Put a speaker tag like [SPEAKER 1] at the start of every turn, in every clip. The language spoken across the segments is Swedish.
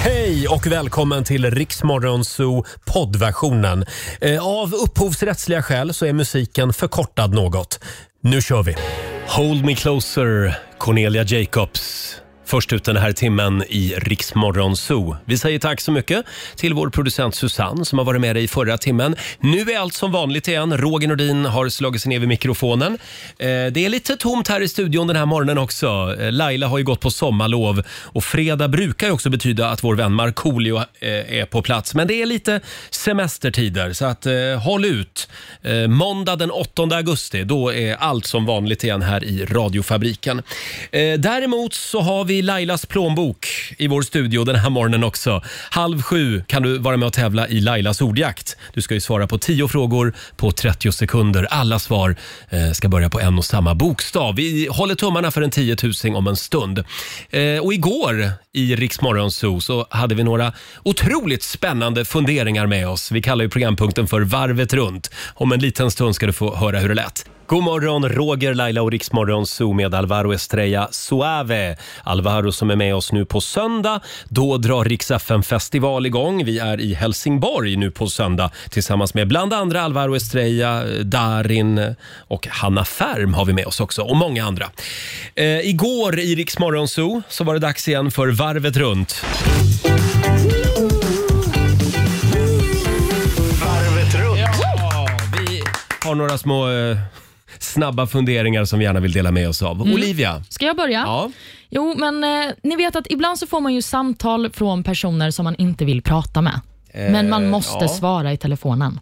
[SPEAKER 1] Hej och välkommen till Riksmorgonzoo poddversionen. Eh, Av upphovsrättsliga skäl så är musiken förkortad något. Nu kör vi! Hold me closer, Cornelia Jacobs. Först ut den här timmen i Riksmorgonzoo. Vi säger tack så mycket till vår producent Susanne som har varit med dig i förra timmen. Nu är allt som vanligt igen. Roger Nordin har slagit sig ner vid mikrofonen. Eh, Det är lite tomt här i studion den här morgonen också. Eh, Laila har ju gått på sommarlov och fredag brukar ju också betyda att vår vän Markoolio eh, är på plats. Men det är lite semestertider så att eh, håll ut. Eh, Måndag den 8 augusti, då är allt som vanligt igen här i radiofabriken. Eh, Däremot så har vi Lailas plånbok i vår studio den här morgonen också. Halv sju kan du vara med och tävla i Lailas ordjakt. Du ska ju svara på 10 frågor på 30 sekunder. Alla svar eh, ska börja på en och samma bokstav. Vi håller tummarna för en 10 000 om en stund. Eh, och igår i Riksmorgon Zoo så hade vi några otroligt spännande funderingar med oss. Vi kallar ju programpunkten för Varvet runt. Om en liten stund ska du få höra hur det lät. God morgon, Roger, Laila och Riksmorgon Zoo med Alvaro Estrella Suave. Alvaro som är med oss nu på söndag. Då drar Rix FM festival igång. Vi är i Helsingborg nu på söndag tillsammans med bland andra Alvaro Estrella, Darin och Hanna Färm har vi med oss också och många andra. Eh, igår i Riksmorgon Zoo så var det dags igen för Varvet runt.
[SPEAKER 2] Varvet runt.
[SPEAKER 1] Vi har några små eh, snabba funderingar som vi gärna vill dela med oss av.
[SPEAKER 3] Mm.
[SPEAKER 1] Olivia?
[SPEAKER 3] Ska jag börja?
[SPEAKER 1] Ja.
[SPEAKER 3] Jo, men eh, ni vet att ibland så får man ju samtal från personer som man inte vill prata med. Men man måste
[SPEAKER 1] Eh, ja. Mm.
[SPEAKER 3] svara i telefonen.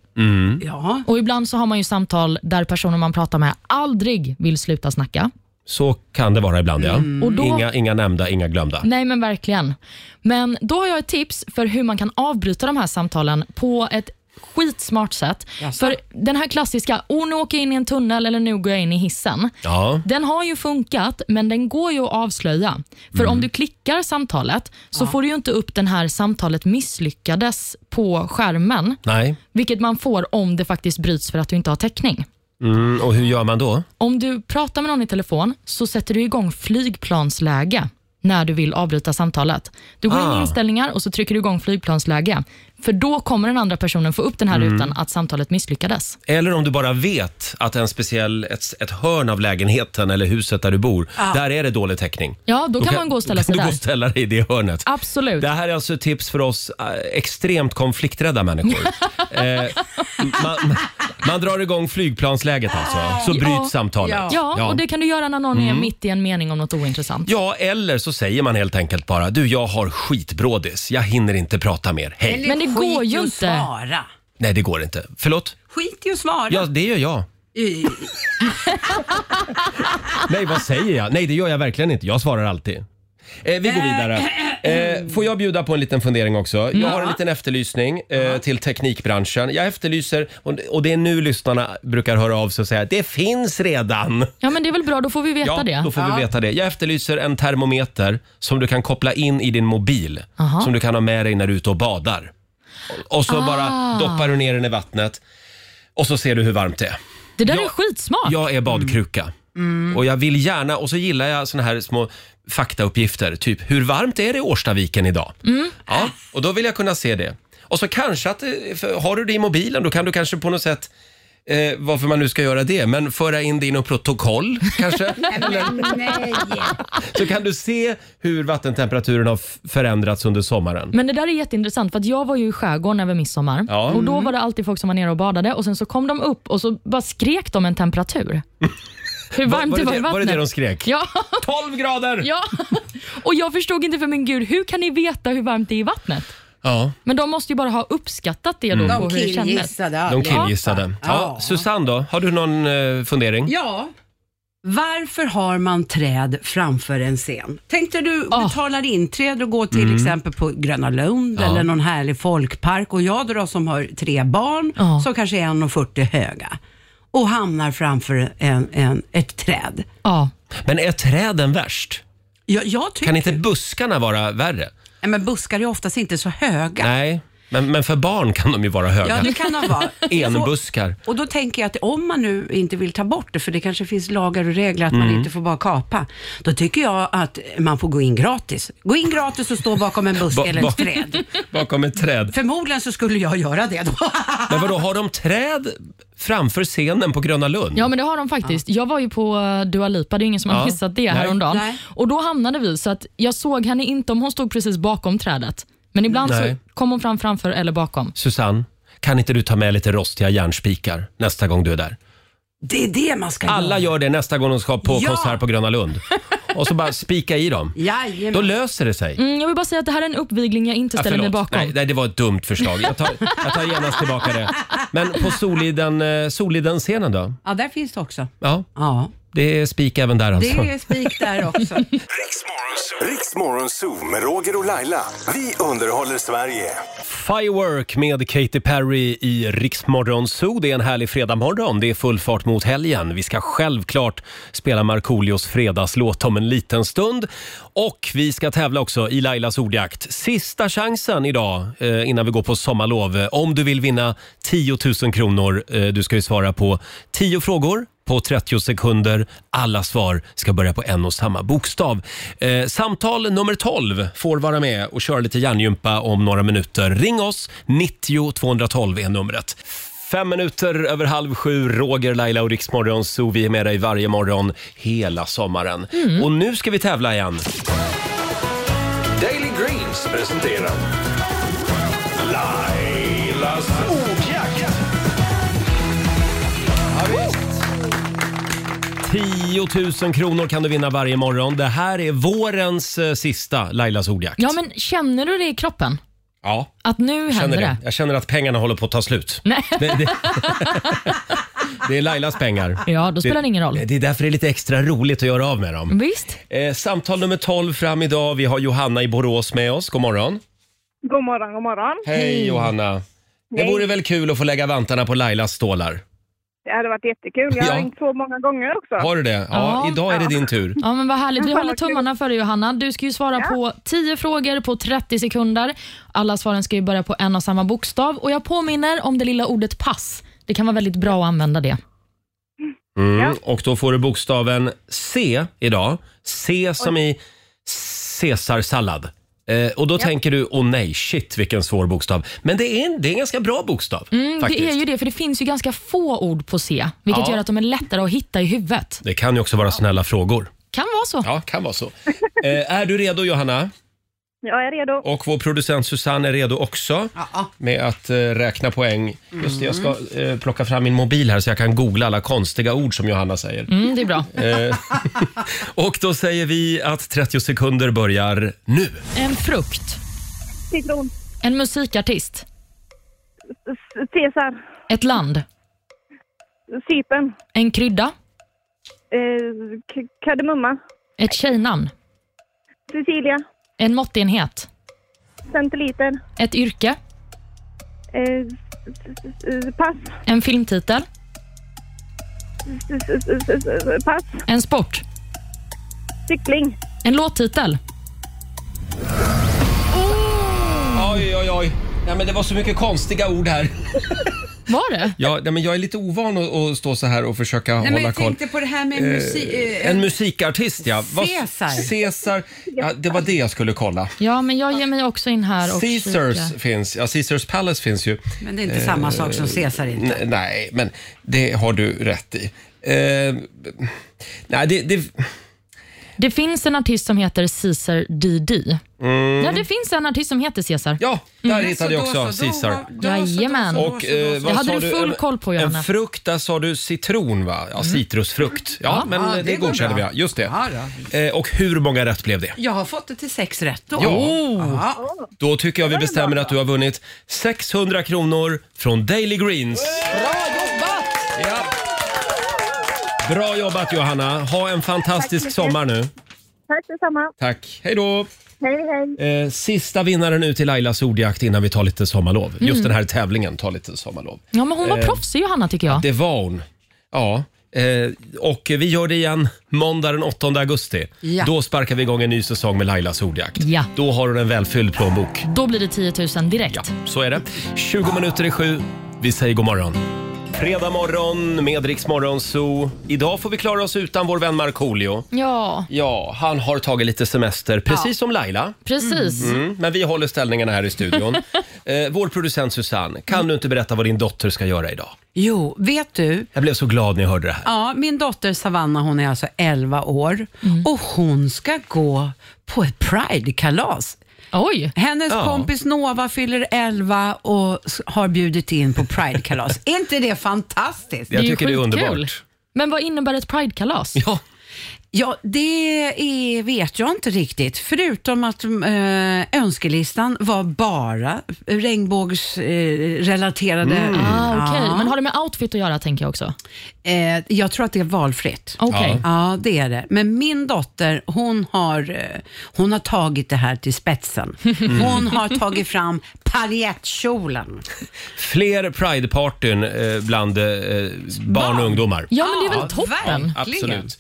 [SPEAKER 4] Ja.
[SPEAKER 3] Och Ibland så har man ju samtal där personer man pratar med aldrig vill sluta snacka.
[SPEAKER 1] Så kan det vara ibland, ja.
[SPEAKER 3] Och då,
[SPEAKER 1] Mm. Inga, inga nämnda, inga glömda.
[SPEAKER 3] Nej, men verkligen. Men då har jag ett tips för hur man kan avbryta de här samtalen på ett skitsmart sätt.
[SPEAKER 4] Jaså?
[SPEAKER 3] För den här klassiska, oh, nu åker jag in i en tunnel eller nu går jag in i hissen.
[SPEAKER 1] Ja.
[SPEAKER 3] Den har ju funkat, men den går ju att avslöja. För
[SPEAKER 1] Mm.
[SPEAKER 3] om du klickar samtalet så får du ju inte upp den här samtalet misslyckades på skärmen,
[SPEAKER 1] Nej.
[SPEAKER 3] vilket man får om det faktiskt bryts för att du inte har täckning.
[SPEAKER 1] Mm, och hur gör man då?
[SPEAKER 3] Om du pratar med någon i telefon så sätter du igång flygplansläge när du vill avbryta samtalet. Du går in
[SPEAKER 1] Ah.
[SPEAKER 3] i inställningar och så trycker du igång flygplansläge. För då kommer den andra personen få upp den
[SPEAKER 1] Mm.
[SPEAKER 3] här rutan att samtalet misslyckades.
[SPEAKER 1] Eller om du bara vet att en speciell, ett, ett hörn av lägenheten eller huset där du bor, där är det dålig täckning.
[SPEAKER 3] Ja, då, kan man gå och ställa sig
[SPEAKER 1] Du
[SPEAKER 3] där.
[SPEAKER 1] går och ställa dig i det hörnet.
[SPEAKER 3] Absolut.
[SPEAKER 1] Det här är alltså ett tips för oss eh, extremt konflikträdda människor. eh, man, man drar igång flygplansläget alltså, så bryts
[SPEAKER 3] Ja.
[SPEAKER 1] samtalet.
[SPEAKER 4] Ja.
[SPEAKER 3] Ja, och det kan du göra när någon
[SPEAKER 1] Mm.
[SPEAKER 3] är mitt i en mening om något ointressant.
[SPEAKER 1] Ja, eller så säger man helt enkelt bara du, jag har skitbrådis. Jag hinner inte prata mer. Hej.
[SPEAKER 4] Eller
[SPEAKER 3] Men det
[SPEAKER 4] skit
[SPEAKER 3] går ju
[SPEAKER 4] i att
[SPEAKER 3] inte.
[SPEAKER 4] Svara.
[SPEAKER 1] Nej, det går inte. Förlåt?
[SPEAKER 4] Skit i att svara.
[SPEAKER 1] Ja, det gör jag.
[SPEAKER 4] I-
[SPEAKER 1] Nej, vad säger jag? Nej, det gör jag verkligen inte. Jag svarar alltid. Eh, vi går vidare. Eh, får jag bjuda på en liten fundering också? Jag har en liten efterlysning eh, till teknikbranschen. Jag efterlyser, och och det är nu lyssnarna brukar höra av sig och säga, det finns redan.
[SPEAKER 3] Ja, men det är väl bra. Då får vi veta det.
[SPEAKER 1] då får vi veta det. Jag efterlyser en termometer som du kan koppla in i din mobil.
[SPEAKER 3] Aha.
[SPEAKER 1] Som du kan ha med dig när du är ute och badar. Och, och så
[SPEAKER 3] Ah.
[SPEAKER 1] bara doppar du ner den i vattnet och så ser du hur varmt det är.
[SPEAKER 3] Det där
[SPEAKER 1] Ja.
[SPEAKER 3] är skitsmart.
[SPEAKER 1] Jag är badkruka.
[SPEAKER 3] Mm.
[SPEAKER 1] Och jag vill gärna, och så gillar jag såna här små faktauppgifter. Typ, hur varmt är det i Årstaviken idag?
[SPEAKER 3] Mm.
[SPEAKER 1] Ja, och då vill jag kunna se det. Och så kanske att, eh, för, har du det i mobilen, då kan du kanske på något sätt Eh, varför man nu ska göra det, men föra in det i något protokoll kanske?
[SPEAKER 4] Nej.
[SPEAKER 1] så kan du se hur vattentemperaturen har f- förändrats under sommaren.
[SPEAKER 3] Men det där är jätteintressant för att jag var ju i skärgården över midsommar
[SPEAKER 1] Ja. Mm.
[SPEAKER 3] och då var det alltid folk som var nere och badade och sen så kom de upp och så bara skrek de en temperatur. Hur varmt
[SPEAKER 1] var,
[SPEAKER 3] det
[SPEAKER 1] det
[SPEAKER 3] var i
[SPEAKER 1] det, var det
[SPEAKER 3] vattnet.
[SPEAKER 1] det de skrek?
[SPEAKER 3] Ja,
[SPEAKER 1] 12 grader!
[SPEAKER 3] ja. Och jag förstod inte för min gud, hur kan ni veta hur varmt det är i vattnet?
[SPEAKER 1] Ja. på
[SPEAKER 3] Men de måste ju bara ha uppskattat det
[SPEAKER 1] Mm.
[SPEAKER 3] då på
[SPEAKER 4] De
[SPEAKER 3] hur det kändes.
[SPEAKER 4] killgissade aldrig.
[SPEAKER 1] De killgissade. Ja,
[SPEAKER 4] Ja.
[SPEAKER 1] Susanne då, har du någon eh, fundering?
[SPEAKER 4] Ja. Varför har man träd framför en scen? Tänkte du
[SPEAKER 3] Ah.
[SPEAKER 4] betalar inträde och går till exempel på Gröna Lund
[SPEAKER 1] Mm. Ja.
[SPEAKER 4] eller någon härlig folkpark och jag då som har tre barn
[SPEAKER 3] Ja.
[SPEAKER 4] som kanske är 1,40 höga och hamnar framför en, en, ett träd.
[SPEAKER 3] Ja.
[SPEAKER 1] Men är träden värst?
[SPEAKER 4] Jag, jag tycker...
[SPEAKER 1] Kan inte buskarna vara värre?
[SPEAKER 4] Nej, Men buskar är oftast inte så höga.
[SPEAKER 1] Nej. Men, men för barn kan de ju vara höga.
[SPEAKER 4] Ja, det kan de vara.
[SPEAKER 1] Enbuskar.
[SPEAKER 4] Och då tänker jag att om man nu inte vill ta bort det, för det kanske finns lagar och regler att
[SPEAKER 1] Mm.
[SPEAKER 4] man inte får bara kapa, då tycker jag att man får gå in gratis. Gå in gratis och stå bakom en buske
[SPEAKER 1] Ba-
[SPEAKER 4] eller
[SPEAKER 1] ba-
[SPEAKER 4] ett träd.
[SPEAKER 1] Bakom ett träd.
[SPEAKER 4] Förmodligen så skulle jag göra det då.
[SPEAKER 1] Men vadå, har de träd framför scenen på Gröna Lund?
[SPEAKER 3] Ja, men det har de faktiskt. Jag var ju på eh, Dua Lipa, det är ingen som har
[SPEAKER 1] Ja.
[SPEAKER 3] missat det
[SPEAKER 1] Nej.
[SPEAKER 3] häromdagen.
[SPEAKER 4] Nej.
[SPEAKER 3] Och då hamnade vi, så att jag såg henne inte om hon stod precis bakom trädet. Men ibland
[SPEAKER 1] Nej.
[SPEAKER 3] så kom hon fram framför eller bakom.
[SPEAKER 1] Susanne, kan inte du ta med lite rostiga järnspikar nästa gång du är där?
[SPEAKER 4] Det är det man ska
[SPEAKER 1] Alla
[SPEAKER 4] göra.
[SPEAKER 1] gör det nästa gång de ska på
[SPEAKER 4] Ja!
[SPEAKER 1] konsert på Gröna Lund. Och så bara spika i dem. Då
[SPEAKER 4] Jajamän.
[SPEAKER 1] löser det sig.
[SPEAKER 3] Mm, jag vill bara säga att det här är en uppvigling jag inte
[SPEAKER 1] Ja,
[SPEAKER 3] ställer mig
[SPEAKER 1] förlåt.
[SPEAKER 3] bakom.
[SPEAKER 1] Nej, nej, det var ett dumt förslag. Jag tar, jag tar genast tillbaka det. Men på Soliden, eh, Soliden-scenen då?
[SPEAKER 4] Ja, där finns det också.
[SPEAKER 1] Ja,
[SPEAKER 4] Ja,
[SPEAKER 1] det är spik även där
[SPEAKER 4] det
[SPEAKER 1] alltså.
[SPEAKER 4] är spik där också.
[SPEAKER 2] Riksmorgon Zoo med Roger och Laila. Vi underhåller Sverige.
[SPEAKER 1] Firework med Katy Perry i Riksmorgon Zoo. Det är en härlig fredagmorgon. Det är full fart mot helgen. Vi ska självklart spela Markoolios fredagslåt om en liten stund. Och vi ska tävla också i Lailas ordjakt. Sista chansen idag eh, innan vi går på sommarlov. Eh, Om du vill vinna 10 000 kronor. Eh, du ska ju svara på 10 frågor på 30 sekunder. Alla svar ska börja på en och samma bokstav. Eh, samtal nummer 12 får vara med och köra lite hjärngympa om några minuter. Ring oss, 90 212 är numret. Fem minuter över halv sju, Roger, Laila och Riksmorgon så Vi är med dig varje morgon hela sommaren.
[SPEAKER 3] Mm.
[SPEAKER 1] Och nu ska vi tävla igen.
[SPEAKER 5] Daily Greens presenterar Lailas ordjakt.
[SPEAKER 1] 10 000 kronor kan du vinna varje morgon. Det här är vårens eh, sista Lailas ordjakt.
[SPEAKER 3] Ja, men känner du det i kroppen?
[SPEAKER 1] ja.
[SPEAKER 3] Att nu händer
[SPEAKER 1] känner
[SPEAKER 3] det?
[SPEAKER 1] det. Jag känner att pengarna håller på att ta slut.
[SPEAKER 3] Nej.
[SPEAKER 1] Det, det, det är Lailas pengar.
[SPEAKER 3] Ja, då spelar det ingen roll.
[SPEAKER 1] Det är därför det är lite extra roligt att göra av med dem.
[SPEAKER 3] Visst?
[SPEAKER 1] Eh, samtal nummer 12 fram idag. Vi har Johanna i Borås med oss. God morgon.
[SPEAKER 6] God morgon, god morgon.
[SPEAKER 1] Hej, Johanna. Det
[SPEAKER 6] Hej.
[SPEAKER 1] vore väl kul att få lägga vantarna på Lailas stålar?
[SPEAKER 6] Det hade varit jättekul. Jag har
[SPEAKER 1] Ja.
[SPEAKER 6] ringt så många gånger också.
[SPEAKER 1] Har du det? Ja,
[SPEAKER 3] Ja.
[SPEAKER 1] idag är det din tur.
[SPEAKER 3] Ja, men vad härligt. Vi
[SPEAKER 6] Fan,
[SPEAKER 3] håller
[SPEAKER 6] vad kul.
[SPEAKER 3] tummarna för dig Johanna. Du ska ju svara på 10 frågor på 30 sekunder. Alla svaren ska ju börja på en och samma bokstav. Och Jag påminner om det lilla ordet pass. Det kan vara väldigt bra att använda det.
[SPEAKER 1] Mm, och då får du bokstaven C idag. C som i caesarsallad. Eh, och då tänker du, åh nej, shit vilken svår bokstav. Men det är en, det är en ganska bra bokstav
[SPEAKER 3] Mm,
[SPEAKER 1] faktiskt.
[SPEAKER 3] Det är ju det, för det finns ju ganska få ord på C, vilket
[SPEAKER 1] Ja.
[SPEAKER 3] gör att de är lättare att hitta i huvudet.
[SPEAKER 1] Det kan ju också vara snälla frågor.
[SPEAKER 3] Kan vara så.
[SPEAKER 1] Ja, kan vara så. Eh, är du redo Johanna?
[SPEAKER 6] Jag är redo.
[SPEAKER 1] Och vår producent Susanne är redo också
[SPEAKER 4] Ja.
[SPEAKER 1] med att eh, räkna poäng.
[SPEAKER 3] Mm.
[SPEAKER 1] Just det, jag ska eh, plocka fram min mobil här så jag kan googla alla konstiga ord som Johanna säger.
[SPEAKER 3] Mm, det är bra.
[SPEAKER 1] Eh, och då säger vi att 30 sekunder börjar nu.
[SPEAKER 3] En frukt,
[SPEAKER 6] Citron.
[SPEAKER 3] en musikartist,
[SPEAKER 6] S- Caesar.
[SPEAKER 3] ett land,
[SPEAKER 6] Cypern.
[SPEAKER 3] en krydda,
[SPEAKER 6] Eh, k- kardemumma.
[SPEAKER 3] ett tjejnamn,
[SPEAKER 6] Cecilia.
[SPEAKER 3] en måttenhet,
[SPEAKER 6] Centiliter.
[SPEAKER 3] ett yrke,
[SPEAKER 6] Eh, s- s- s- pass.
[SPEAKER 3] en filmtitel,
[SPEAKER 6] S- s- s- s- s- Pass.
[SPEAKER 3] en sport,
[SPEAKER 6] Cykling.
[SPEAKER 3] en låttitel.
[SPEAKER 1] Oj, oj, oj. Nej, men det var så mycket konstiga ord här.
[SPEAKER 3] Var det?
[SPEAKER 1] Ja, nej, men jag är lite ovan att, att stå så här och försöka
[SPEAKER 4] Nej, men
[SPEAKER 1] hålla
[SPEAKER 4] jag
[SPEAKER 1] koll.
[SPEAKER 4] tänkte på det här med musik. eh,
[SPEAKER 1] En musikartist, ja. Vad-
[SPEAKER 4] Caesar.
[SPEAKER 1] Caesar. Ja, det var det jag skulle kolla.
[SPEAKER 3] Ja, men jag ger mig också in här och
[SPEAKER 1] Caesars
[SPEAKER 3] kika.
[SPEAKER 1] finns. Ja, Caesars Palace finns ju.
[SPEAKER 4] Men det är inte samma sak som Caesar inte.
[SPEAKER 1] N- Eh, nej, men det har du rätt i. Eh, nej, det, det...
[SPEAKER 3] Det finns en artist som heter Caesar DD. Ja, det finns en artist som heter Caesar.
[SPEAKER 1] Mm. Ja, där
[SPEAKER 4] Men
[SPEAKER 1] hittade jag
[SPEAKER 4] Mm, så då
[SPEAKER 1] också
[SPEAKER 4] så, då
[SPEAKER 1] Caesar.
[SPEAKER 4] var- då så, då så,
[SPEAKER 3] Jajamän.
[SPEAKER 4] då så, då
[SPEAKER 1] Och,
[SPEAKER 4] så.
[SPEAKER 1] eh, vad
[SPEAKER 3] Det hade
[SPEAKER 1] sa
[SPEAKER 3] du full
[SPEAKER 1] En-
[SPEAKER 3] koll på, Johanna.
[SPEAKER 1] En frukt, där sa du citron va? Ja, citrusfrukt. Ja, men
[SPEAKER 4] Mm.
[SPEAKER 1] eh,
[SPEAKER 4] ja,
[SPEAKER 1] det,
[SPEAKER 4] det går
[SPEAKER 1] godkände vi.
[SPEAKER 4] bra.
[SPEAKER 1] ja. Just det.
[SPEAKER 4] Ja,
[SPEAKER 1] Eh, och hur många rätt blev det?
[SPEAKER 4] Jag har fått det till sex rätt då.
[SPEAKER 1] Ja. Oh.
[SPEAKER 4] Ja.
[SPEAKER 1] Då tycker jag vi bestämmer att du har vunnit 600 kronor från Daily Greens.
[SPEAKER 4] Bra jobbat!
[SPEAKER 1] Ja. Bra jobbat Johanna. Ha en fantastisk
[SPEAKER 6] mycket.
[SPEAKER 1] sommar nu.
[SPEAKER 6] Tack detsamma.
[SPEAKER 1] Tack. Hej då.
[SPEAKER 6] Hej, hej.
[SPEAKER 1] Eh, sista vinnaren ut i Lailas ordjakt innan vi tar lite sommarlov.
[SPEAKER 4] Mm.
[SPEAKER 1] Just den här tävlingen tar lite sommarlov.
[SPEAKER 3] Ja, men hon var proffsig Johanna tycker jag.
[SPEAKER 1] Det var hon. Ja. Eh, och vi gör det igen måndag den 8 augusti.
[SPEAKER 4] Ja.
[SPEAKER 1] Då sparkar vi igång en ny säsong med Lailas ordjakt.
[SPEAKER 3] Ja.
[SPEAKER 1] Då har du en välfylld plånbok.
[SPEAKER 3] Då blir det 10 000 direkt.
[SPEAKER 1] Ja, så är det. 20 minuter i sju. Vi säger god morgon. Fredag morgon med Rix Morgon Zoo. Idag får vi klara oss utan vår vän Markoolio.
[SPEAKER 3] Ja,
[SPEAKER 1] Ja, han har tagit lite semester, precis som Laila.
[SPEAKER 3] precis.
[SPEAKER 1] Mm, men vi håller ställningarna här i studion. eh, vår producent Susanne, kan du inte berätta vad din dotter ska göra idag?
[SPEAKER 4] Jo, vet du?
[SPEAKER 1] Jag blev så glad när jag hörde det här.
[SPEAKER 4] Ja, min dotter Savanna, hon är alltså 11 år
[SPEAKER 1] Mm.
[SPEAKER 4] och hon ska gå på ett Pride-kalas.
[SPEAKER 3] Oj.
[SPEAKER 4] Hennes
[SPEAKER 1] Ja.
[SPEAKER 4] kompis Nova fyller 11 och s- har bjudit in på Pride-kalas. är inte det fantastiskt?
[SPEAKER 1] Jag
[SPEAKER 3] är ju
[SPEAKER 1] tycker det är
[SPEAKER 3] skitkul.
[SPEAKER 1] underbart.
[SPEAKER 3] Men vad innebär ett Pride-kalas?
[SPEAKER 1] Ja,
[SPEAKER 4] Ja, det är, vet jag inte riktigt. Förutom att eh, önskelistan var bara regnbågsrelaterade. Eh, relaterade-
[SPEAKER 1] Mm.
[SPEAKER 3] Ah, okej.
[SPEAKER 4] Ja.
[SPEAKER 3] Men har det med outfit att göra tänker jag också?
[SPEAKER 4] eh, jag tror att det är valfritt.
[SPEAKER 3] Okej.
[SPEAKER 1] Ja.
[SPEAKER 4] Ja, det är det. Men min dotter, hon har, eh, hon har tagit det här till spetsen.
[SPEAKER 3] Mm.
[SPEAKER 4] Hon har tagit fram paljettkjolen.
[SPEAKER 1] fler Pride-partyn eh, bland eh, barn och ungdomar.
[SPEAKER 3] Ja, men det är väl toppen?
[SPEAKER 4] verkligen.
[SPEAKER 1] Absolut.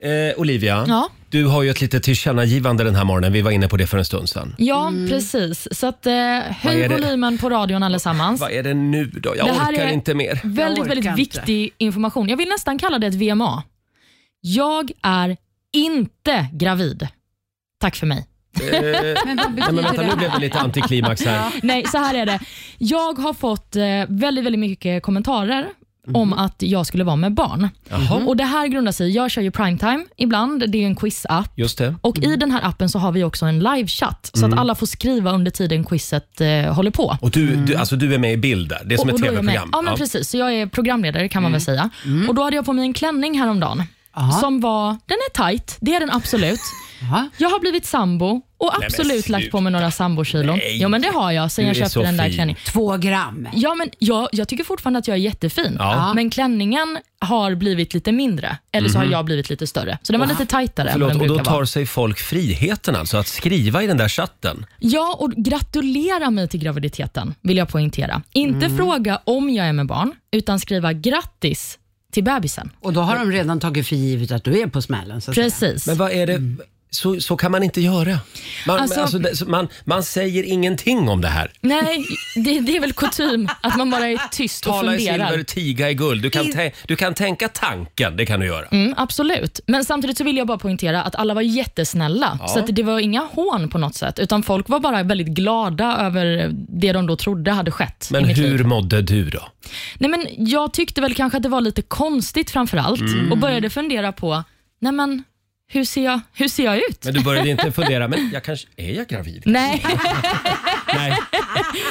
[SPEAKER 1] Eh, Olivia,
[SPEAKER 3] Ja.
[SPEAKER 1] du har ju ett litet tillkännagivande den här morgonen. Vi var inne på det för en stund sedan.
[SPEAKER 3] Ja, precis. Så att, eh,
[SPEAKER 1] är
[SPEAKER 3] höj
[SPEAKER 1] det?
[SPEAKER 3] volymen på radion allesammans.
[SPEAKER 1] Vad är det nu då? Jag orkar inte mer.
[SPEAKER 4] orkar
[SPEAKER 3] väldigt, väldigt
[SPEAKER 4] inte.
[SPEAKER 3] viktig information. Jag vill nästan kalla det ett VMA. Jag är inte gravid. Tack för mig.
[SPEAKER 4] Men vad
[SPEAKER 1] Nej, men
[SPEAKER 4] betyder
[SPEAKER 1] vänta, nu
[SPEAKER 4] det?
[SPEAKER 1] blev det lite antiklimax här.
[SPEAKER 3] Nej, så här är det. Jag har fått eh, väldigt, väldigt mycket kommentarer om att jag skulle vara med barn.
[SPEAKER 1] Mhm. Jaha,
[SPEAKER 3] Och Det här grundar sig Jag kör ju primetime ibland. Det är ju en quizapp.
[SPEAKER 1] just det.
[SPEAKER 3] Och I den här appen så har vi också en livechatt, så att alla får skriva under tiden quizet eh, håller på.
[SPEAKER 1] Mm. Och du, du, alltså, du är med i bild där. Det är som ett
[SPEAKER 3] Mm. då är jag med.
[SPEAKER 1] tv-program.
[SPEAKER 3] Ja, men
[SPEAKER 1] Ja. Mm.
[SPEAKER 3] precis. Så jag är programledare kan man väl säga. Och Då hade jag på mig en klänning häromdagen som var, den är tight, det är den absolut.
[SPEAKER 4] Jaha.
[SPEAKER 3] Jag har blivit sambo och absolut lagt på mig några sambokilon.
[SPEAKER 1] Nej.
[SPEAKER 3] Ja, men det har jag sen
[SPEAKER 1] Du
[SPEAKER 3] jag
[SPEAKER 1] är så
[SPEAKER 3] köpte den där
[SPEAKER 1] fin.
[SPEAKER 3] klänningen.
[SPEAKER 4] Två gram.
[SPEAKER 3] Ja, men jag, jag tycker fortfarande att jag är jättefin,
[SPEAKER 1] Ja.
[SPEAKER 3] men klänningen har blivit lite mindre. Eller så har jag blivit lite större. Så den var lite tajtare än
[SPEAKER 1] Mhm.
[SPEAKER 3] vad
[SPEAKER 1] Förlåt,
[SPEAKER 3] den
[SPEAKER 1] och då
[SPEAKER 3] brukar
[SPEAKER 1] tar
[SPEAKER 3] vara.
[SPEAKER 1] sig folk friheten alltså att skriva i den där chatten.
[SPEAKER 3] Ja, och gratulera mig till graviditeten, vill jag poängtera. Inte
[SPEAKER 1] Mm.
[SPEAKER 3] fråga om jag är med barn, utan skriva grattis till bebisen.
[SPEAKER 4] Och då har de redan tagit för givet att du är på smällen. Så att säga.
[SPEAKER 3] Precis.
[SPEAKER 1] Men vad är det? Så, så kan man inte göra. Man,
[SPEAKER 3] Alltså-
[SPEAKER 1] Mm. alltså, det- så man, man säger ingenting om det här.
[SPEAKER 3] Nej, det, det är väl kutym att man bara är tyst och
[SPEAKER 1] Tala i
[SPEAKER 3] funderar.
[SPEAKER 1] silver, tiga i guld. Du kan, tä- du kan tänka tanken, det kan du göra.
[SPEAKER 3] Mm, absolut. Men samtidigt så vill jag bara poängtera att alla var jättesnälla. Så att det var inga hån på något sätt, utan folk var bara väldigt glada över det de då trodde hade skett
[SPEAKER 1] Men
[SPEAKER 3] i mitt
[SPEAKER 1] hur
[SPEAKER 3] liv.
[SPEAKER 1] mådde du då?
[SPEAKER 3] Nej, men jag tyckte väl kanske att det var lite konstigt framför allt
[SPEAKER 1] Mm.
[SPEAKER 3] och började fundera på, nej men, hur ser jag, hur ser jag ut?
[SPEAKER 1] Men du började inte fundera, men jag kanske, är jag gravid?
[SPEAKER 3] Nej,
[SPEAKER 1] Nej.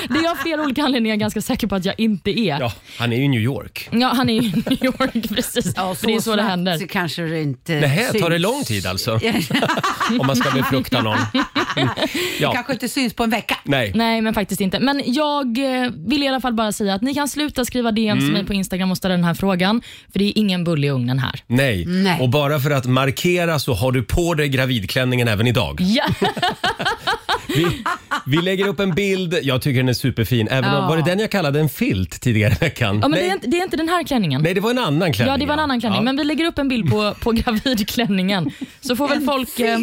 [SPEAKER 3] det är jag av flera olika anledningar ganska säker på att jag inte är. Ja,
[SPEAKER 1] Ja, han är ju i New York.
[SPEAKER 3] han är ju i New York precis.
[SPEAKER 4] Ja,
[SPEAKER 3] För det är så det
[SPEAKER 4] snabbt
[SPEAKER 3] händer.
[SPEAKER 4] Så kanske det inte
[SPEAKER 1] Nähä,
[SPEAKER 4] syns.
[SPEAKER 1] tar det lång tid alltså? Om man ska befrukta någon. Mm. Ja,
[SPEAKER 4] kanske inte syns på en vecka.
[SPEAKER 1] nej.
[SPEAKER 3] Nej, men faktiskt inte. Men jag eh, vill i alla fall bara säga att ni kan sluta skriva DM
[SPEAKER 1] Mm.
[SPEAKER 3] till mig på Instagram och ställa den här frågan, för det är ingen bulle i ugnen här.
[SPEAKER 1] Nej.
[SPEAKER 4] Nej.
[SPEAKER 1] och bara för att markera så har du på dig gravidklänningen även idag.
[SPEAKER 3] Ja.
[SPEAKER 1] Vi, vi lägger upp en bild, jag tycker den är superfin. Även om, var det den jag kallade en filt tidigare i veckan?
[SPEAKER 3] Ja, men
[SPEAKER 1] nej,
[SPEAKER 3] det, är inte, det är inte den här klänningen.
[SPEAKER 1] nej, det var en annan klänning.
[SPEAKER 3] ja, det var en annan klänning.
[SPEAKER 1] Ja,
[SPEAKER 3] Men vi lägger upp en bild på, på gravidklänningen. Så får väl folk... eh,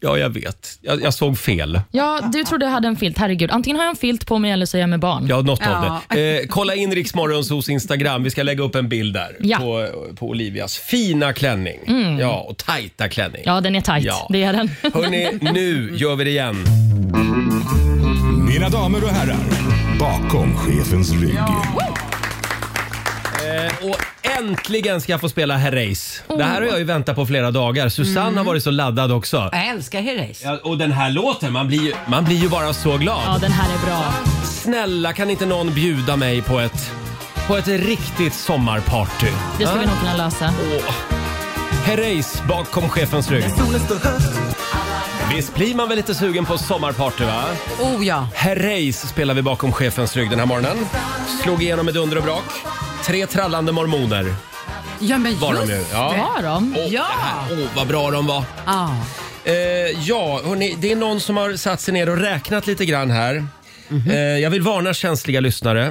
[SPEAKER 1] ja jag vet. Jag, jag såg fel.
[SPEAKER 3] Ja, du trodde jag hade en filt. Herregud. Antingen har jag en filt på mig eller så är jag med barn.
[SPEAKER 1] Ja, något av
[SPEAKER 4] Ja.
[SPEAKER 1] det. Eh, kolla in Riksmorgons hos Instagram. Vi ska lägga upp en bild där
[SPEAKER 3] Ja. Mm.
[SPEAKER 1] på, på Olivias fina klänning. Ja, och tajta klänning.
[SPEAKER 3] Ja, den är tight.
[SPEAKER 1] Ja.
[SPEAKER 3] Det är den.
[SPEAKER 1] Hörni, nu gör vi det igen.
[SPEAKER 5] Mina damer och herrar, bakom chefens rygg.
[SPEAKER 1] Eh, Och äntligen ska jag få spela Herr Race. Det här har jag ju väntat på flera dagar. Susanne
[SPEAKER 3] Mm.
[SPEAKER 1] har varit så laddad också.
[SPEAKER 4] Jag älskar Herreys.
[SPEAKER 1] Ja, och den här låten, man blir ju, man blir ju bara så glad.
[SPEAKER 3] Ja, den här är bra.
[SPEAKER 1] Snälla kan inte någon bjuda mig på ett, på ett riktigt sommarparty?
[SPEAKER 3] Det ska vi nog kunna lösa.
[SPEAKER 1] Åh. Herr Race bakom chefens rygg. Visst blir man väl lite sugen på sommarparty va?
[SPEAKER 4] Oh ja.
[SPEAKER 1] Herr Race spelar vi bakom chefens rygg den här morgonen. Slog igenom med dunder och brak. Tre trallande mormoner
[SPEAKER 4] Ja men
[SPEAKER 1] var de
[SPEAKER 4] just
[SPEAKER 1] nu. Ja.
[SPEAKER 3] Har de?
[SPEAKER 1] Åh,
[SPEAKER 4] Ja.
[SPEAKER 1] det här- Åh, vad bra de var.
[SPEAKER 4] Ja.
[SPEAKER 1] Eh, ja, hörni, det är någon som har satt sig ner och räknat lite grann här. Eh, jag vill varna känsliga lyssnare.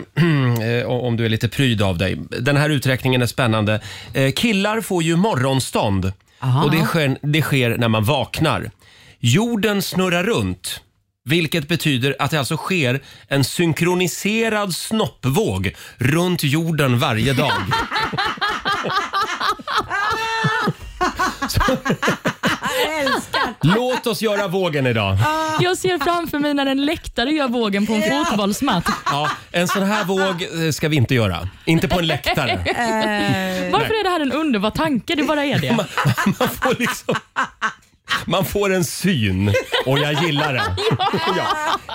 [SPEAKER 1] eh, om du är lite pryd av dig. Den här uträkningen är spännande. Eh, killar får ju morgonstånd
[SPEAKER 4] Aha.
[SPEAKER 1] och det sker, det sker när man vaknar. Jorden snurrar runt. Vilket betyder att det alltså sker en synkroniserad snoppvåg runt jorden varje dag.
[SPEAKER 4] Jag älskar
[SPEAKER 1] Låt oss göra vågen idag.
[SPEAKER 3] Jag ser framför mig när en läktare gör vågen på en fotbollsmatch.
[SPEAKER 1] Ja, en sån här våg eh, ska vi inte göra. Inte på en läktare.
[SPEAKER 3] Varför är det här en underbar tanke? Det bara är det.
[SPEAKER 1] Man får liksom... Man får en syn och jag gillar den. Ja.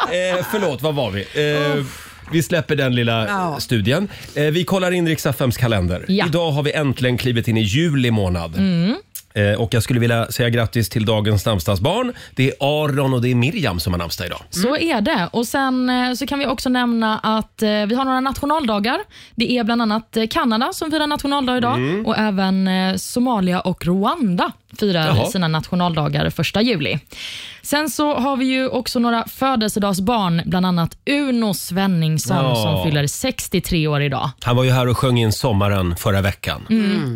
[SPEAKER 1] Eh, förlåt, vad var vi? Eh, vi släpper den lilla
[SPEAKER 4] Ja.
[SPEAKER 1] studien. Eh, vi kollar in Rix FMs kalender.
[SPEAKER 3] Ja.
[SPEAKER 1] Idag har vi äntligen klivit in i juli månad. Eh, och jag skulle vilja säga grattis till dagens namnsdagsbarn. Det är Aron och det är Miriam som har namnsdag idag.
[SPEAKER 3] Så är det. Och Sen eh, så kan vi också nämna att eh, vi har några nationaldagar. Det är bland annat eh, Kanada som firar nationaldag idag
[SPEAKER 1] Mm.
[SPEAKER 3] och även eh, Somalia och Rwanda firar
[SPEAKER 1] Jaha.
[SPEAKER 3] sina nationaldagar 1 juli. Sen så har vi ju också några födelsedagsbarn, bland annat Uno Svenningsson
[SPEAKER 1] Ja.
[SPEAKER 3] som fyller 63 år idag.
[SPEAKER 1] Han var ju här och sjöng in sommaren förra veckan.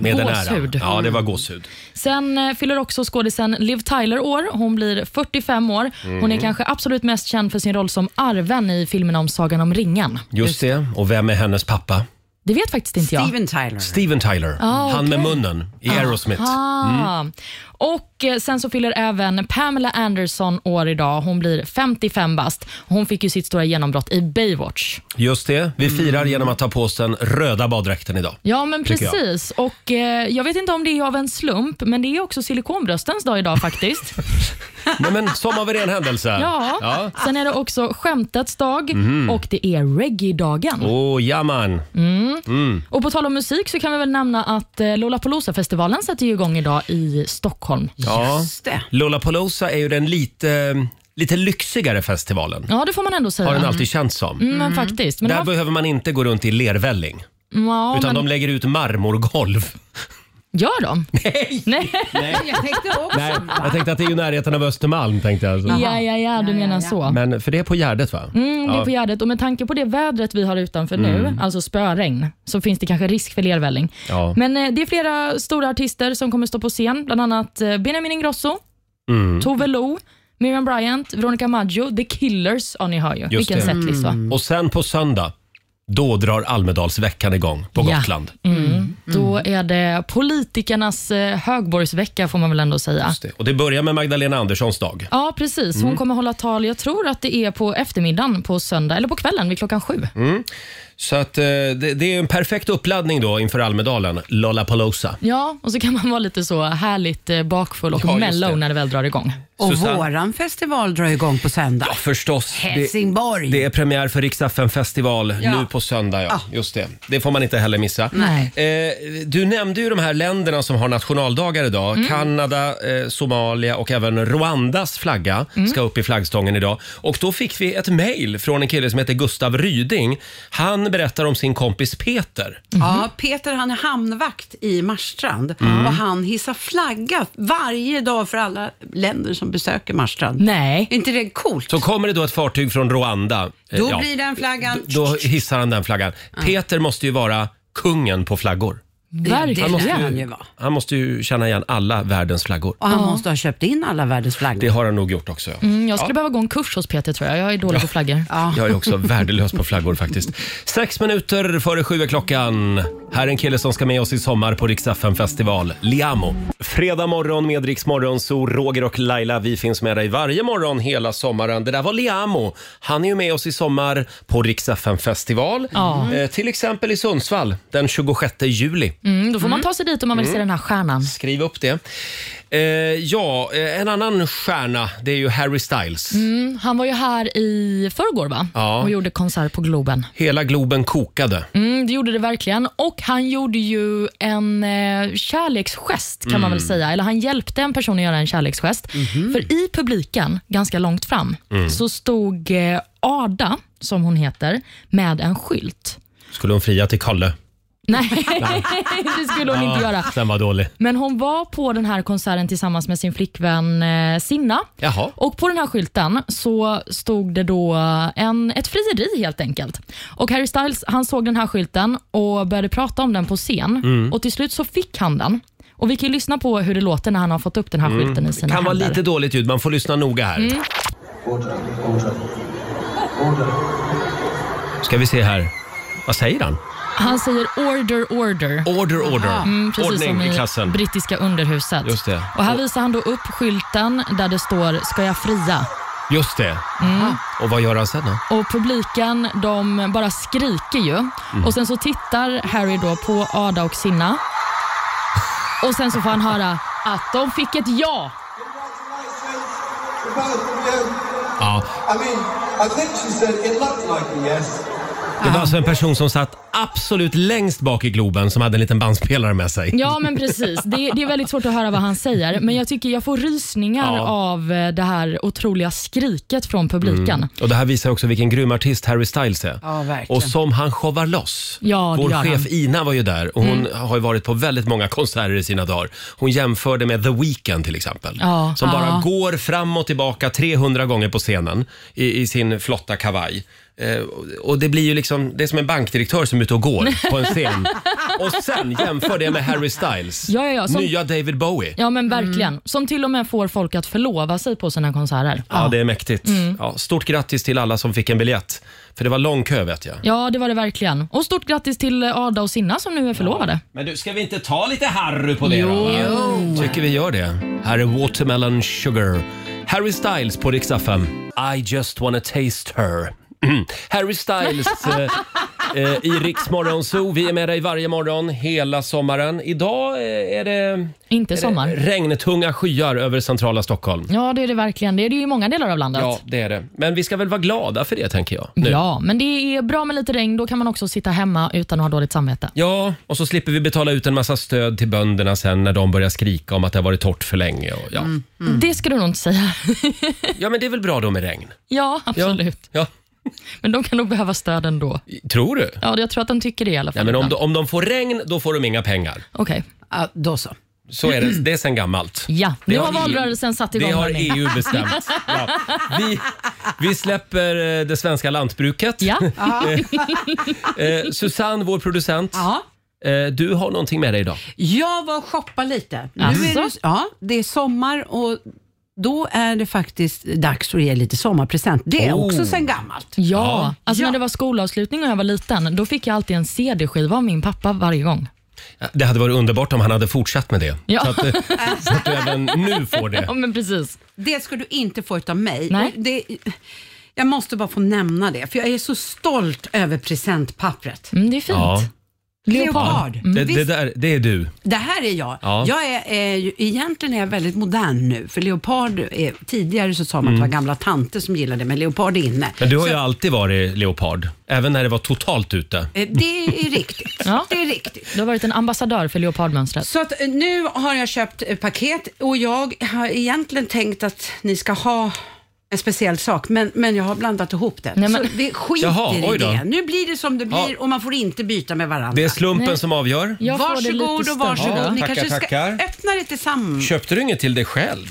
[SPEAKER 1] Med den äran.
[SPEAKER 3] Gåshud.
[SPEAKER 1] Ja, det var gåshud.
[SPEAKER 3] Sen eh, fyller också skådisen Liv Tyler år. Hon blir 45 år. Hon
[SPEAKER 1] Mm.
[SPEAKER 3] är kanske absolut mest känd för sin roll som Arven i filmen om Sagan om ringen.
[SPEAKER 1] Just det. Och vem är hennes pappa?
[SPEAKER 3] Det vet faktiskt inte jag.
[SPEAKER 4] Steven Tyler.
[SPEAKER 1] Steven Tyler.
[SPEAKER 3] Ah,
[SPEAKER 1] Han med
[SPEAKER 3] okej.
[SPEAKER 1] munnen i Aerosmith.
[SPEAKER 3] Ah. Och eh, Sen så fyller även Pamela Anderson år idag. Hon blir 55 bast. Hon fick ju sitt stora genombrott i Baywatch.
[SPEAKER 1] Just det. Vi
[SPEAKER 3] Mm.
[SPEAKER 1] firar genom att ta på oss den röda baddräkten idag.
[SPEAKER 3] Ja, men
[SPEAKER 1] Tycker jag.
[SPEAKER 3] precis. Och eh, Jag vet inte om det är av en slump, men det är också silikonbröstens dag idag faktiskt.
[SPEAKER 1] Nej, men som av en ren händelse.
[SPEAKER 3] ja.
[SPEAKER 1] ja. Mhm.
[SPEAKER 3] Sen är det också skämtets dag och det är reggae-dagen.
[SPEAKER 1] Oh, ja, man.
[SPEAKER 3] Mm. Och på tal om musik så kan vi väl nämna att eh, Lollapalooza-festivalen sätter ju igång idag i Stockholm.
[SPEAKER 1] Ja.
[SPEAKER 4] Just det.
[SPEAKER 1] Lollapalooza är ju den lite, lite lyxigare festivalen.
[SPEAKER 3] Ja, det får man ändå säga.
[SPEAKER 1] Har den alltid känts som.
[SPEAKER 3] Mm, Men faktiskt. Men det
[SPEAKER 1] Där
[SPEAKER 3] var,
[SPEAKER 1] behöver man inte gå runt i lervälling.
[SPEAKER 3] ja,
[SPEAKER 1] Utan
[SPEAKER 3] men,
[SPEAKER 1] de lägger ut marmorgolv.
[SPEAKER 3] Gör de?
[SPEAKER 1] Nej!
[SPEAKER 3] Nej.
[SPEAKER 4] Jag tänkte också.
[SPEAKER 1] Nej, jag tänkte att det är ju närheten av Östermalm. Tänkte jag. Så.
[SPEAKER 3] Ja, ja, ja, Mm. du menar så.
[SPEAKER 1] Men för det är på Gärdet va?
[SPEAKER 3] Mm, det är på Gärdet och med tanke på det vädret vi har utanför nu, alltså spöregn, så finns det kanske risk för lervälling.
[SPEAKER 1] Mm. Ja.
[SPEAKER 3] Men eh, det är flera stora artister som kommer stå på scen, bland annat eh, Benjamin Ingrosso,
[SPEAKER 1] Mm.
[SPEAKER 3] Tove Lo, Miriam Bryant, Veronica Maggio, The Killers. Ja, ni hör ju. Vilken
[SPEAKER 1] det. Mm.
[SPEAKER 3] setlista.
[SPEAKER 1] Och sen på söndag, då drar Almedalsveckan igång på
[SPEAKER 3] Ja. Mm.
[SPEAKER 1] Gotland.
[SPEAKER 3] Då är det politikernas eh, högborgsvecka får man väl ändå säga.
[SPEAKER 1] Just Mm. det. Och det börjar med Magdalena Anderssons dag.
[SPEAKER 3] Ja, precis. Hon kommer hålla tal, jag tror att det är på eftermiddagen på söndag, eller på kvällen vid klockan sju.
[SPEAKER 1] Så att, eh, det, det är en perfekt uppladdning då inför Almedalen, Lollapalooza.
[SPEAKER 3] Ja, och så kan man vara lite så härligt eh, bakfull och
[SPEAKER 1] Ja, just
[SPEAKER 3] mellow
[SPEAKER 1] det.
[SPEAKER 3] när det väl drar igång.
[SPEAKER 4] Och
[SPEAKER 1] Susanne.
[SPEAKER 4] våran festival drar igång på söndag.
[SPEAKER 1] Ja, förstås. Det,
[SPEAKER 4] Helsingborg.
[SPEAKER 1] det är premiär för Riksdagen festival
[SPEAKER 4] Ja. Ah.
[SPEAKER 1] nu på söndag. Ja. Just det. det får man inte heller missa.
[SPEAKER 3] Nej.
[SPEAKER 1] Eh, du nämnde ju de här länderna som har nationaldagar idag.
[SPEAKER 4] Mm.
[SPEAKER 1] Kanada, eh, Somalia och även Rwandas flagga
[SPEAKER 4] Mm.
[SPEAKER 1] ska upp i flaggstången idag. Och då fick vi ett mejl från en kille som heter Gustav Ryding. Han berättar om sin kompis Peter.
[SPEAKER 4] Ja, Peter han är hamnvakt i Marstrand
[SPEAKER 1] Mm.
[SPEAKER 4] och han hissar flagga varje dag för alla länder som besöker Marstrand.
[SPEAKER 3] Nej.
[SPEAKER 4] Är inte det coolt?
[SPEAKER 1] Så kommer det då ett fartyg från Rwanda. eh,
[SPEAKER 4] Då
[SPEAKER 1] ja.
[SPEAKER 4] blir den flaggan...
[SPEAKER 1] Då hissar han den flaggan. Peter måste ju vara kungen på flaggor.
[SPEAKER 4] det måste
[SPEAKER 3] Verkligen.
[SPEAKER 4] han ju vara.
[SPEAKER 1] Han måste ju känna igen alla världens flaggor.
[SPEAKER 4] Och han måste ha köpt in alla världens flaggor.
[SPEAKER 1] Det har han nog gjort också. Ja.
[SPEAKER 3] Mm, jag skulle behöva gå en kurs hos Peter tror jag. Jag är dålig på flaggor.
[SPEAKER 1] Jag är också värdelös på flaggor faktiskt. Sex minuter före sju är klockan. Här är en kille som ska med oss i sommar på Rix FM festival, Liamo. Fredag morgon med Rix Morgon, så Roger och Laila, vi finns med dig varje morgon hela sommaren. Det där var Liamo. Han är ju med oss i sommar på Rix FM festival.
[SPEAKER 3] Ja.
[SPEAKER 1] Eh, till exempel i Sundsvall den 26 juli.
[SPEAKER 3] Mm, då får man ta sig dit om man vill
[SPEAKER 1] Mm.
[SPEAKER 3] se den här stjärnan.
[SPEAKER 1] Skriv upp det. Eh, ja, eh, en annan stjärna, det är ju Harry Styles.
[SPEAKER 3] Mm, han var ju här i förrgår va?
[SPEAKER 1] Ja.
[SPEAKER 3] och gjorde konsert på Globen.
[SPEAKER 1] Hela Globen kokade.
[SPEAKER 3] Mm, det gjorde det verkligen. Och han gjorde ju en eh, kärleksgest kan man väl
[SPEAKER 1] Mm.
[SPEAKER 3] säga. Eller han hjälpte en person att göra en kärleksgest.
[SPEAKER 1] Mhm.
[SPEAKER 3] För i publiken, ganska långt fram,
[SPEAKER 1] Mm.
[SPEAKER 3] så stod eh, Ada, som hon heter, med en skylt.
[SPEAKER 1] Skulle hon fria till Kalle?
[SPEAKER 3] Nej, det skulle hon inte göra.
[SPEAKER 1] Den var dålig.
[SPEAKER 3] Men hon var på den här konserten tillsammans med sin flickvän eh, Sinna.
[SPEAKER 1] Jaha.
[SPEAKER 3] Och På den här skylten så stod det då en, ett frieri helt enkelt. Och Harry Styles han såg den här skylten och började prata om den på scen.
[SPEAKER 1] Mm.
[SPEAKER 3] Och Till slut så fick han den. Och Vi kan ju lyssna på hur det låter när han har fått upp den här skylten i sina
[SPEAKER 1] Mm. Kan vara
[SPEAKER 3] händer. Mm.
[SPEAKER 1] lite dåligt ljud, man får lyssna noga här. Ska vi se här. Vad säger han?
[SPEAKER 3] Han säger “order, order”.
[SPEAKER 1] Order, order.
[SPEAKER 3] Mm, precis som
[SPEAKER 1] Ordning i
[SPEAKER 3] i
[SPEAKER 1] klassen.
[SPEAKER 3] brittiska underhuset.
[SPEAKER 1] Just det.
[SPEAKER 3] Och Här visar han då upp skylten där det står “Ska jag fria?”
[SPEAKER 1] Just det.
[SPEAKER 3] Mm.
[SPEAKER 1] Och vad gör han sen då?
[SPEAKER 3] Och Publiken de bara skriker ju.
[SPEAKER 1] Mm.
[SPEAKER 3] Och Sen så tittar Harry då på Ada och Sinna. Och Sen så får han höra att de fick ett ja.
[SPEAKER 1] Ja.
[SPEAKER 7] I mean, I think she said it looked like a yes.
[SPEAKER 1] Det var alltså en person som satt absolut längst bak i Globen som hade en liten bandspelare med sig.
[SPEAKER 3] Ja, men precis. Det, det är väldigt svårt att höra vad han säger, men jag tycker jag får rysningar
[SPEAKER 1] Ja.
[SPEAKER 3] av eh, det här otroliga skriket från publiken.
[SPEAKER 1] Och Det här visar också vilken grym artist Harry Styles är.
[SPEAKER 4] Ja, verkligen.
[SPEAKER 1] och som han showar loss.
[SPEAKER 3] Ja, det
[SPEAKER 1] Vår
[SPEAKER 3] gör
[SPEAKER 1] chef
[SPEAKER 3] han. Mm.
[SPEAKER 1] Ina var ju där och hon har ju varit på väldigt många konserter i sina dagar. Hon jämförde med The Weeknd till exempel.
[SPEAKER 3] Ja.
[SPEAKER 1] som bara
[SPEAKER 3] Ja.
[SPEAKER 1] går fram och tillbaka 300 gånger på scenen i, i sin flotta kavaj. Eh, och- och det blir ju liksom, det är som en bankdirektör som är ute och går på en scen. och sen jämför det med Harry Styles.
[SPEAKER 3] Ja, ja, ja, som-
[SPEAKER 1] Nya David Bowie.
[SPEAKER 3] Ja, men verkligen. Som till och med får folk att förlova sig på sina konserter.
[SPEAKER 1] Ja, det är mäktigt.
[SPEAKER 3] Mm.
[SPEAKER 1] Ja, stort grattis till alla som fick en biljett. För det var lång kö vet jag.
[SPEAKER 3] Ja, det var det verkligen. Och stort grattis till Ada och Sinna som nu är förlovade.
[SPEAKER 1] Men du, ska vi inte ta lite Harry på det då? va? Tycker vi gör det. Här är Watermelon Sugar. Harry Styles på Rix FM. I just wanna taste her. Harry Styles eh, eh, i Rix Morgon Zoo. Vi är med dig varje morgon hela sommaren. Idag eh, är det
[SPEAKER 3] Inte sommar.
[SPEAKER 1] regntunga skyar över centrala Stockholm.
[SPEAKER 3] Ja, det är det verkligen. Det är det ju i många delar av landet.
[SPEAKER 1] Ja, det är det. Men vi ska väl vara glada för det tänker jag. Nu.
[SPEAKER 3] Ja, men det är bra med lite regn. Då kan man också sitta hemma utan att ha dåligt samvete.
[SPEAKER 1] Ja, och så slipper vi betala ut en massa stöd till bönderna sen när de börjar skrika om att det har varit torrt för länge. Och, ja.
[SPEAKER 3] Det ska du nog inte säga.
[SPEAKER 1] ja, men det är väl bra då med regn?
[SPEAKER 3] ja,
[SPEAKER 1] Ja.
[SPEAKER 3] absolut.
[SPEAKER 1] Ja.
[SPEAKER 3] Men de kan nog behöva stöd ändå.
[SPEAKER 1] Tror du?
[SPEAKER 3] Ja, jag tror att de tycker det i alla fall.
[SPEAKER 1] Ja, men om,
[SPEAKER 3] ibland.
[SPEAKER 1] de, om de får regn, då får de inga pengar.
[SPEAKER 3] Okej.
[SPEAKER 4] Ja, då så.
[SPEAKER 1] Så är det, det är sen gammalt.
[SPEAKER 3] Ja, nu
[SPEAKER 1] Det
[SPEAKER 3] har
[SPEAKER 1] har EU-
[SPEAKER 3] valrörelsen satt igång.
[SPEAKER 1] Det har
[SPEAKER 3] hörni.
[SPEAKER 1] EU bestämt. Ja. Vi, vi släpper eh, det svenska lantbruket.
[SPEAKER 3] Ja,
[SPEAKER 1] Eh, Susanne, vår producent,
[SPEAKER 4] Ja.
[SPEAKER 1] eh, du har någonting med dig idag.
[SPEAKER 4] Jag var och shoppade lite. Nu är
[SPEAKER 3] Jaså?
[SPEAKER 4] det, ja, det är sommar och då är det faktiskt dags att ge lite sommarpresent. Det är
[SPEAKER 1] Oh.
[SPEAKER 4] också sen gammalt.
[SPEAKER 3] ja. Alltså
[SPEAKER 4] Ja.
[SPEAKER 3] när det var skolavslutning och jag var liten, då fick jag alltid en CD-skiva av min pappa varje gång.
[SPEAKER 1] Det hade varit underbart om han hade fortsatt med det.
[SPEAKER 3] Ja.
[SPEAKER 1] Så att, eh, så att du även nu får det.
[SPEAKER 3] Ja, men precis.
[SPEAKER 4] Det ska du inte få utav mig.
[SPEAKER 3] Nej.
[SPEAKER 4] Och Det, jag måste bara få nämna det, för jag är så stolt över presentpappret.
[SPEAKER 3] Mm, det är fint.
[SPEAKER 1] Ja.
[SPEAKER 4] Leopard.
[SPEAKER 1] Mm.
[SPEAKER 3] Mm,
[SPEAKER 1] Det,
[SPEAKER 4] Visst,
[SPEAKER 1] det, där, det är du.
[SPEAKER 4] det här är jag.
[SPEAKER 1] Ja.
[SPEAKER 4] jag är, är, ju- egentligen är jag väldigt modern nu, för leopard är, tidigare så sa man
[SPEAKER 1] Mm.
[SPEAKER 4] att det var gamla tanter som gillade men leopard är inne.
[SPEAKER 1] Men du har ju alltid varit leopard, även när det var totalt ute.
[SPEAKER 4] Eh, Det är riktigt.
[SPEAKER 3] Ja.
[SPEAKER 4] Det är riktigt.
[SPEAKER 3] Du har varit en ambassadör för leopardmönstret.
[SPEAKER 4] Så att eh, nu har jag köpt eh, paket och jag har egentligen tänkt att ni ska ha en speciell sak, men, men jag har blandat ihop det.
[SPEAKER 3] Nej, men-
[SPEAKER 4] Så vi skiter
[SPEAKER 1] Jaha, oj
[SPEAKER 4] i
[SPEAKER 1] då.
[SPEAKER 4] det. Nu blir det som det blir och man får inte byta med varandra.
[SPEAKER 1] Det är slumpen
[SPEAKER 3] Nej.
[SPEAKER 1] som avgör.
[SPEAKER 3] Jag får det lite
[SPEAKER 4] varsågod och
[SPEAKER 3] större.
[SPEAKER 4] varsågod.
[SPEAKER 1] Ja,
[SPEAKER 4] ni
[SPEAKER 1] tackar,
[SPEAKER 4] kanske ska
[SPEAKER 1] tackar. Mm.
[SPEAKER 4] öppna det tillsammans.
[SPEAKER 1] Köpte du inget till dig själv?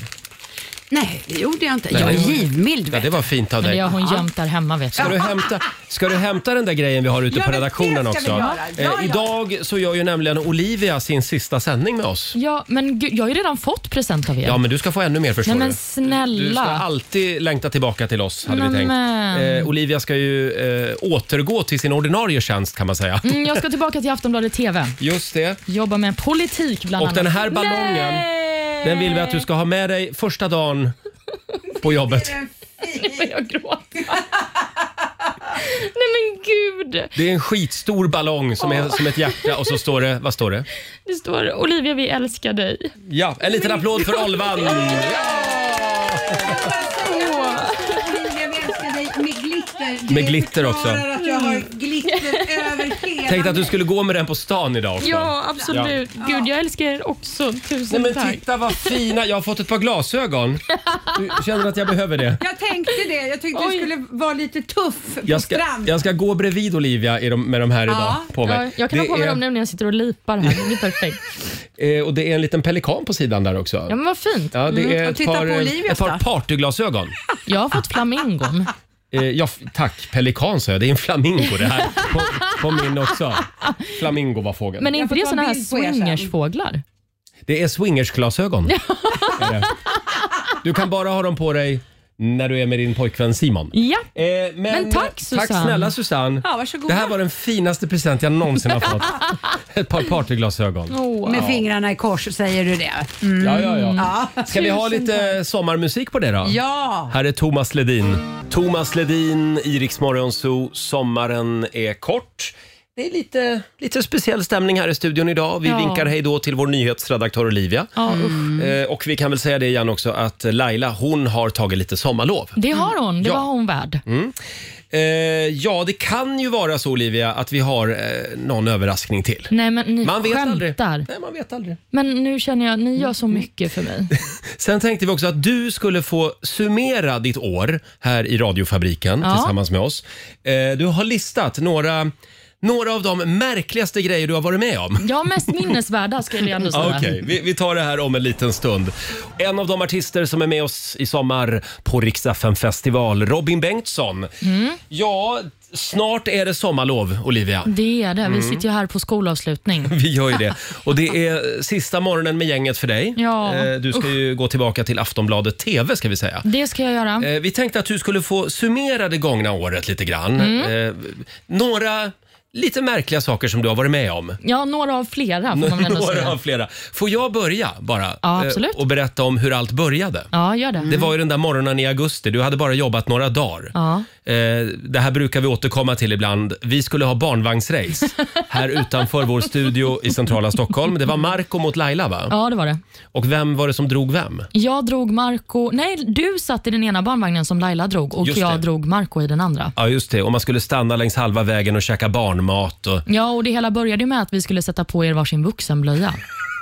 [SPEAKER 4] Nej, det gjorde jag inte. Jag är givmild.
[SPEAKER 1] Ja,
[SPEAKER 4] vet
[SPEAKER 1] det var fint av
[SPEAKER 3] Men det
[SPEAKER 1] dig.
[SPEAKER 3] har hon gömt där hemma vet
[SPEAKER 1] Ska
[SPEAKER 3] du.
[SPEAKER 1] du, hämta, ska du hämta den där grejen vi har ute
[SPEAKER 4] Ja,
[SPEAKER 1] på
[SPEAKER 4] men det
[SPEAKER 1] redaktionen
[SPEAKER 4] ska vi
[SPEAKER 1] också?
[SPEAKER 4] göra. Ja, ja.
[SPEAKER 1] Eh, idag så gör ju nämligen Olivia sin sista sändning med oss.
[SPEAKER 3] Ja, men gud, jag har ju redan fått present av er.
[SPEAKER 1] Ja, men du ska få ännu mer förstår
[SPEAKER 3] Nej men
[SPEAKER 1] du. Du ska
[SPEAKER 3] snälla.
[SPEAKER 1] alltid längta tillbaka till oss, hade vi
[SPEAKER 3] Nämen.
[SPEAKER 1] tänkt. Eh, Olivia ska ju eh, återgå till sin ordinarie tjänst kan man säga.
[SPEAKER 3] Mm, jag ska tillbaka till Aftonbladet TV.
[SPEAKER 1] Just det.
[SPEAKER 3] Jobba med politik bland
[SPEAKER 1] Och
[SPEAKER 3] annat.
[SPEAKER 1] den här ballongen,
[SPEAKER 3] Nej!
[SPEAKER 1] Den vill vi att du ska ha med dig första dagen på jobbet.
[SPEAKER 3] Jag gråter. Nej men gud.
[SPEAKER 1] Det är en skitstor ballong som är som ett hjärta och så står det, vad står det?
[SPEAKER 3] Det står Olivia vi älskar dig.
[SPEAKER 1] Ja, en liten applåd för Olvan!
[SPEAKER 4] Jag älskar dig med glitter. Du
[SPEAKER 1] Med glitter också.
[SPEAKER 4] förklarar att jag har Gester över hela...
[SPEAKER 1] Tänkte att du skulle gå med den på stan idag också.
[SPEAKER 3] Ja, absolut. Gud, jag älskar er också. Tusen
[SPEAKER 1] Nej, men
[SPEAKER 3] tack.
[SPEAKER 1] titta vad fina, jag har fått ett par glasögon. Du känner att jag behöver det.
[SPEAKER 4] Jag tänkte det. Jag tyckte
[SPEAKER 3] Oj.
[SPEAKER 4] du skulle vara lite tuff på
[SPEAKER 1] Jag ska,
[SPEAKER 4] strand.
[SPEAKER 1] jag ska gå bredvid Olivia i de, med de här idag på mig.
[SPEAKER 3] Ja, jag kan ha
[SPEAKER 1] Det
[SPEAKER 3] på mig
[SPEAKER 1] är-
[SPEAKER 3] dem nu när jag sitter och lipar här. Det blir perfekt.
[SPEAKER 1] Eh, och det är en liten pelikan på sidan där också.
[SPEAKER 3] Ja, men Mm, vad fint.
[SPEAKER 1] Ja, det är
[SPEAKER 4] och
[SPEAKER 1] ett
[SPEAKER 4] titta
[SPEAKER 1] par,
[SPEAKER 4] på
[SPEAKER 1] eh,
[SPEAKER 4] Olivias
[SPEAKER 1] ett par
[SPEAKER 4] då.
[SPEAKER 1] partyglasögon.
[SPEAKER 3] Jag har fått flamingon.
[SPEAKER 1] Eh, ja, f- tack, pelikan sa jag. Det är en flamingo det här. På, på min också. Flamingo var fågeln.
[SPEAKER 3] Men är
[SPEAKER 4] Jag
[SPEAKER 3] inte
[SPEAKER 4] får
[SPEAKER 3] det
[SPEAKER 4] ta en
[SPEAKER 3] såna här
[SPEAKER 4] bild på er sen.
[SPEAKER 3] swingersfåglar?
[SPEAKER 1] Det är swingersglasögon. Är det. Du kan bara ha dem på dig när du är med din pojkvän Simon.
[SPEAKER 3] Ja.
[SPEAKER 1] Eh, men,
[SPEAKER 3] Men tack, Susanne.
[SPEAKER 1] Tack snälla Susanne.
[SPEAKER 4] Ja, varsågoda.
[SPEAKER 1] det här var den finaste present jag någonsin har fått. Ett par partyglasögon.
[SPEAKER 3] Åh.
[SPEAKER 4] Med fingrarna i kors säger du det. Mm.
[SPEAKER 1] Ja, ja, ja. Ska vi ha lite sommarmusik på det då?
[SPEAKER 4] Ja!
[SPEAKER 1] Här är Thomas Ledin. Thomas Ledin, Iriks Morgonzoo. Sommaren är kort. Det är lite, lite speciell stämning här i studion idag. Vi
[SPEAKER 3] Ja.
[SPEAKER 1] vinkar hej då till vår nyhetsredaktör Olivia.
[SPEAKER 3] Ja, usch.
[SPEAKER 1] Eh, och vi kan väl säga det igen också att Laila, hon har tagit lite sommarlov.
[SPEAKER 3] Det har hon. Det
[SPEAKER 1] Ja.
[SPEAKER 3] var hon värd.
[SPEAKER 1] Eh, ja, det kan ju vara så Olivia att vi har eh, någon överraskning till.
[SPEAKER 3] Nej, men ni
[SPEAKER 1] Man vet aldrig.
[SPEAKER 3] skämtar.
[SPEAKER 1] Nej, man vet aldrig.
[SPEAKER 3] Men nu känner jag, ni gör
[SPEAKER 1] Mm.
[SPEAKER 3] så mycket för mig.
[SPEAKER 1] Sen tänkte vi också att du skulle få summera ditt år här i radiofabriken
[SPEAKER 3] Ja.
[SPEAKER 1] tillsammans med oss. Eh, du har listat några, några av de märkligaste grejer du har varit med om.
[SPEAKER 3] Ja, mest minnesvärda skulle jag ändå säga.
[SPEAKER 1] Ah, Okej, vi, vi tar det här om en liten stund. En av de artister som är med oss i sommar på Rix FM festival, Robin Bengtsson.
[SPEAKER 3] Mm.
[SPEAKER 1] Ja, snart är det sommarlov, Olivia.
[SPEAKER 3] Det är det.
[SPEAKER 1] Mm.
[SPEAKER 3] Vi sitter ju här på skolavslutning.
[SPEAKER 1] Vi gör ju det. Och det är sista morgonen med gänget för dig.
[SPEAKER 3] Ja.
[SPEAKER 1] Eh, Du ska ju gå tillbaka till Aftonbladet TV ska vi säga.
[SPEAKER 3] Det ska jag göra.
[SPEAKER 1] Eh, Vi tänkte att du skulle få summera det gångna året lite grann.
[SPEAKER 3] Mm.
[SPEAKER 1] Eh, några lite märkliga saker som du har varit med om.
[SPEAKER 3] Ja, några av flera får man väl ändå
[SPEAKER 1] Några
[SPEAKER 3] säga.
[SPEAKER 1] av flera. Får jag börja bara?
[SPEAKER 3] Ja,
[SPEAKER 1] eh,
[SPEAKER 3] absolut.
[SPEAKER 1] Och berätta om hur allt började.
[SPEAKER 3] Ja, gör det.
[SPEAKER 1] Det var ju den där morgonen i augusti. Du hade bara jobbat några dagar.
[SPEAKER 3] Ja.
[SPEAKER 1] Eh, Det här brukar vi återkomma till ibland. Vi skulle ha barnvagnsrace här utanför vår studio i centrala Stockholm. Det var Marco mot Laila va?
[SPEAKER 3] Ja, det var det.
[SPEAKER 1] Och vem var det som drog vem?
[SPEAKER 3] Jag drog Marco... Nej, du satt i den ena barnvagnen som Laila drog och
[SPEAKER 1] Just
[SPEAKER 3] jag
[SPEAKER 1] det.
[SPEAKER 3] drog Marco i den andra.
[SPEAKER 1] Ja just det, och man skulle stanna längs halva vägen och käka barnmat. Och...
[SPEAKER 3] Ja, och det hela började ju med att vi skulle sätta på er varsin vuxenblöja.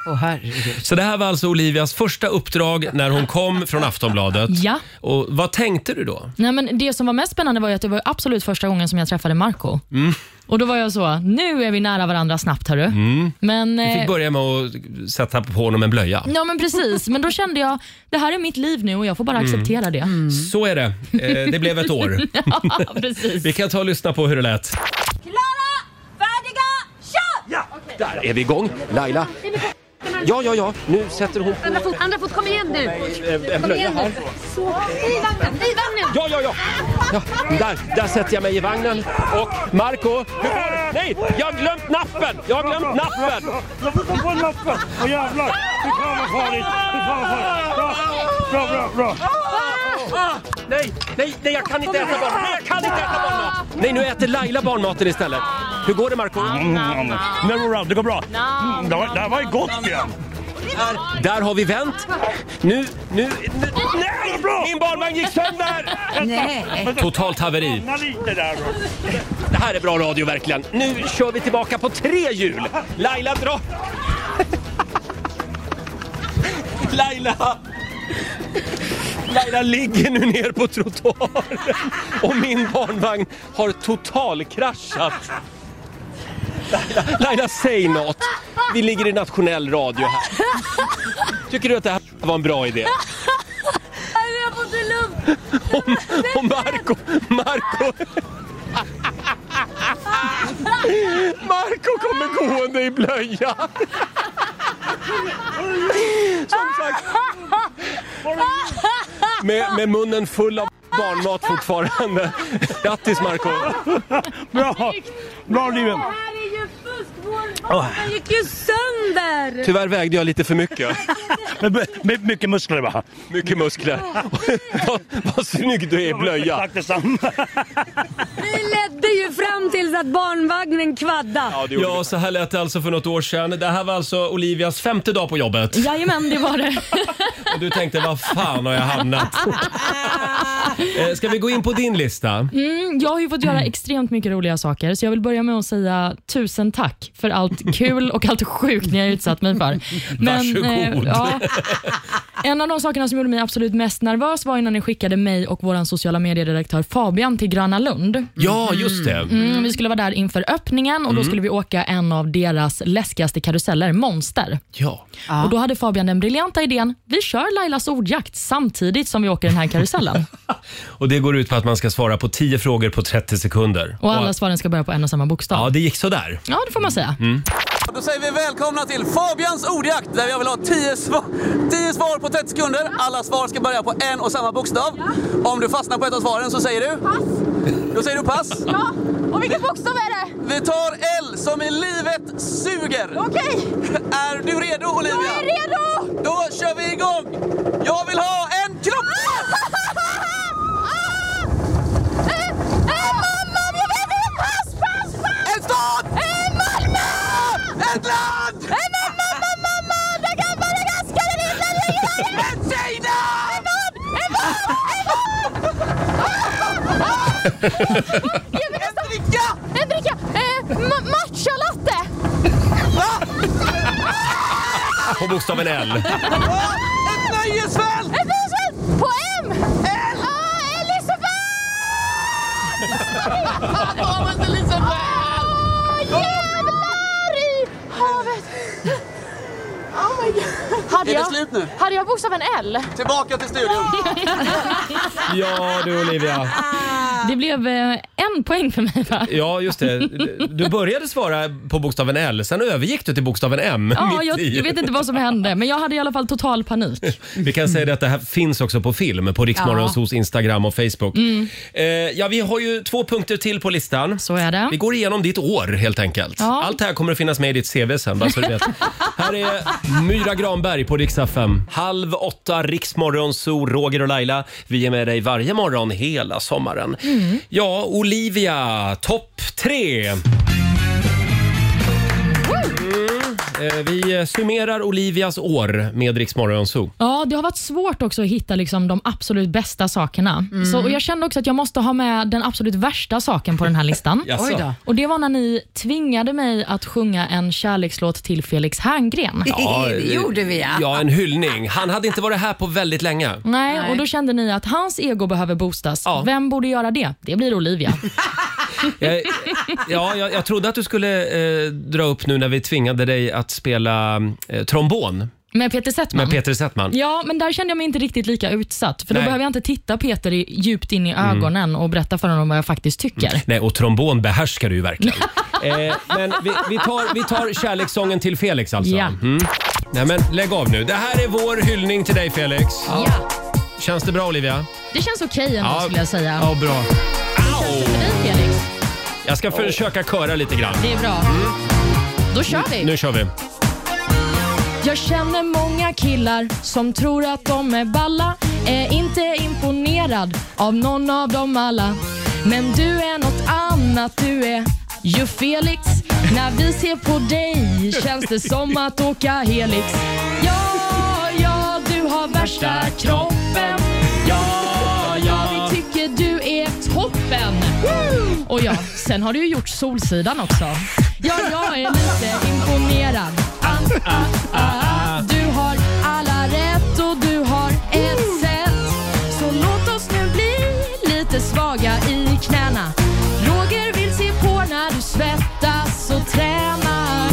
[SPEAKER 4] Åh herregud.
[SPEAKER 1] Så det här var alltså Olivias första uppdrag när hon kom från Aftonbladet.
[SPEAKER 3] Ja.
[SPEAKER 1] Och vad tänkte du då?
[SPEAKER 3] Nej, men det som var mest spännande var ju att det var absolut första gången som jag träffade Marco.
[SPEAKER 1] Mm.
[SPEAKER 3] Och Då var jag så, nu är vi nära varandra snabbt. Hörru. Men,
[SPEAKER 1] Du Mm. fick
[SPEAKER 3] eh,
[SPEAKER 1] börja med att sätta på honom en blöja.
[SPEAKER 3] ja, men precis. Men då kände jag, det här är mitt liv nu och jag får bara acceptera det.
[SPEAKER 1] Så är det. Eh, det blev ett år.
[SPEAKER 3] Ja, precis.
[SPEAKER 1] Vi kan ta och lyssna på hur det lät.
[SPEAKER 8] Klara, färdiga, kör!
[SPEAKER 2] Ja, där är vi igång. Laila. Ja, ja, ja. Nu sätter hon på
[SPEAKER 8] Andra fot, andra fot, kom igen nu!
[SPEAKER 2] en
[SPEAKER 8] Kom
[SPEAKER 2] blöja
[SPEAKER 8] igen
[SPEAKER 2] här.
[SPEAKER 8] nu! Så, i vagnen, i vagnen!
[SPEAKER 2] Ja, ja, ja. ja där, där sätter jag mig i vagnen. Och Marco, hur går det? Nej, jag har glömt nappen! Jag har glömt nappen!
[SPEAKER 9] Jag får ta på nappen! Åh jävlar! Fy fan vad farligt! Fy fan vad farligt! Bra, bra, bra! bra.
[SPEAKER 2] Nej, nej, nej, jag kan inte äta barnmat! Nej, jag kan inte äta barnmat! Nej, nu äter Laila barnmaten istället. Hur går det Marco?
[SPEAKER 9] Mm, men bra, det går bra. Mm, det, var, det här var ju gott igen!
[SPEAKER 2] Där, där har vi vänt. Nu, nu, nu. Nej! Min barnvagn gick sönder!
[SPEAKER 4] Nej.
[SPEAKER 1] Totalt haveri.
[SPEAKER 9] Stanna lite där då.
[SPEAKER 2] Det här är bra radio verkligen. Nu kör vi tillbaka på tre hjul. Laila dra... Laila! Laila ligger nu ner på trottoaren och min barnvagn har totalkraschat. Laila, Laila, säg något. Vi ligger i nationell radio här. Tycker du att det här var en bra idé?
[SPEAKER 8] Herre, jag får inte luft!
[SPEAKER 2] Och Marco, Marco... Marco kommer gående i blöja. Som sagt... Med, med munnen full av barnmat fortfarande. Grattis Marco.
[SPEAKER 9] Bra, bra Liven!
[SPEAKER 8] Det här är ju fusk! Vår vagn gick ju sönder!
[SPEAKER 2] Tyvärr vägde jag lite för mycket.
[SPEAKER 9] Med, med mycket muskler va?
[SPEAKER 2] Mycket muskler. vad, vad snygg du är i blöja.
[SPEAKER 9] Tack detsamma!
[SPEAKER 8] Vi ledde ju fram tills att barnvagnen kvaddade.
[SPEAKER 1] Ja, så här lät det alltså för något år sedan. Det här var alltså Olivias femte dag på jobbet.
[SPEAKER 3] Jajamän, det var det.
[SPEAKER 1] Och du tänkte, vad fan har jag hamnat? Eh, Ska vi gå in på din lista?
[SPEAKER 3] Mm, jag har ju fått göra extremt mycket roliga saker, så jag vill börja med att säga tusen tack för allt kul och allt sjukt ni har utsatt mig för. eh,
[SPEAKER 1] Varsågod.
[SPEAKER 3] ja. En av de sakerna som gjorde mig absolut mest nervös var ju när ni skickade mig och vår sociala medieredaktör Fabian till Gröna Lund.
[SPEAKER 1] Ja, just det.
[SPEAKER 3] Mm, vi skulle vara där inför öppningen och då skulle vi åka en av deras läskigaste karuseller, Monster.
[SPEAKER 1] Ja.
[SPEAKER 3] Och Då hade Fabian den briljanta idén, vi kör Lailas ordjakt samtidigt som vi åker den här karusellen.
[SPEAKER 1] Och det går ut på att man ska svara på 10 frågor på 30 sekunder.
[SPEAKER 3] Och alla svaren ska börja på en och samma bokstav.
[SPEAKER 1] Ja, Mm. det gick sådär.
[SPEAKER 3] Ja, det får man säga.
[SPEAKER 10] Då säger vi välkomna till Fabians ordjakt där jag vill ha 10 svar, 10 svar på 30 sekunder. Alla svar ska börja på en och samma bokstav. Om du fastnar på ett av svaren så säger du? Pass. Då säger du pass.
[SPEAKER 11] Ja, och vilken bokstav är det?
[SPEAKER 10] Vi tar L som i livet suger.
[SPEAKER 11] Okej,
[SPEAKER 10] Är du redo Olivia?
[SPEAKER 11] jag är redo!
[SPEAKER 10] Då kör vi igång! Jag vill ha en kropp!
[SPEAKER 11] Eh, eh, Mamma, jag vet inte! Pass, pass, pass!
[SPEAKER 10] En stad!
[SPEAKER 11] Eh, Malmö!
[SPEAKER 10] Ett land!
[SPEAKER 11] Eh, men mamma, mamma! Madagaskar, Madagaskar, det är Island, det är Irland, det är-
[SPEAKER 10] En sida!
[SPEAKER 11] En man, en man! Ah, ah, jag vill nästan-
[SPEAKER 10] Dricka!
[SPEAKER 11] En dricka! Eh, ma- matcha latte!
[SPEAKER 1] På bokstaven L.
[SPEAKER 10] Ett nöjesfält!
[SPEAKER 11] En bisfält! På M! L! Ah, Elisabeth! Havet Elisabeth! Åh, jävlar i havet! Oh my god. Hade
[SPEAKER 10] Är det
[SPEAKER 11] jag,
[SPEAKER 10] slut nu?
[SPEAKER 11] hade jag bokstaven L?
[SPEAKER 10] Tillbaka till studion.
[SPEAKER 1] Ja, du Olivia.
[SPEAKER 3] Det blev eh, en poäng för mig va?
[SPEAKER 1] Ja, just det. Du började svara på bokstaven L, sen övergick du till bokstaven M.
[SPEAKER 3] Ja,
[SPEAKER 1] mitt
[SPEAKER 3] jag,
[SPEAKER 1] i.
[SPEAKER 3] jag vet inte vad som hände, men jag hade i alla fall total panik.
[SPEAKER 1] Vi kan säga det att det här finns också på film på Riksmorgonsos Instagram och Facebook.
[SPEAKER 3] Mm.
[SPEAKER 1] Eh, ja, vi har ju två punkter till på listan.
[SPEAKER 3] Så är
[SPEAKER 1] Vi
[SPEAKER 3] det.
[SPEAKER 1] går igenom ditt år helt enkelt.
[SPEAKER 3] Ja.
[SPEAKER 1] Allt det här kommer att finnas med i ditt CV sen, bara så du vet. här är Myra Granberg på Rix FM. Halv åtta, Riksmorgonso, Roger och Laila. Vi är med dig varje morgon hela sommaren.
[SPEAKER 4] Mm.
[SPEAKER 1] Ja, Olivia, topp tre! Mm. Eh, Vi eh, summerar Olivias år med Rix Morgonzoo.
[SPEAKER 3] Ja, det har varit svårt också att hitta liksom, de absolut bästa sakerna.
[SPEAKER 1] Mm.
[SPEAKER 3] Så, och jag kände också att jag måste ha med den absolut värsta saken på den här listan.
[SPEAKER 1] Jaså?
[SPEAKER 4] Oj då.
[SPEAKER 3] Och Det var när ni tvingade mig att sjunga en kärlekslåt till Felix Herngren.
[SPEAKER 4] det gjorde vi ja.
[SPEAKER 1] Ja, en hyllning. Han hade inte varit här på väldigt länge.
[SPEAKER 3] Nej,
[SPEAKER 4] Nej.
[SPEAKER 3] och då kände ni att hans ego behöver boostas.
[SPEAKER 1] Ja.
[SPEAKER 3] Vem borde göra det? Det blir Olivia.
[SPEAKER 1] Jag, ja, jag, jag trodde att du skulle eh, dra upp nu när vi tvingade dig att spela eh, trombon
[SPEAKER 3] Med Peter Settman.
[SPEAKER 1] med Peter Settman.
[SPEAKER 3] Ja, men där kände jag mig inte riktigt lika utsatt. För då
[SPEAKER 1] Nej. Mm.
[SPEAKER 3] behöver jag inte titta Peter i, djupt in i ögonen och berätta för honom vad jag faktiskt tycker.
[SPEAKER 1] Nej, och trombon behärskar du ju verkligen. eh, men vi, vi, tar, vi tar kärlekssången till Felix alltså.
[SPEAKER 3] Ja.
[SPEAKER 1] Mm. Nej, men lägg av nu. Det här är vår hyllning till dig Felix.
[SPEAKER 3] Ja.
[SPEAKER 1] Känns det bra Olivia?
[SPEAKER 3] Det känns okej ändå
[SPEAKER 1] Ja.
[SPEAKER 3] skulle jag säga.
[SPEAKER 1] Ja, bra.
[SPEAKER 3] Känns det för dig Felix?
[SPEAKER 1] Jag ska försöka köra lite grann.
[SPEAKER 3] Det är bra.
[SPEAKER 1] Mm.
[SPEAKER 3] Då kör vi.
[SPEAKER 1] Nu kör vi.
[SPEAKER 3] Jag känner många killar som tror att de är balla Är inte imponerad av någon av dem alla Men du är något annat, du är ju Felix När vi ser på dig känns det som att åka Helix Ja, ja, du har värsta kroppen Ja, ja, vi tycker du är toppen och ja, sen har du ju gjort Solsidan också. Ja, jag är lite imponerad. Ah, ah, ah. Du har alla rätt och du har ett sätt. Så låt oss nu bli lite svaga i knäna. Roger vill se på när du svettas och tränar.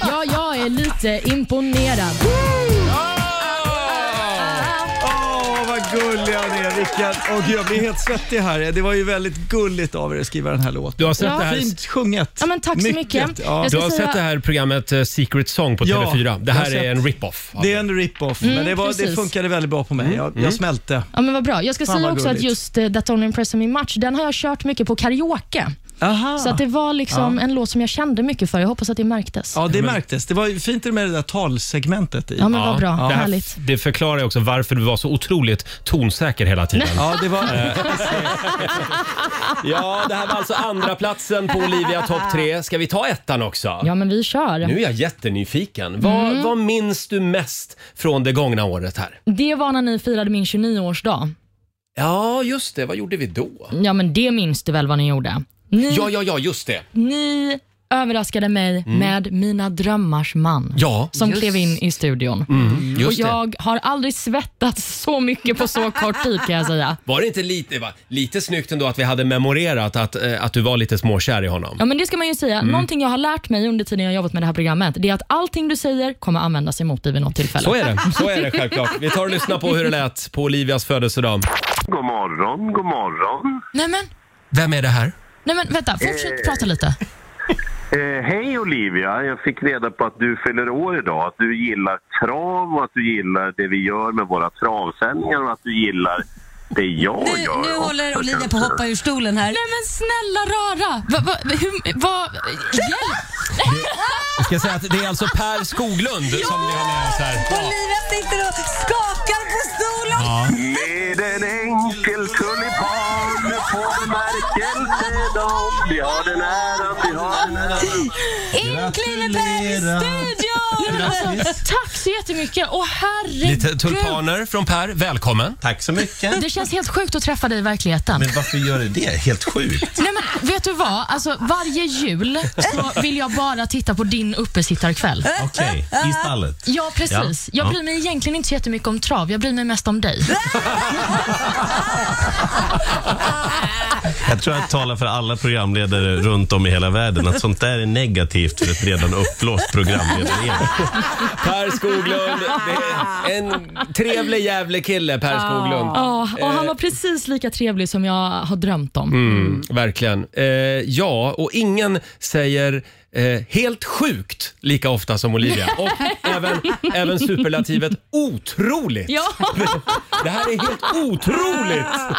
[SPEAKER 3] Ja, jag är lite imponerad.
[SPEAKER 12] Åh, vad gulliga ni är. Vilka... Åh, gud, jag blir helt svettig här. Det var ju väldigt gulligt av er att skriva den här låten.
[SPEAKER 1] Du har sett,
[SPEAKER 3] Ja.
[SPEAKER 1] det, här,
[SPEAKER 12] Fint sjunget.
[SPEAKER 3] Ja, men tack så mycket.
[SPEAKER 12] Ja.
[SPEAKER 3] Jag
[SPEAKER 1] du
[SPEAKER 3] ska
[SPEAKER 1] har
[SPEAKER 3] säga-
[SPEAKER 1] sett det här programmet eh, Secret Song på
[SPEAKER 12] Ja,
[SPEAKER 1] TV4. Det
[SPEAKER 12] jag har
[SPEAKER 1] här är
[SPEAKER 12] sett.
[SPEAKER 1] en rip-off. av
[SPEAKER 12] Det är en rip-off, men det, var,
[SPEAKER 3] Mm, precis.
[SPEAKER 12] det funkade väldigt bra på mig. Jag,
[SPEAKER 1] Mm.
[SPEAKER 12] jag smälte.
[SPEAKER 3] Ja men vad bra. Jag ska
[SPEAKER 12] Fan,
[SPEAKER 3] säga
[SPEAKER 12] vad
[SPEAKER 3] också att
[SPEAKER 12] gulligt.
[SPEAKER 3] just eh, That Don't Impress Me Much, den har jag kört mycket på karaoke.
[SPEAKER 12] Aha.
[SPEAKER 3] Så att det var liksom
[SPEAKER 12] Ja.
[SPEAKER 3] en låt som jag kände mycket för. Jag hoppas att det märktes.
[SPEAKER 12] Ja, det märktes. Det var ju fint med det där talsegmentet i.
[SPEAKER 3] Ja, men vad bra.
[SPEAKER 12] Ja.
[SPEAKER 3] Härligt.
[SPEAKER 1] Det förklarar ju också varför du var så otroligt tonsäker hela tiden.
[SPEAKER 12] Ja, det var...
[SPEAKER 1] Eh, ja, det här var alltså andra platsen på Olivia topp 3. Ska vi ta ettan också?
[SPEAKER 3] Ja, men vi kör.
[SPEAKER 1] Nu är jag jättenyfiken. Vad,
[SPEAKER 3] Mm.
[SPEAKER 1] vad minns du mest från det gångna året här?
[SPEAKER 3] Det var när ni firade min 29-årsdag.
[SPEAKER 1] Ja, just det. Vad gjorde vi då?
[SPEAKER 3] Ja, men det minns du väl vad ni gjorde? Ni,
[SPEAKER 1] Ja, ja, ja, just det.
[SPEAKER 3] ni överraskade mig
[SPEAKER 1] Mm.
[SPEAKER 3] med Mina drömmars man.
[SPEAKER 1] Ja.
[SPEAKER 3] Som
[SPEAKER 1] Just.
[SPEAKER 3] klev in i studion.
[SPEAKER 1] Mm,
[SPEAKER 3] och
[SPEAKER 1] just det.
[SPEAKER 3] jag har aldrig svettats så mycket på så kort tid kan jag säga.
[SPEAKER 1] Var det inte lite, va? lite snyggt ändå att vi hade memorerat att, eh, att du var lite småkär i honom?
[SPEAKER 3] Ja men det ska man ju säga.
[SPEAKER 1] Mm.
[SPEAKER 3] Någonting jag har lärt mig under tiden jag har jobbat med det här programmet, det är att allting du säger kommer användas emot dig vid något tillfälle.
[SPEAKER 1] Så är det. Så är det självklart. Vi tar och lyssnar på hur det lät på Olivias födelsedag.
[SPEAKER 13] God morgon, god morgon.
[SPEAKER 3] Nej men,
[SPEAKER 1] Vem är det här?
[SPEAKER 3] nej men vänta, fortsätt
[SPEAKER 13] Eh.
[SPEAKER 3] prata lite.
[SPEAKER 13] Eh, hej Olivia, jag fick reda på att du fyller år idag, att du gillar trav och att du gillar det vi gör med våra travsändningar och att du gillar det jag gör.
[SPEAKER 14] Nu håller Olivia på att hoppa ur stolen här.
[SPEAKER 3] Nej men snälla rara! Va, va, hur, va, hjälp!
[SPEAKER 1] Jag ska säga att det är alltså Per Skoglund som vi har med oss här.
[SPEAKER 14] Olivia sitter och skakar på stolen.
[SPEAKER 13] Med en enkel tulipan får vi märkelse dom. eh, Vi har den äran, vi har den äran.
[SPEAKER 14] Inklineberg i
[SPEAKER 3] Men
[SPEAKER 14] studion!
[SPEAKER 3] alltså, tack så jättemycket och herregud.
[SPEAKER 1] Lite tulpaner från Per. Välkommen.
[SPEAKER 15] Tack så mycket.
[SPEAKER 3] Det känns helt sjukt att träffa dig i verkligheten.
[SPEAKER 15] Men varför gör du det? Helt sjukt.
[SPEAKER 3] Nej men vet du vad? Alltså, varje jul så vill jag bara titta på din uppesittarkväll.
[SPEAKER 15] Okej, i stallet.
[SPEAKER 3] Ja, precis.
[SPEAKER 15] Eh? Ja.
[SPEAKER 3] Jag bryr mig egentligen inte så jättemycket om trav. Jag bryr mig mest om dig.
[SPEAKER 15] Jag tror jag talar för alla programledare runt om i hela världen att sånt där är negativt för ett redan uppblåst programledarliv.
[SPEAKER 1] Per Skoglund. Det är en trevlig jävlig kille, Per Skoglund.
[SPEAKER 3] Ja, och han var precis lika trevlig som jag har drömt om.
[SPEAKER 1] Mm, verkligen. Eh, ja, och ingen säger eh, helt sjukt lika ofta som Olivia. Och även, även superlativet otroligt.
[SPEAKER 3] Ja.
[SPEAKER 1] Det här är helt otroligt!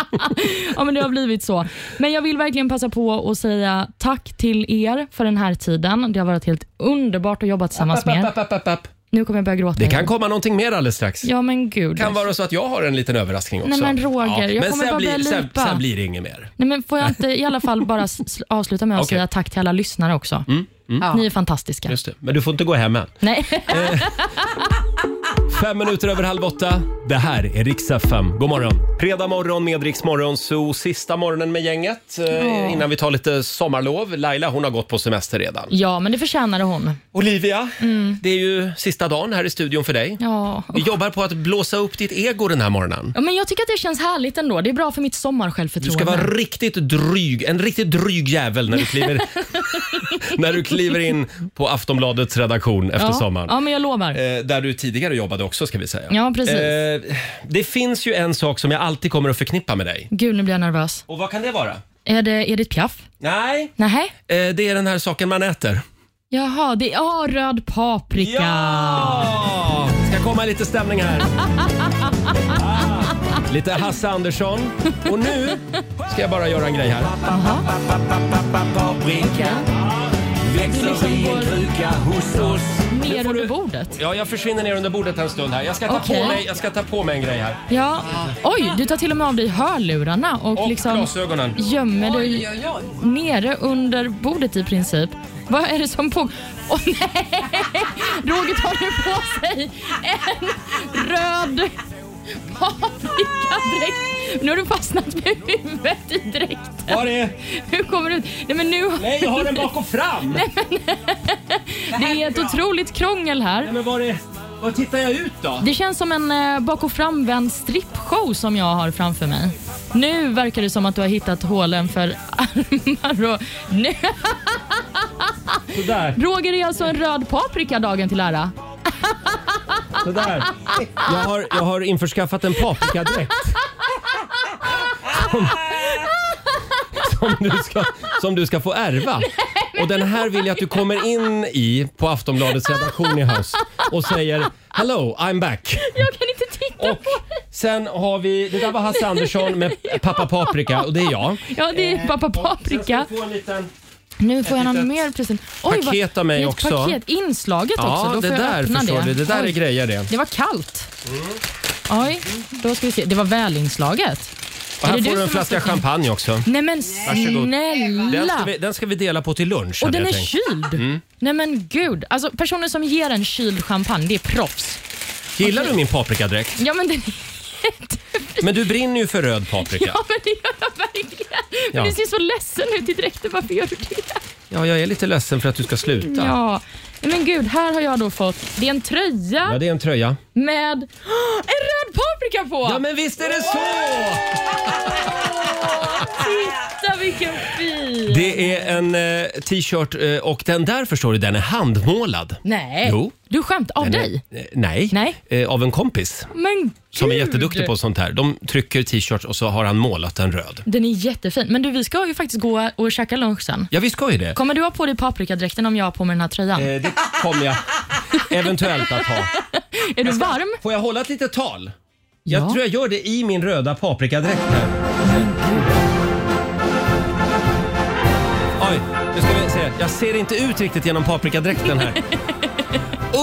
[SPEAKER 3] ja, men det har blivit så. Men jag vill verkligen passa på att säga tack till er för den här tiden. Det har varit helt underbart att jobba tillsammans med
[SPEAKER 1] er.
[SPEAKER 3] Nu kommer jag börja gråta.
[SPEAKER 1] Det kan
[SPEAKER 3] igen.
[SPEAKER 1] komma någonting mer alldeles strax.
[SPEAKER 3] Ja, men gud.
[SPEAKER 1] Det kan vara så att jag har en liten överraskning också.
[SPEAKER 3] Nej, men Roger, jag
[SPEAKER 1] men
[SPEAKER 3] kommer
[SPEAKER 1] sen
[SPEAKER 3] bara
[SPEAKER 1] blir,
[SPEAKER 3] börja
[SPEAKER 1] sen,
[SPEAKER 3] lipa.
[SPEAKER 1] sen blir det inget mer.
[SPEAKER 3] Nej, men får jag inte i alla fall bara s- s- avsluta med att
[SPEAKER 1] Okej.
[SPEAKER 3] säga tack till alla lyssnare också.
[SPEAKER 1] Mm, mm. Ja.
[SPEAKER 3] Ni är fantastiska.
[SPEAKER 1] Just det. Men du får inte gå hem än.
[SPEAKER 3] Nej.
[SPEAKER 1] Fem minuter över halv åtta. Det här är Rix FM. God morgon! Fredag morgon med Rix Morgon Zoo. Sista morgonen med gänget eh,
[SPEAKER 3] Ja.
[SPEAKER 1] innan vi tar lite sommarlov. Laila hon har gått på semester redan.
[SPEAKER 3] Ja, men det förtjänade hon.
[SPEAKER 1] Olivia,
[SPEAKER 3] Mm.
[SPEAKER 1] det är ju sista dagen här i studion för dig.
[SPEAKER 3] Ja.
[SPEAKER 1] Vi jobbar på att blåsa upp ditt ego den här morgonen.
[SPEAKER 3] ja, men jag tycker att det känns härligt ändå. Det är bra för mitt
[SPEAKER 1] Du
[SPEAKER 3] sommarsjälvförtroende.
[SPEAKER 1] ska vara riktigt dryg, en riktigt dryg jävel när du kliver, när du kliver in på Aftonbladets redaktion efter
[SPEAKER 3] ja.
[SPEAKER 1] sommaren.
[SPEAKER 3] Ja, men jag lovar.
[SPEAKER 1] Eh, Där du tidigare jobbade också ska vi säga.
[SPEAKER 3] Ja, precis.
[SPEAKER 1] Eh, Det finns ju en sak som jag alltid kommer att förknippa med dig.
[SPEAKER 3] Gud, nu blir jag nervös.
[SPEAKER 1] Och vad kan det vara?
[SPEAKER 3] Är det Edith Piaf?
[SPEAKER 1] Nej,
[SPEAKER 3] Nej.
[SPEAKER 1] eh, det är den här saken man äter.
[SPEAKER 3] Jaha, det är ah, röd paprika.
[SPEAKER 1] Ja! Ska komma lite stämning här. Ah, Lite Hasse Andersson. Och nu ska jag bara göra en grej här.
[SPEAKER 11] Växer i en kruka hos oss.
[SPEAKER 3] Ner under bordet?
[SPEAKER 1] Ja, jag försvinner ner under bordet en stund här. Jag ska ta,
[SPEAKER 3] Okej.
[SPEAKER 1] på, mig, jag ska ta på mig en grej här.
[SPEAKER 3] Ja. Oj, du tar till och med av dig hörlurarna och, liksom
[SPEAKER 1] glasögonen.
[SPEAKER 3] gömmer dig
[SPEAKER 14] Oj, oj,
[SPEAKER 3] nere under bordet i princip. Vad är det som pågår? Åh nej! Roger tar nu på sig en röd paprikadräkt. Nu har du fastnat med huvudet i dräkten.
[SPEAKER 1] Var är?
[SPEAKER 3] Hur kommer du ut? Nej, men nu...
[SPEAKER 1] Nej, jag har den bak och fram!
[SPEAKER 3] Nej, men... Det är ett otroligt krångel här.
[SPEAKER 1] Men var, är, var tittar jag ut då?
[SPEAKER 3] Det känns som en eh, bak och framvänd strippshow som jag har framför mig. Nu verkar det som att du har hittat hålen för armar och... Nu.
[SPEAKER 1] Sådär.
[SPEAKER 3] Roger är alltså en röd paprika dagen till ära.
[SPEAKER 1] Sådär. Jag har, jag har införskaffat en paprikadräkt. Som, som, du ska, som du ska få ärva. Och den här vill jag att du kommer in i på Aftonbladets redaktion i höst och säger “Hello, I'm back”
[SPEAKER 3] Jag kan inte titta
[SPEAKER 1] och Sen har vi, det där var Hasse Andersson med Pappa Paprika och det är jag.
[SPEAKER 3] Ja, det är pappa Paprika. Nu får jag någon mer present. vad-
[SPEAKER 1] paket av mig
[SPEAKER 3] det är ett
[SPEAKER 1] också.
[SPEAKER 3] Paket. Inslaget också. Då
[SPEAKER 1] det
[SPEAKER 3] får jag
[SPEAKER 1] där
[SPEAKER 3] öppna
[SPEAKER 1] förstår
[SPEAKER 3] det.
[SPEAKER 1] du. Det där
[SPEAKER 3] Oj.
[SPEAKER 1] är grejer det.
[SPEAKER 3] Det var kallt. Oj, då ska vi se. Det var välinslaget.
[SPEAKER 1] Och
[SPEAKER 3] Är
[SPEAKER 1] här
[SPEAKER 3] det
[SPEAKER 1] får
[SPEAKER 3] du
[SPEAKER 1] du en
[SPEAKER 3] som
[SPEAKER 1] flaska
[SPEAKER 3] har fått den?
[SPEAKER 1] champagne också.
[SPEAKER 3] Nej men
[SPEAKER 1] Varsågod. Den
[SPEAKER 3] snälla!
[SPEAKER 1] ska, vi, den ska vi dela på till lunch.
[SPEAKER 3] Och
[SPEAKER 1] hade
[SPEAKER 3] den
[SPEAKER 1] jag
[SPEAKER 3] är
[SPEAKER 1] tänkt.
[SPEAKER 3] kyld.
[SPEAKER 1] Mm.
[SPEAKER 3] Nej men gud. Alltså personer som ger en kyld champagne, det är proffs.
[SPEAKER 1] Gillar du min paprikadräkt?
[SPEAKER 3] Ja men den
[SPEAKER 1] Men du brinner ju för röd paprika.
[SPEAKER 3] Ja men det gör jag verkligen.
[SPEAKER 1] Ja.
[SPEAKER 3] Men du ser så ledsen ut i dräkten. Varför gör du det?
[SPEAKER 1] Ja, jag är lite ledsen för att du ska sluta.
[SPEAKER 3] Ja. Nej, Men gud, här har jag då fått, det är en tröja
[SPEAKER 1] Ja, det är en tröja.
[SPEAKER 3] med Åh, en röd paprika på! Ja
[SPEAKER 1] men visst är det så!
[SPEAKER 3] Titta vilken fin!
[SPEAKER 1] Det är en eh, t-shirt eh, och den där förstår du, den är handmålad.
[SPEAKER 3] Nej,
[SPEAKER 1] Jo.
[SPEAKER 3] du skämtar. Av
[SPEAKER 1] Den är-
[SPEAKER 3] dig?
[SPEAKER 1] eh, Nej,
[SPEAKER 3] Nej.
[SPEAKER 1] Eh, av en kompis.
[SPEAKER 3] Men gud.
[SPEAKER 1] Som är jätteduktig på sånt här. De trycker t-shirts och så har han målat den röd.
[SPEAKER 3] Den är jättefin. Men du, vi ska ju faktiskt gå och käka lunch sen.
[SPEAKER 1] Ja, vi ska ju det.
[SPEAKER 3] Kommer du ha på dig paprikadräkten om jag har på mig den här tröjan?
[SPEAKER 1] Eh, det kommer jag eventuellt att ha.
[SPEAKER 3] Är du varm?
[SPEAKER 1] Får jag hålla ett litet tal? Jag tror jag gör det i min röda paprikadräkt här. Oj, nu ska vi se. Jag ser inte ut riktigt genom paprikadräkten här.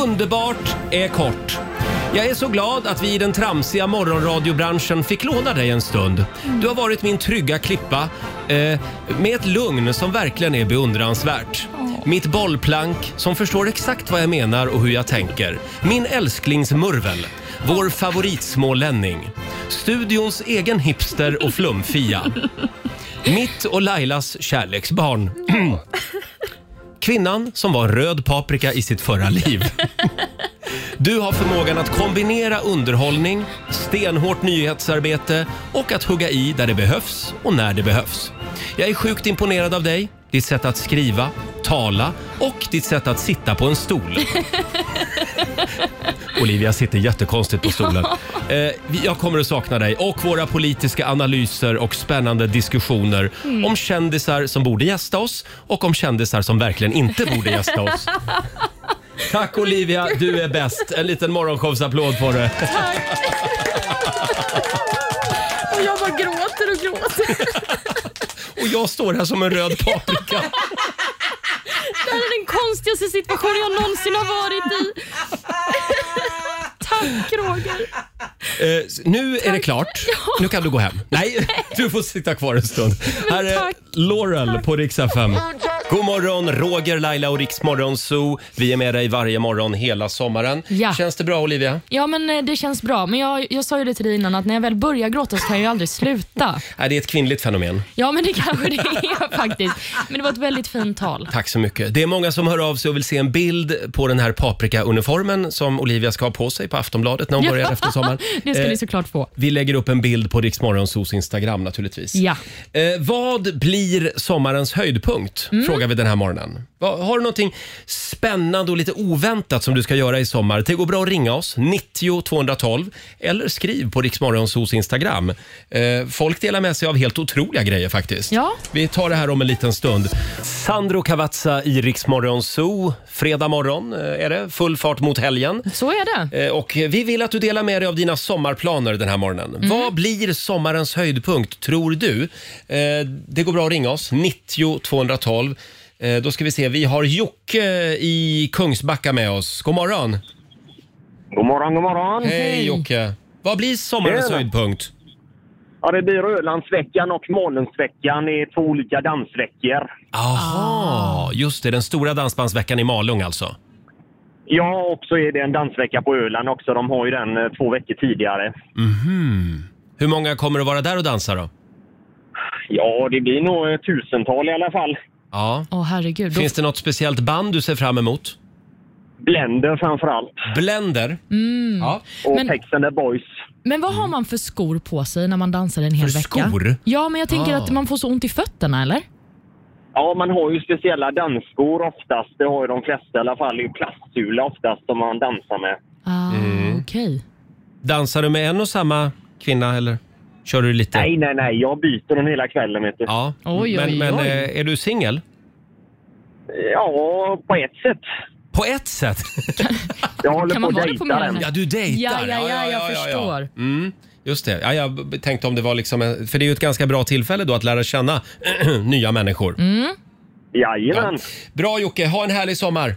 [SPEAKER 1] Underbart är kort. Jag är så glad att vi i den tramsiga morgonradiobranschen fick låna dig en stund. Du har varit min trygga klippa eh, med ett lugn som verkligen är beundransvärt. Mitt bollplank som förstår exakt vad jag menar och hur jag tänker. Min älsklingsmurvel. Vår favoritsmålänning. Studions egen hipster och flumfia. Mitt och Lailas kärleksbarn. Kvinnan som var en röd paprika i sitt förra liv. Du har förmågan att kombinera underhållning, stenhårt nyhetsarbete och att hugga i där det behövs och när det behövs. Jag är sjukt imponerad av dig, ditt sätt att skriva, tala och ditt sätt att sitta på en stol. Olivia sitter jättekonstigt på stolen. Eh, vi- jag kommer att sakna dig och våra politiska analyser och spännande diskussioner
[SPEAKER 11] Mm.
[SPEAKER 1] om kändisar som borde gästa oss och om kändisar som verkligen inte borde gästa oss. Tack Olivia, du är bäst. En liten morgonshowsapplåd får du.
[SPEAKER 3] Och jag bara gråter och gråter.
[SPEAKER 1] Och jag står här som en röd paprika.
[SPEAKER 3] Det här är den konstigaste situationen jag någonsin har varit i. Tack Roger.
[SPEAKER 1] Eh, s- nu är det klart. Nu kan du gå hem. Nej, du får sitta kvar en stund. Här är Laurel på Rix FM. God morgon, Roger, Laila och Rix Morgon Zoo. Vi är med dig varje morgon hela sommaren.
[SPEAKER 3] Ja.
[SPEAKER 1] Känns det bra Olivia?
[SPEAKER 3] Ja men eh, det känns bra. Men jag, jag sa ju det till dig innan att när jag väl börjar gråta så kan jag ju aldrig sluta.
[SPEAKER 1] Nej, det är ett kvinnligt fenomen.
[SPEAKER 3] Ja men det kanske det är faktiskt. Men det var ett väldigt fint tal.
[SPEAKER 1] Tack så mycket. Det är många som hör av sig och vill se en bild på den här paprikauniformen som Olivia ska ha på sig på Aftonbladet när hon börjar efter sommaren.
[SPEAKER 3] Det ska
[SPEAKER 1] Eh,
[SPEAKER 3] ni såklart få.
[SPEAKER 1] Vi lägger upp en bild på Rix Morgonzos Instagram naturligtvis.
[SPEAKER 3] Ja.
[SPEAKER 1] Eh, vad blir sommarens höjdpunkt?
[SPEAKER 3] Mm.
[SPEAKER 1] Frågar vi den här morgonen. Va, har du någonting spännande och lite oväntat som du ska göra i sommar? Det går bra att ringa oss, 90 212 eller skriv på Rix Morgonzos Instagram. Eh, folk delar med sig av helt otroliga grejer faktiskt.
[SPEAKER 3] Ja.
[SPEAKER 1] Vi tar det här om en liten stund. Sandro Cavazza i Rix Morgonzoo. Fredag morgon eh, är det, full fart mot helgen.
[SPEAKER 3] Så är
[SPEAKER 1] det. Eh, Och vi vill att du delar med dig av dina sommarplaner den här morgonen. Vad blir sommarens höjdpunkt, tror du? Eh, Det går bra att ringa oss, 90 212. Eh, Då ska vi se, vi har Jocke i Kungsbacka med oss. God morgon!
[SPEAKER 16] God morgon, god morgon!
[SPEAKER 1] Hej Jocke! Vad blir sommarens
[SPEAKER 16] Tjena.
[SPEAKER 1] höjdpunkt?
[SPEAKER 16] Ja, det blir Ölandsveckan och Malungsveckan. Det är två olika dansveckor.
[SPEAKER 1] Aha, just det, den stora dansbandsveckan i Malung alltså.
[SPEAKER 16] Ja, och så är det en dansvecka på Öland också. De har ju den eh, två veckor tidigare.
[SPEAKER 1] Mhm. Hur många kommer att vara där och dansa då?
[SPEAKER 16] Ja, det blir nog eh, tusental i alla fall.
[SPEAKER 1] Ja.
[SPEAKER 3] Åh herregud. Då...
[SPEAKER 1] Finns det något speciellt band du ser fram emot?
[SPEAKER 16] Blender framför allt.
[SPEAKER 1] Blender?
[SPEAKER 3] Mm.
[SPEAKER 16] Och
[SPEAKER 3] Men-
[SPEAKER 16] Tex and the Boys.
[SPEAKER 3] Men vad har man för skor på sig när man dansar en hel
[SPEAKER 16] För
[SPEAKER 3] vecka?
[SPEAKER 16] skor?
[SPEAKER 3] Ja, men jag tänker
[SPEAKER 16] Ah.
[SPEAKER 3] att man får så ont i fötterna, eller?
[SPEAKER 16] Ja, man har ju speciella dansskor oftast. Det har ju de flesta i alla fall. Det är ju plastsula oftast som man dansar med.
[SPEAKER 3] Ah,
[SPEAKER 1] Mm.
[SPEAKER 3] Okej.
[SPEAKER 1] Dansar du med en och samma kvinna eller kör du lite?
[SPEAKER 16] Nej, nej, nej. Jag byter dem hela kvällen, vet du.
[SPEAKER 1] Ja.
[SPEAKER 16] Oj,
[SPEAKER 1] men
[SPEAKER 16] oj,
[SPEAKER 1] men
[SPEAKER 16] oj.
[SPEAKER 1] eh, är du singel?
[SPEAKER 16] Ja, på ett sätt.
[SPEAKER 1] På ett sätt?
[SPEAKER 16] Jag håller
[SPEAKER 1] Kan
[SPEAKER 16] på
[SPEAKER 1] man
[SPEAKER 16] att
[SPEAKER 1] vara det på mer
[SPEAKER 16] dejta
[SPEAKER 1] än
[SPEAKER 16] den.
[SPEAKER 1] ett? Ja, du dejtar.
[SPEAKER 3] Ja, ja, ja, jag förstår.
[SPEAKER 1] Mm. Just det. Ja, jag b- tänkte om det var liksom en, För det är ju ett ganska bra tillfälle då att lära känna nya människor.
[SPEAKER 3] Mm.
[SPEAKER 1] Jajamän. Bra Jocke, ha en härlig sommar.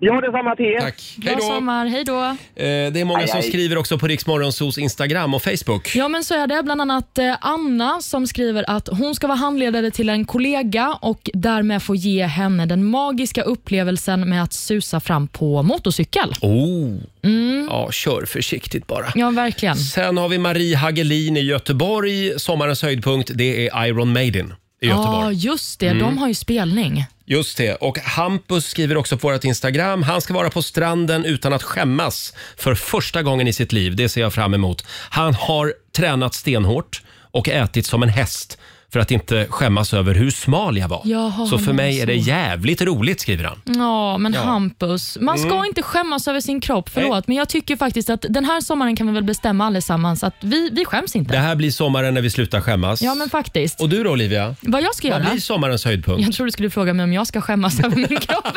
[SPEAKER 17] Ja, detsamma till er.
[SPEAKER 1] Tack. Hej
[SPEAKER 3] Bra
[SPEAKER 1] då.
[SPEAKER 3] sommar, hej då.
[SPEAKER 1] Eh, Det är många
[SPEAKER 3] Aj,
[SPEAKER 1] som
[SPEAKER 3] aj.
[SPEAKER 1] skriver också på Riksmorgonsos Instagram och Facebook.
[SPEAKER 3] Ja, men så är det. Bland annat eh, Anna som skriver att hon ska vara handledare till en kollega och därmed få ge henne den magiska upplevelsen med att susa fram på motorcykel.
[SPEAKER 1] Oh.
[SPEAKER 3] Mm.
[SPEAKER 1] Ja, kör försiktigt bara.
[SPEAKER 3] Ja, verkligen.
[SPEAKER 1] Sen har vi Marie Hagelin i Göteborg. Sommarens höjdpunkt, det är Iron Maiden i Göteborg.
[SPEAKER 3] Ja, just det.
[SPEAKER 1] Mm.
[SPEAKER 3] De har ju spelning.
[SPEAKER 1] Just det. Och Hampus skriver också på vårt Instagram. Han ska vara på stranden utan att skämmas för första gången i sitt liv. Det ser jag fram emot. Han har tränat stenhårt och ätit som en häst för att inte skämmas över hur smal jag var.
[SPEAKER 3] Jaha,
[SPEAKER 1] så för
[SPEAKER 3] han
[SPEAKER 1] mig
[SPEAKER 3] är
[SPEAKER 1] är det
[SPEAKER 3] så. Mm.
[SPEAKER 1] jävligt roligt, skriver han.
[SPEAKER 3] Ja, men
[SPEAKER 1] Ja.
[SPEAKER 3] Hampus, man ska
[SPEAKER 1] Mm.
[SPEAKER 3] inte skämmas över sin kropp. Förlåt, men jag tycker faktiskt att den här sommaren kan vi väl bestämma allesammans att vi, vi skäms inte.
[SPEAKER 1] Det här blir sommaren när vi slutar skämmas.
[SPEAKER 3] Ja, men faktiskt.
[SPEAKER 1] Och du då Olivia?
[SPEAKER 3] Vad jag ska
[SPEAKER 1] Vad
[SPEAKER 3] göra?
[SPEAKER 1] blir sommarens höjdpunkt?
[SPEAKER 3] Jag tror du skulle fråga mig om jag ska skämmas över min kropp.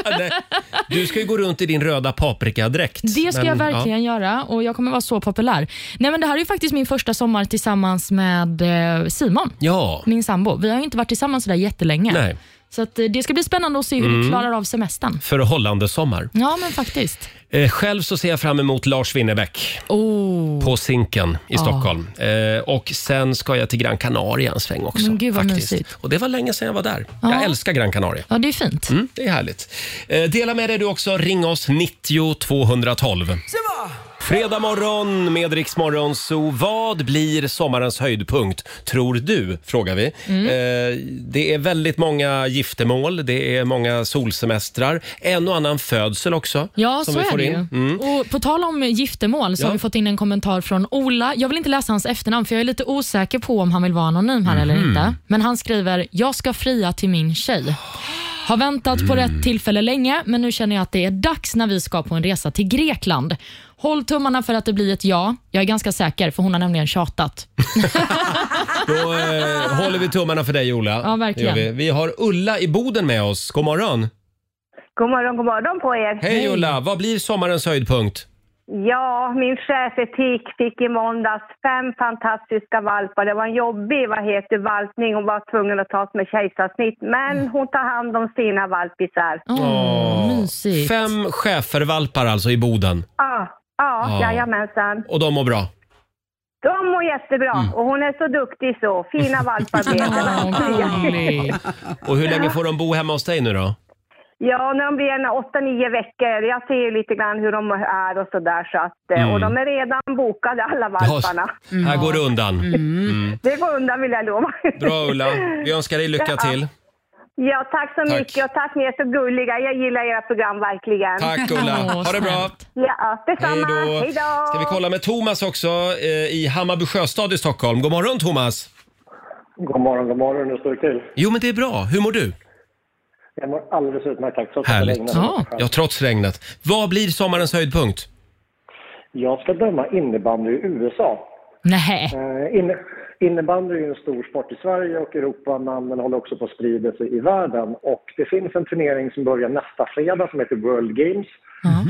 [SPEAKER 1] Du ska ju gå runt i din röda paprikadräkt.
[SPEAKER 3] Det ska
[SPEAKER 1] Men,
[SPEAKER 3] jag
[SPEAKER 1] ja.
[SPEAKER 3] verkligen göra och jag kommer vara så populär. Nej, men det här är ju faktiskt min första sommar tillsammans med eh, Simon,
[SPEAKER 1] Ja.
[SPEAKER 3] min sambo. Vi har ju inte varit tillsammans sådär jättelänge.
[SPEAKER 1] Nej.
[SPEAKER 3] Så att, eh, det ska bli spännande att se hur
[SPEAKER 1] Mm.
[SPEAKER 3] du klarar av semestern.
[SPEAKER 1] Förhållande sommar.
[SPEAKER 3] Ja, men faktiskt.
[SPEAKER 1] Eh, själv så ser jag fram emot Lars Winnerbäck
[SPEAKER 3] Oh.
[SPEAKER 1] på Zinken i
[SPEAKER 3] Ja.
[SPEAKER 1] Stockholm. Eh, och sen ska jag till Gran Canaria en sväng också.
[SPEAKER 3] Men gud, vad
[SPEAKER 1] faktiskt.
[SPEAKER 3] mysigt.
[SPEAKER 1] Och det var länge sedan jag var där.
[SPEAKER 3] Ja.
[SPEAKER 1] Jag älskar Gran Canaria.
[SPEAKER 3] Ja, det är fint.
[SPEAKER 1] Mm, det är härligt. Eh, dela med dig du också. Ring oss 90 212. Fredag morgon med Rix Morgon, så Vad blir sommarens höjdpunkt, tror du? Frågar vi.
[SPEAKER 3] Mm.
[SPEAKER 1] Eh, det är väldigt många giftermål, det är många solsemestrar, en och annan födsel också.
[SPEAKER 3] Ja,
[SPEAKER 1] som
[SPEAKER 3] så
[SPEAKER 1] vi
[SPEAKER 3] är
[SPEAKER 1] får
[SPEAKER 3] det
[SPEAKER 1] in.
[SPEAKER 3] ju.
[SPEAKER 1] Mm.
[SPEAKER 3] Och på tal om giftermål så
[SPEAKER 1] Ja.
[SPEAKER 3] har vi fått in en kommentar från Ola. Jag vill inte läsa hans efternamn för jag är lite osäker på om han vill vara anonym här eller
[SPEAKER 18] Mhm.
[SPEAKER 3] inte. Men han skriver, jag ska fria till min tjej. Har väntat på
[SPEAKER 1] Mm.
[SPEAKER 3] rätt tillfälle länge, men nu känner jag att det är dags när vi ska på en resa till Grekland. Håll tummarna för att det blir ett ja. Jag är ganska säker, för hon har nämligen tjatat.
[SPEAKER 1] Då eh, håller vi tummarna för dig Ola.
[SPEAKER 3] Ja, verkligen.
[SPEAKER 1] Det gör Vi. vi har Ulla i Boden med oss. God morgon.
[SPEAKER 19] God morgon, god morgon på er.
[SPEAKER 1] Hej, Ulla, vad blir sommarens höjdpunkt?
[SPEAKER 19] Ja, min schäfertik fick i måndags fem fantastiska valpar. Det var en jobbig, vad heter valpning. Hon var tvungen att tas med kejsarsnitt.
[SPEAKER 1] Mm.
[SPEAKER 19] Men hon tar hand om sina valpisar.
[SPEAKER 3] Mm,
[SPEAKER 1] Åh, Fem schäfervalpar alltså i Boden.
[SPEAKER 19] Ja, ja,
[SPEAKER 1] Ja.
[SPEAKER 19] jajamensan.
[SPEAKER 1] Och de mår bra.
[SPEAKER 19] De mår jättebra
[SPEAKER 1] Mm.
[SPEAKER 19] och hon är så duktig så. Fina valpar blev det.
[SPEAKER 1] Och hur länge får de bo hemma hos dig nu då?
[SPEAKER 19] Ja, när de blir en åtta, nio veckor. Jag ser ju lite grann hur de är och sådär. Så att, eh,
[SPEAKER 1] Mm.
[SPEAKER 19] Och de är redan bokade alla valparna.
[SPEAKER 1] Här går det undan. Mm.
[SPEAKER 19] Det går undan vill jag lova.
[SPEAKER 1] Bra Ulla, vi önskar dig lycka
[SPEAKER 19] Ja.
[SPEAKER 1] till.
[SPEAKER 19] Ja, tack så
[SPEAKER 1] Tack.
[SPEAKER 19] mycket och tack ni är så gulliga. Jag gillar era program verkligen.
[SPEAKER 1] Tack Ulla, ha det bra.
[SPEAKER 19] Ja,
[SPEAKER 1] Hej
[SPEAKER 19] detsamma.
[SPEAKER 1] då.
[SPEAKER 19] Hej då.
[SPEAKER 1] Ska vi kolla med Thomas också eh, i Hammarby sjöstad i Stockholm. God morgon Thomas.
[SPEAKER 20] God morgon, god morgon. Hur står det till?
[SPEAKER 1] Jo men det är bra, hur mår du?
[SPEAKER 20] Jag mår alldeles utmärkt, tack. Trots att det
[SPEAKER 1] Härligt.
[SPEAKER 20] regnar.
[SPEAKER 1] Ja. trots regnet. Vad blir sommarens höjdpunkt?
[SPEAKER 20] Jag ska döma innebandy i USA.
[SPEAKER 3] Nej.
[SPEAKER 20] Eh, inne, innebandy är ju en stor sport i Sverige och Europa, men den håller också på att sprida sig i världen. Och det finns en turnering som börjar nästa fredag som heter World Games.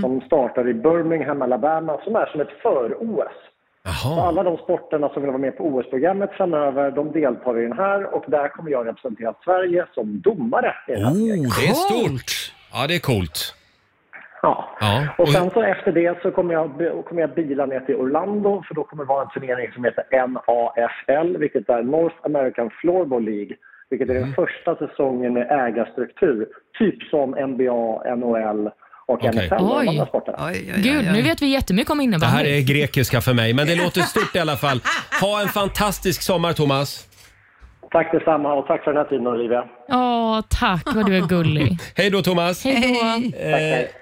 [SPEAKER 20] Som startar i Birmingham, Alabama, som är som ett för-OS. Så alla de sporterna som vill vara med på OS-programmet framöver, de deltar i den här och där kommer jag representera Sverige som domare. i den här
[SPEAKER 1] Oh, det är
[SPEAKER 20] turneringen.
[SPEAKER 1] stort! Ja, det är coolt.
[SPEAKER 20] Ja.
[SPEAKER 1] Ja,
[SPEAKER 20] Och sen så efter det så kommer jag, kommer jag bila ner till Orlando för då kommer det vara en turnering som heter NAFL, vilket är North American Floorball League. Vilket är
[SPEAKER 1] Mm.
[SPEAKER 20] den första säsongen med ägarstruktur, typ som NBA, NHL och NFL och de
[SPEAKER 3] Oj.
[SPEAKER 20] andra sporterna.
[SPEAKER 3] Gud, nu vet vi jättemycket om
[SPEAKER 1] det
[SPEAKER 3] innebandy.
[SPEAKER 1] här är grekiska för mig, men det låter stort i alla fall. Ha en fantastisk sommar, Thomas.
[SPEAKER 20] Tack detsamma och tack för den här tiden Olivia.
[SPEAKER 3] Åh, tack vad du är gullig.
[SPEAKER 1] Hej då, Thomas.
[SPEAKER 3] Hej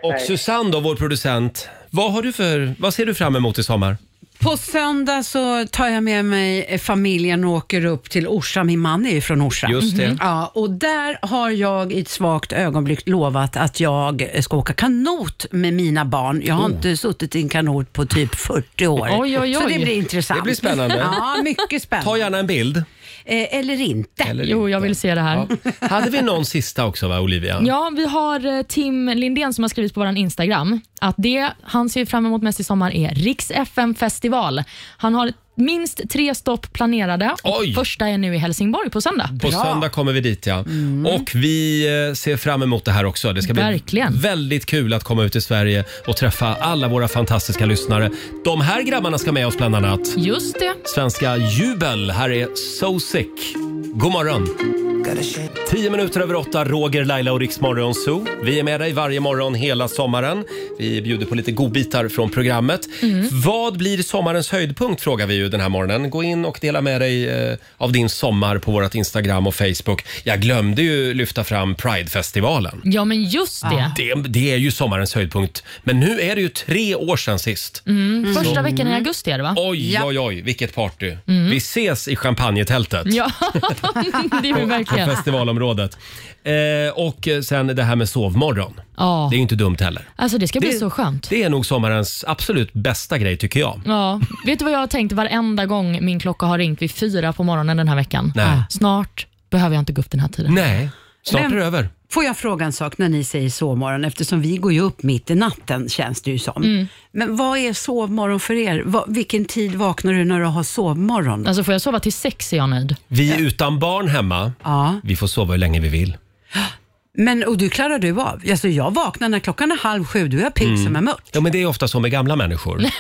[SPEAKER 3] då.
[SPEAKER 1] Eh, och Susanne då, vår producent. Vad, har du för, vad ser du fram emot i sommar?
[SPEAKER 4] På söndag så tar jag med mig familjen och åker upp till Orsa. Min man är ju från Orsa.
[SPEAKER 18] Just det.
[SPEAKER 3] Mm-hmm.
[SPEAKER 4] Ja, och där har jag i ett svagt ögonblick lovat att jag ska åka kanot med mina barn. Jag har
[SPEAKER 18] Oh.
[SPEAKER 4] inte suttit i en kanot på typ 40 år.
[SPEAKER 18] Oj, oj,
[SPEAKER 4] Så
[SPEAKER 18] oj.
[SPEAKER 4] det blir intressant.
[SPEAKER 1] Det blir spännande.
[SPEAKER 4] Ja, mycket spännande.
[SPEAKER 1] Ta gärna en bild.
[SPEAKER 4] Eh, eller inte.
[SPEAKER 1] Eller Jo, inte. jag
[SPEAKER 3] vill se det här.
[SPEAKER 1] Hade vi någon sista också, va, Olivia?
[SPEAKER 3] Ja, vi har eh, Tim Lindén som har skrivit på vår Instagram att det han ser fram emot mest i sommar är Riks FM-festival. Han har minst tre stopp planerade och
[SPEAKER 1] Oj.
[SPEAKER 3] första är nu i Helsingborg på söndag.
[SPEAKER 1] På söndag kommer vi dit ja.
[SPEAKER 3] Mm.
[SPEAKER 1] Och vi eh, ser fram emot det här också. Det ska bli
[SPEAKER 3] Verkligen.
[SPEAKER 1] väldigt kul att komma ut i Sverige och träffa alla våra fantastiska lyssnare. De här grabbarna ska med oss bland annat.
[SPEAKER 3] Just det.
[SPEAKER 1] Svenska Jubel. Här är So Sick. God morgon. Tio minuter över åtta, Roger, Laila och Riksmorgon Zoo. Vi är med dig varje morgon hela sommaren. Vi bjuder på lite godbitar från programmet.
[SPEAKER 3] Mm.
[SPEAKER 1] Vad blir sommarens höjdpunkt frågar vi ju den här morgonen. Gå in och dela med dig eh, av din sommar på vårt Instagram och Facebook. Jag glömde ju lyfta fram Pridefestivalen.
[SPEAKER 3] Ja, men just det.
[SPEAKER 1] Det, det är ju sommarens höjdpunkt. Men nu är det ju tre år sedan sist.
[SPEAKER 3] Mm, första
[SPEAKER 1] Så-
[SPEAKER 3] veckan i augusti är det va?
[SPEAKER 1] Oj,
[SPEAKER 3] ja.
[SPEAKER 1] oj, oj, vilket party.
[SPEAKER 3] Mm.
[SPEAKER 1] Vi ses i champagnetältet.
[SPEAKER 3] Ja, det är vi
[SPEAKER 1] På
[SPEAKER 3] verkligen.
[SPEAKER 1] festivalområdet. Eh, och sen det här med sovmorgon.
[SPEAKER 3] Ja.
[SPEAKER 1] Det är ju inte dumt heller.
[SPEAKER 3] Alltså det ska bli så skönt.
[SPEAKER 1] Det är nog sommarens absolut bästa grej tycker jag.
[SPEAKER 3] Ja, vet du vad jag har tänkt varenda gång min klocka har ringt vid fyra på morgonen den här veckan? Ah.
[SPEAKER 1] Nej.
[SPEAKER 3] Snart behöver jag inte gå upp den här tiden.
[SPEAKER 1] Nej,
[SPEAKER 4] Men Får jag fråga en sak när ni säger sovmorgon, eftersom vi går ju upp mitt i natten känns det ju som.
[SPEAKER 3] Mm.
[SPEAKER 4] Men vad är sovmorgon för er? Va, vilken tid vaknar du när du har sovmorgon?
[SPEAKER 3] Alltså får jag sova till sex är jag nöjd.
[SPEAKER 1] Vi utan barn hemma,
[SPEAKER 4] Ja.
[SPEAKER 1] vi får sova hur länge vi vill.
[SPEAKER 4] Men, och du klarar du av? Alltså jag vaknar när klockan är halv sju, du är pigg
[SPEAKER 1] Mm.
[SPEAKER 4] som en mört.
[SPEAKER 1] Ja, men det är ofta så med gamla människor.
[SPEAKER 4] Där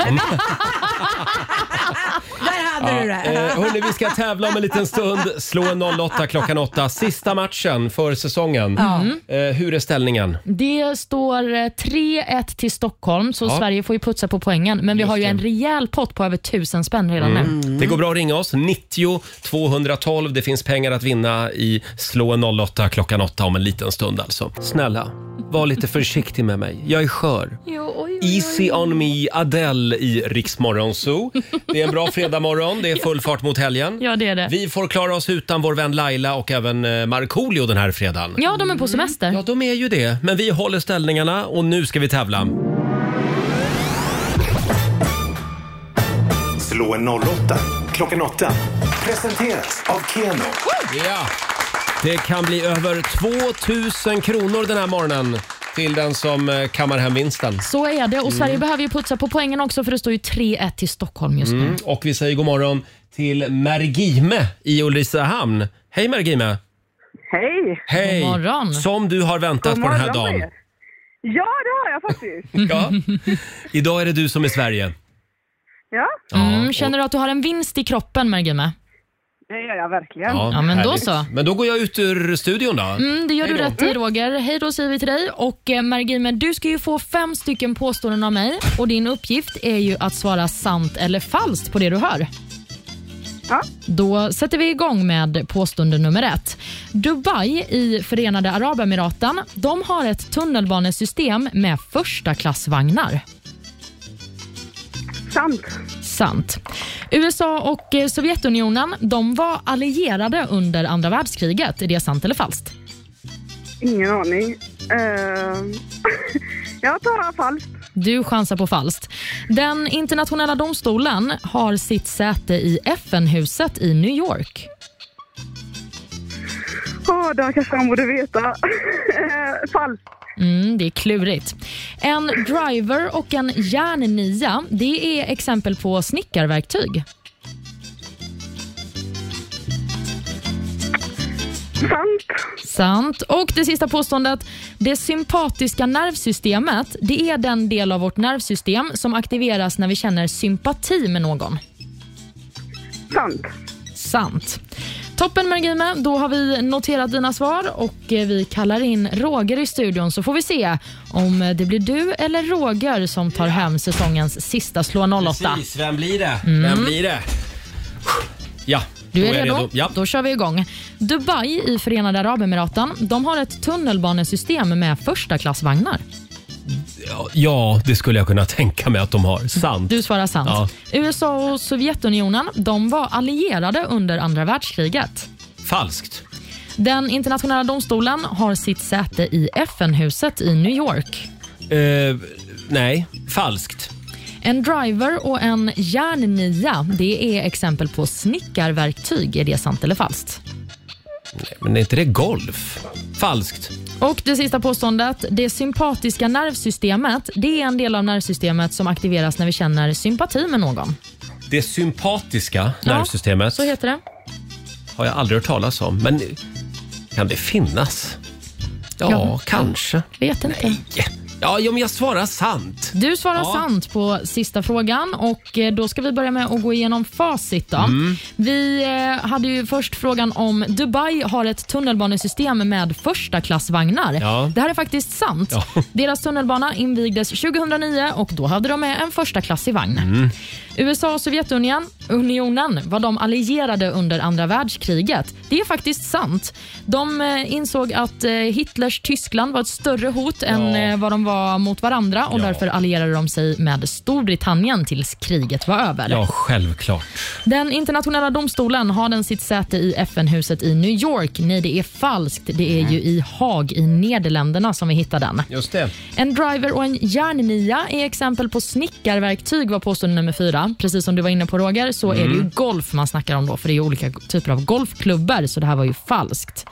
[SPEAKER 4] hade du det!
[SPEAKER 1] Eh, hörni, vi ska tävla om en liten stund. Slå en 08 klockan 8. Sista matchen för säsongen.
[SPEAKER 3] Mm.
[SPEAKER 1] Eh, hur är ställningen?
[SPEAKER 3] Det står eh, 3-1 till Stockholm, så
[SPEAKER 1] Ja.
[SPEAKER 3] Sverige får ju putsa på poängen. Men vi har ju en rejäl pott på över tusen spänn redan nu.
[SPEAKER 1] Det går bra att ringa oss. 90 212. Det finns pengar att vinna i Slå en 08 klockan 8 om en liten stund alltså. Snälla, var lite försiktig med mig. Jag är skör. Easy on me, Adele i Riksmorgon Zoo. Det är en bra fredagmorgon. Det är full fart mot helgen.
[SPEAKER 3] Ja, det är det.
[SPEAKER 1] Vi får klara oss utan vår vän Laila och även eh, Markoolio den här fredagen.
[SPEAKER 3] Ja, de är på semester.
[SPEAKER 1] Ja, de är ju det. Men vi håller ställningarna och nu ska vi tävla.
[SPEAKER 5] Slå en 08 klockan 8. Presenteras av Keno.
[SPEAKER 1] Ja. Det kan bli över 2000 kronor den här morgonen till den som eh, kammar hem vinsten.
[SPEAKER 3] Så är det och Sverige
[SPEAKER 1] Mm.
[SPEAKER 3] behöver ju putsa på poängen också för det står ju 3-1 till Stockholm just nu.
[SPEAKER 1] Mm. Och vi säger god morgon till Mergime i Ulricehamn. Hej Mergime!
[SPEAKER 6] Hej!
[SPEAKER 1] Hej! Som du har väntat på den här dagen.
[SPEAKER 6] Ja, det har jag faktiskt.
[SPEAKER 1] Ja. Idag är det du som är Sverige.
[SPEAKER 6] Ja,
[SPEAKER 3] Mm, känner du att du har en vinst i kroppen, Mergime?
[SPEAKER 6] det gör jag verkligen.
[SPEAKER 3] Ja, men då
[SPEAKER 1] härligt.
[SPEAKER 3] så.
[SPEAKER 1] Men då går jag ut ur studion då.
[SPEAKER 3] Mm, det gör
[SPEAKER 1] Hej
[SPEAKER 3] du
[SPEAKER 1] då.
[SPEAKER 3] rätt i Roger. Hej då säger vi till dig. Och eh, Mergime, du ska ju få fem stycken påståenden av mig och din uppgift är ju att svara sant eller falskt på det du hör.
[SPEAKER 6] Ja.
[SPEAKER 3] Då sätter vi igång med påstående nummer ett. Dubai i Förenade Arabemiraten, de har ett tunnelbanesystem med första klassvagnar.
[SPEAKER 6] Sant.
[SPEAKER 3] Sant. USA och eh, Sovjetunionen, de var allierade under andra världskriget. Är det sant eller falskt?
[SPEAKER 6] Ingen aning. Eh, jag tar falskt.
[SPEAKER 3] Du chansar på falskt. Den internationella domstolen har sitt säte i FN-huset i New York.
[SPEAKER 6] Åh, oh, det här kanske han borde veta. Eh, falskt.
[SPEAKER 3] Mm, det är klurigt. En driver och en järnnia, det är exempel på snickarverktyg.
[SPEAKER 6] Sant.
[SPEAKER 3] Sant. Och det sista påståendet. Det sympatiska nervsystemet, det är den del av vårt nervsystem som aktiveras när vi känner sympati med någon.
[SPEAKER 6] Sant.
[SPEAKER 3] Sant. Toppen Mergime, då har vi noterat dina svar och eh, vi kallar in Roger i studion så får vi se om eh, det blir du eller Roger som tar hem säsongens sista Slå 08.
[SPEAKER 1] Precis, vem blir det?
[SPEAKER 3] Mm.
[SPEAKER 1] Vem blir det? Ja,
[SPEAKER 3] Du
[SPEAKER 1] då
[SPEAKER 3] är redo?
[SPEAKER 1] Ja.
[SPEAKER 3] Då kör vi igång. Dubai i Förenade Arabemiraten, de har ett tunnelbanesystem med första klassvagnar.
[SPEAKER 1] ja, det skulle jag kunna tänka mig att de har. Sant.
[SPEAKER 3] Du svarar sant.
[SPEAKER 1] Ja.
[SPEAKER 3] USA och Sovjetunionen, de var allierade under andra världskriget.
[SPEAKER 1] Falskt.
[SPEAKER 3] Den internationella domstolen har sitt säte i FN-huset i New York.
[SPEAKER 1] Eh, nej, falskt.
[SPEAKER 3] En driver och en järnnia, det är exempel på snickarverktyg. Är det sant eller falskt?
[SPEAKER 1] Men är inte det golf? Falskt.
[SPEAKER 3] Och det sista påståendet. Det sympatiska nervsystemet, det är en del av nervsystemet som aktiveras när vi känner sympati med någon.
[SPEAKER 1] Det sympatiska nervsystemet
[SPEAKER 3] Så heter det.
[SPEAKER 1] har jag aldrig hört talas om. Men kan det finnas? Ja,
[SPEAKER 3] Ja.
[SPEAKER 1] kanske.
[SPEAKER 3] Vet inte.
[SPEAKER 1] Ja, om jag svarar sant.
[SPEAKER 3] Du svarar
[SPEAKER 1] Ja.
[SPEAKER 3] sant på sista frågan och eh, då ska vi börja med att gå igenom facit. Då.
[SPEAKER 11] Mm.
[SPEAKER 3] Vi eh, hade ju först frågan om Dubai har ett tunnelbanesystem med första klassvagnar.
[SPEAKER 11] Ja.
[SPEAKER 3] Det här är faktiskt sant.
[SPEAKER 11] Ja.
[SPEAKER 3] Deras tunnelbana invigdes 2009 och då hade de med en första klassig vagn.
[SPEAKER 11] Mm.
[SPEAKER 3] USA och Sovjetunionen unionen, var de allierade under andra världskriget. Det är faktiskt sant. De eh, insåg att eh, Hitlers Tyskland var ett större hot än eh, vad de var mot varandra och därför allierade de sig med Storbritannien tills kriget var över.
[SPEAKER 1] Ja, självklart.
[SPEAKER 3] Den internationella domstolen har den sitt säte i FN-huset i New York. Nej, det är falskt. Det är ju i Haag i Nederländerna som vi hittar den.
[SPEAKER 1] Just det.
[SPEAKER 3] En driver och en järnnia är exempel på snickarverktyg var påstående nummer fyra. Precis som du var inne på Roger så är det ju
[SPEAKER 11] Mm.
[SPEAKER 3] golf man snackar om då för det är ju olika typer av golfklubbor så det här var ju falskt.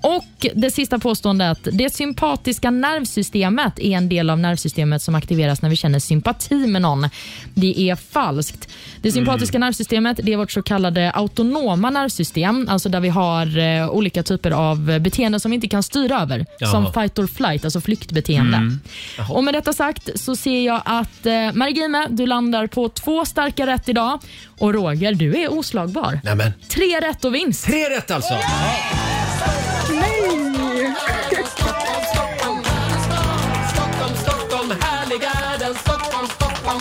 [SPEAKER 3] Och det sista påståendet. Det sympatiska nervsystemet är en del av nervsystemet som aktiveras när vi känner sympati med någon. Det är falskt. Det sympatiska
[SPEAKER 11] Mm.
[SPEAKER 3] nervsystemet det är vårt så kallade autonoma nervsystem, alltså där vi har eh, olika typer av eh, beteenden som vi inte kan styra över,
[SPEAKER 11] Jaha.
[SPEAKER 3] som fight or flight, alltså flyktbeteende.
[SPEAKER 11] Mm.
[SPEAKER 1] Jaha.
[SPEAKER 3] Och med detta sagt så ser jag att eh, Margime, du landar på två starka rätt idag och Roger, du är oslagbar.
[SPEAKER 1] Nämen.
[SPEAKER 3] Tre rätt och vinst.
[SPEAKER 1] Tre rätt alltså!
[SPEAKER 11] Nej!
[SPEAKER 1] Stockholm, härliga den Stockholm, Stockholm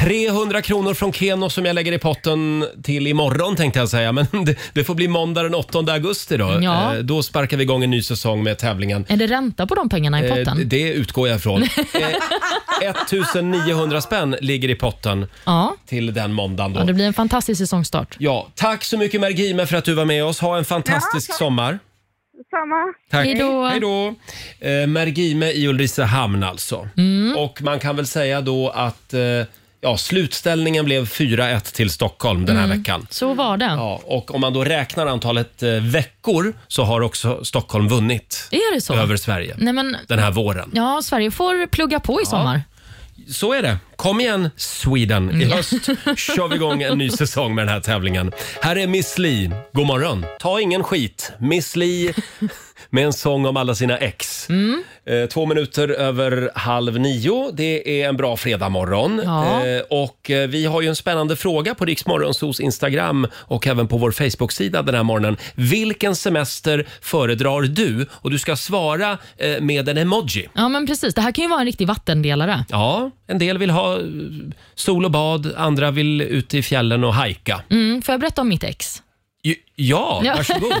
[SPEAKER 1] 300 kronor från Keno som jag lägger i potten till imorgon tänkte jag säga. Men det, det får bli måndag den 8 augusti då.
[SPEAKER 3] Ja.
[SPEAKER 1] Eh, Då sparkar vi igång en ny säsong med tävlingen.
[SPEAKER 3] Är det ränta på de pengarna i
[SPEAKER 1] Eh,
[SPEAKER 3] potten?
[SPEAKER 1] d- Det utgår jag ifrån. Eh, 1900 spänn ligger i potten
[SPEAKER 3] ja.
[SPEAKER 1] till den måndagen
[SPEAKER 3] ja, det
[SPEAKER 1] då.
[SPEAKER 3] blir en fantastisk säsongstart.
[SPEAKER 1] Ja, tack så mycket Mergime för att du var med oss. Ha en fantastisk sommar.
[SPEAKER 6] Samma.
[SPEAKER 1] Tack.
[SPEAKER 6] Hej
[SPEAKER 1] Hej då. Eh, Mergime i Ulricehamn alltså.
[SPEAKER 3] Mm.
[SPEAKER 1] Och man kan väl säga då att eh, ja, slutställningen blev 4-1 till Stockholm den här
[SPEAKER 3] Mm.
[SPEAKER 1] veckan.
[SPEAKER 3] Så var det.
[SPEAKER 1] Ja, och om man då räknar antalet eh, veckor så har också Stockholm vunnit
[SPEAKER 3] Är det så?
[SPEAKER 1] över Sverige
[SPEAKER 3] Nej, men,
[SPEAKER 1] den här våren.
[SPEAKER 3] ja, Sverige får plugga på i sommar.
[SPEAKER 1] Så är det. Kom igen Sweden. I
[SPEAKER 3] Mm.
[SPEAKER 1] höst kör vi igång en ny säsong med den här tävlingen. Här är Miss Li. God morgon. Ta ingen skit. Miss Li med en sång om alla sina ex. Eh, Två minuter över halv nio. Det är en bra fredagmorgon.
[SPEAKER 11] Ja.
[SPEAKER 1] Eh, Och eh, vi har ju en spännande fråga på Riksmorgonsos Instagram och även på vår Facebook-sida den här morgonen. Vilken semester föredrar du? Och du ska svara eh, med en emoji.
[SPEAKER 3] Ja, men precis. Det här kan ju vara en riktig vattendelare.
[SPEAKER 1] Ja, en del vill ha eh, sol och bad, andra vill ut i fjällen och hajka.
[SPEAKER 3] Mm, får jag berätta om mitt ex?
[SPEAKER 1] J- Ja, varsågod.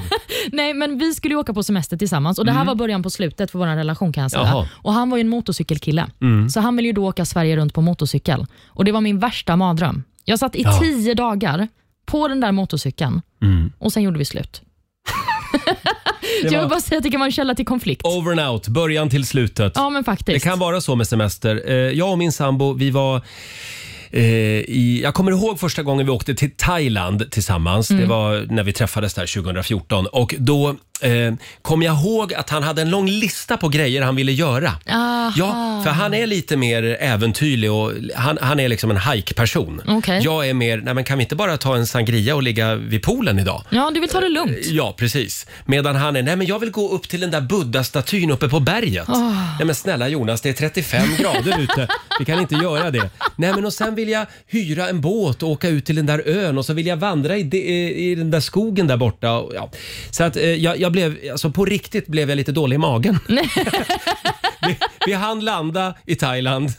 [SPEAKER 3] Nej, men vi skulle ju åka på semester tillsammans och det här
[SPEAKER 1] Mm.
[SPEAKER 3] var början på slutet för vår relation kan jag säga.
[SPEAKER 1] Jaha.
[SPEAKER 3] Och han var ju en motorcykelkille,
[SPEAKER 1] Mm.
[SPEAKER 3] så han ville ju då åka Sverige runt på motorcykel. Och det var min värsta mardröm. Jag satt i
[SPEAKER 1] Ja.
[SPEAKER 3] tio dagar på den där motorcykeln
[SPEAKER 1] Mm.
[SPEAKER 3] och sen gjorde vi slut.
[SPEAKER 1] Det
[SPEAKER 3] Jag
[SPEAKER 1] var-
[SPEAKER 3] vill bara säga att det kan vara en källa till konflikt.
[SPEAKER 1] Over and out, början till slutet.
[SPEAKER 3] Ja, men
[SPEAKER 1] Det
[SPEAKER 3] faktiskt.
[SPEAKER 1] kan vara så med semester. Eh, Jag och min sambo, vi var eh, i, jag kommer ihåg första gången vi åkte till Thailand tillsammans.
[SPEAKER 11] Mm.
[SPEAKER 1] Det var när vi träffades där 2014. Och då eh, kom jag ihåg att han hade en lång lista på grejer han ville göra.
[SPEAKER 3] Aha.
[SPEAKER 1] Ja, för han är lite mer äventyrlig och han, han är liksom en hajkperson.
[SPEAKER 3] Okej.
[SPEAKER 1] Jag är mer, nej men kan vi inte bara ta en sangria och ligga vid poolen idag?
[SPEAKER 3] Ja, du vill ta det lugnt.
[SPEAKER 1] Ja, precis. Medan han är, nej men jag vill gå upp till den där buddha-statyn uppe på berget.
[SPEAKER 11] Åh.
[SPEAKER 1] Nej men snälla Jonas, det är 35 grader ute. Vi kan inte göra det. Nej men och sen vill jag hyra en båt och åka ut till den där ön och så vill jag vandra i, de, i den där skogen där borta. Och, ja. Så att eh, jag, jag blev, alltså på riktigt blev jag lite dålig i magen. vi, vi hann landa i Thailand.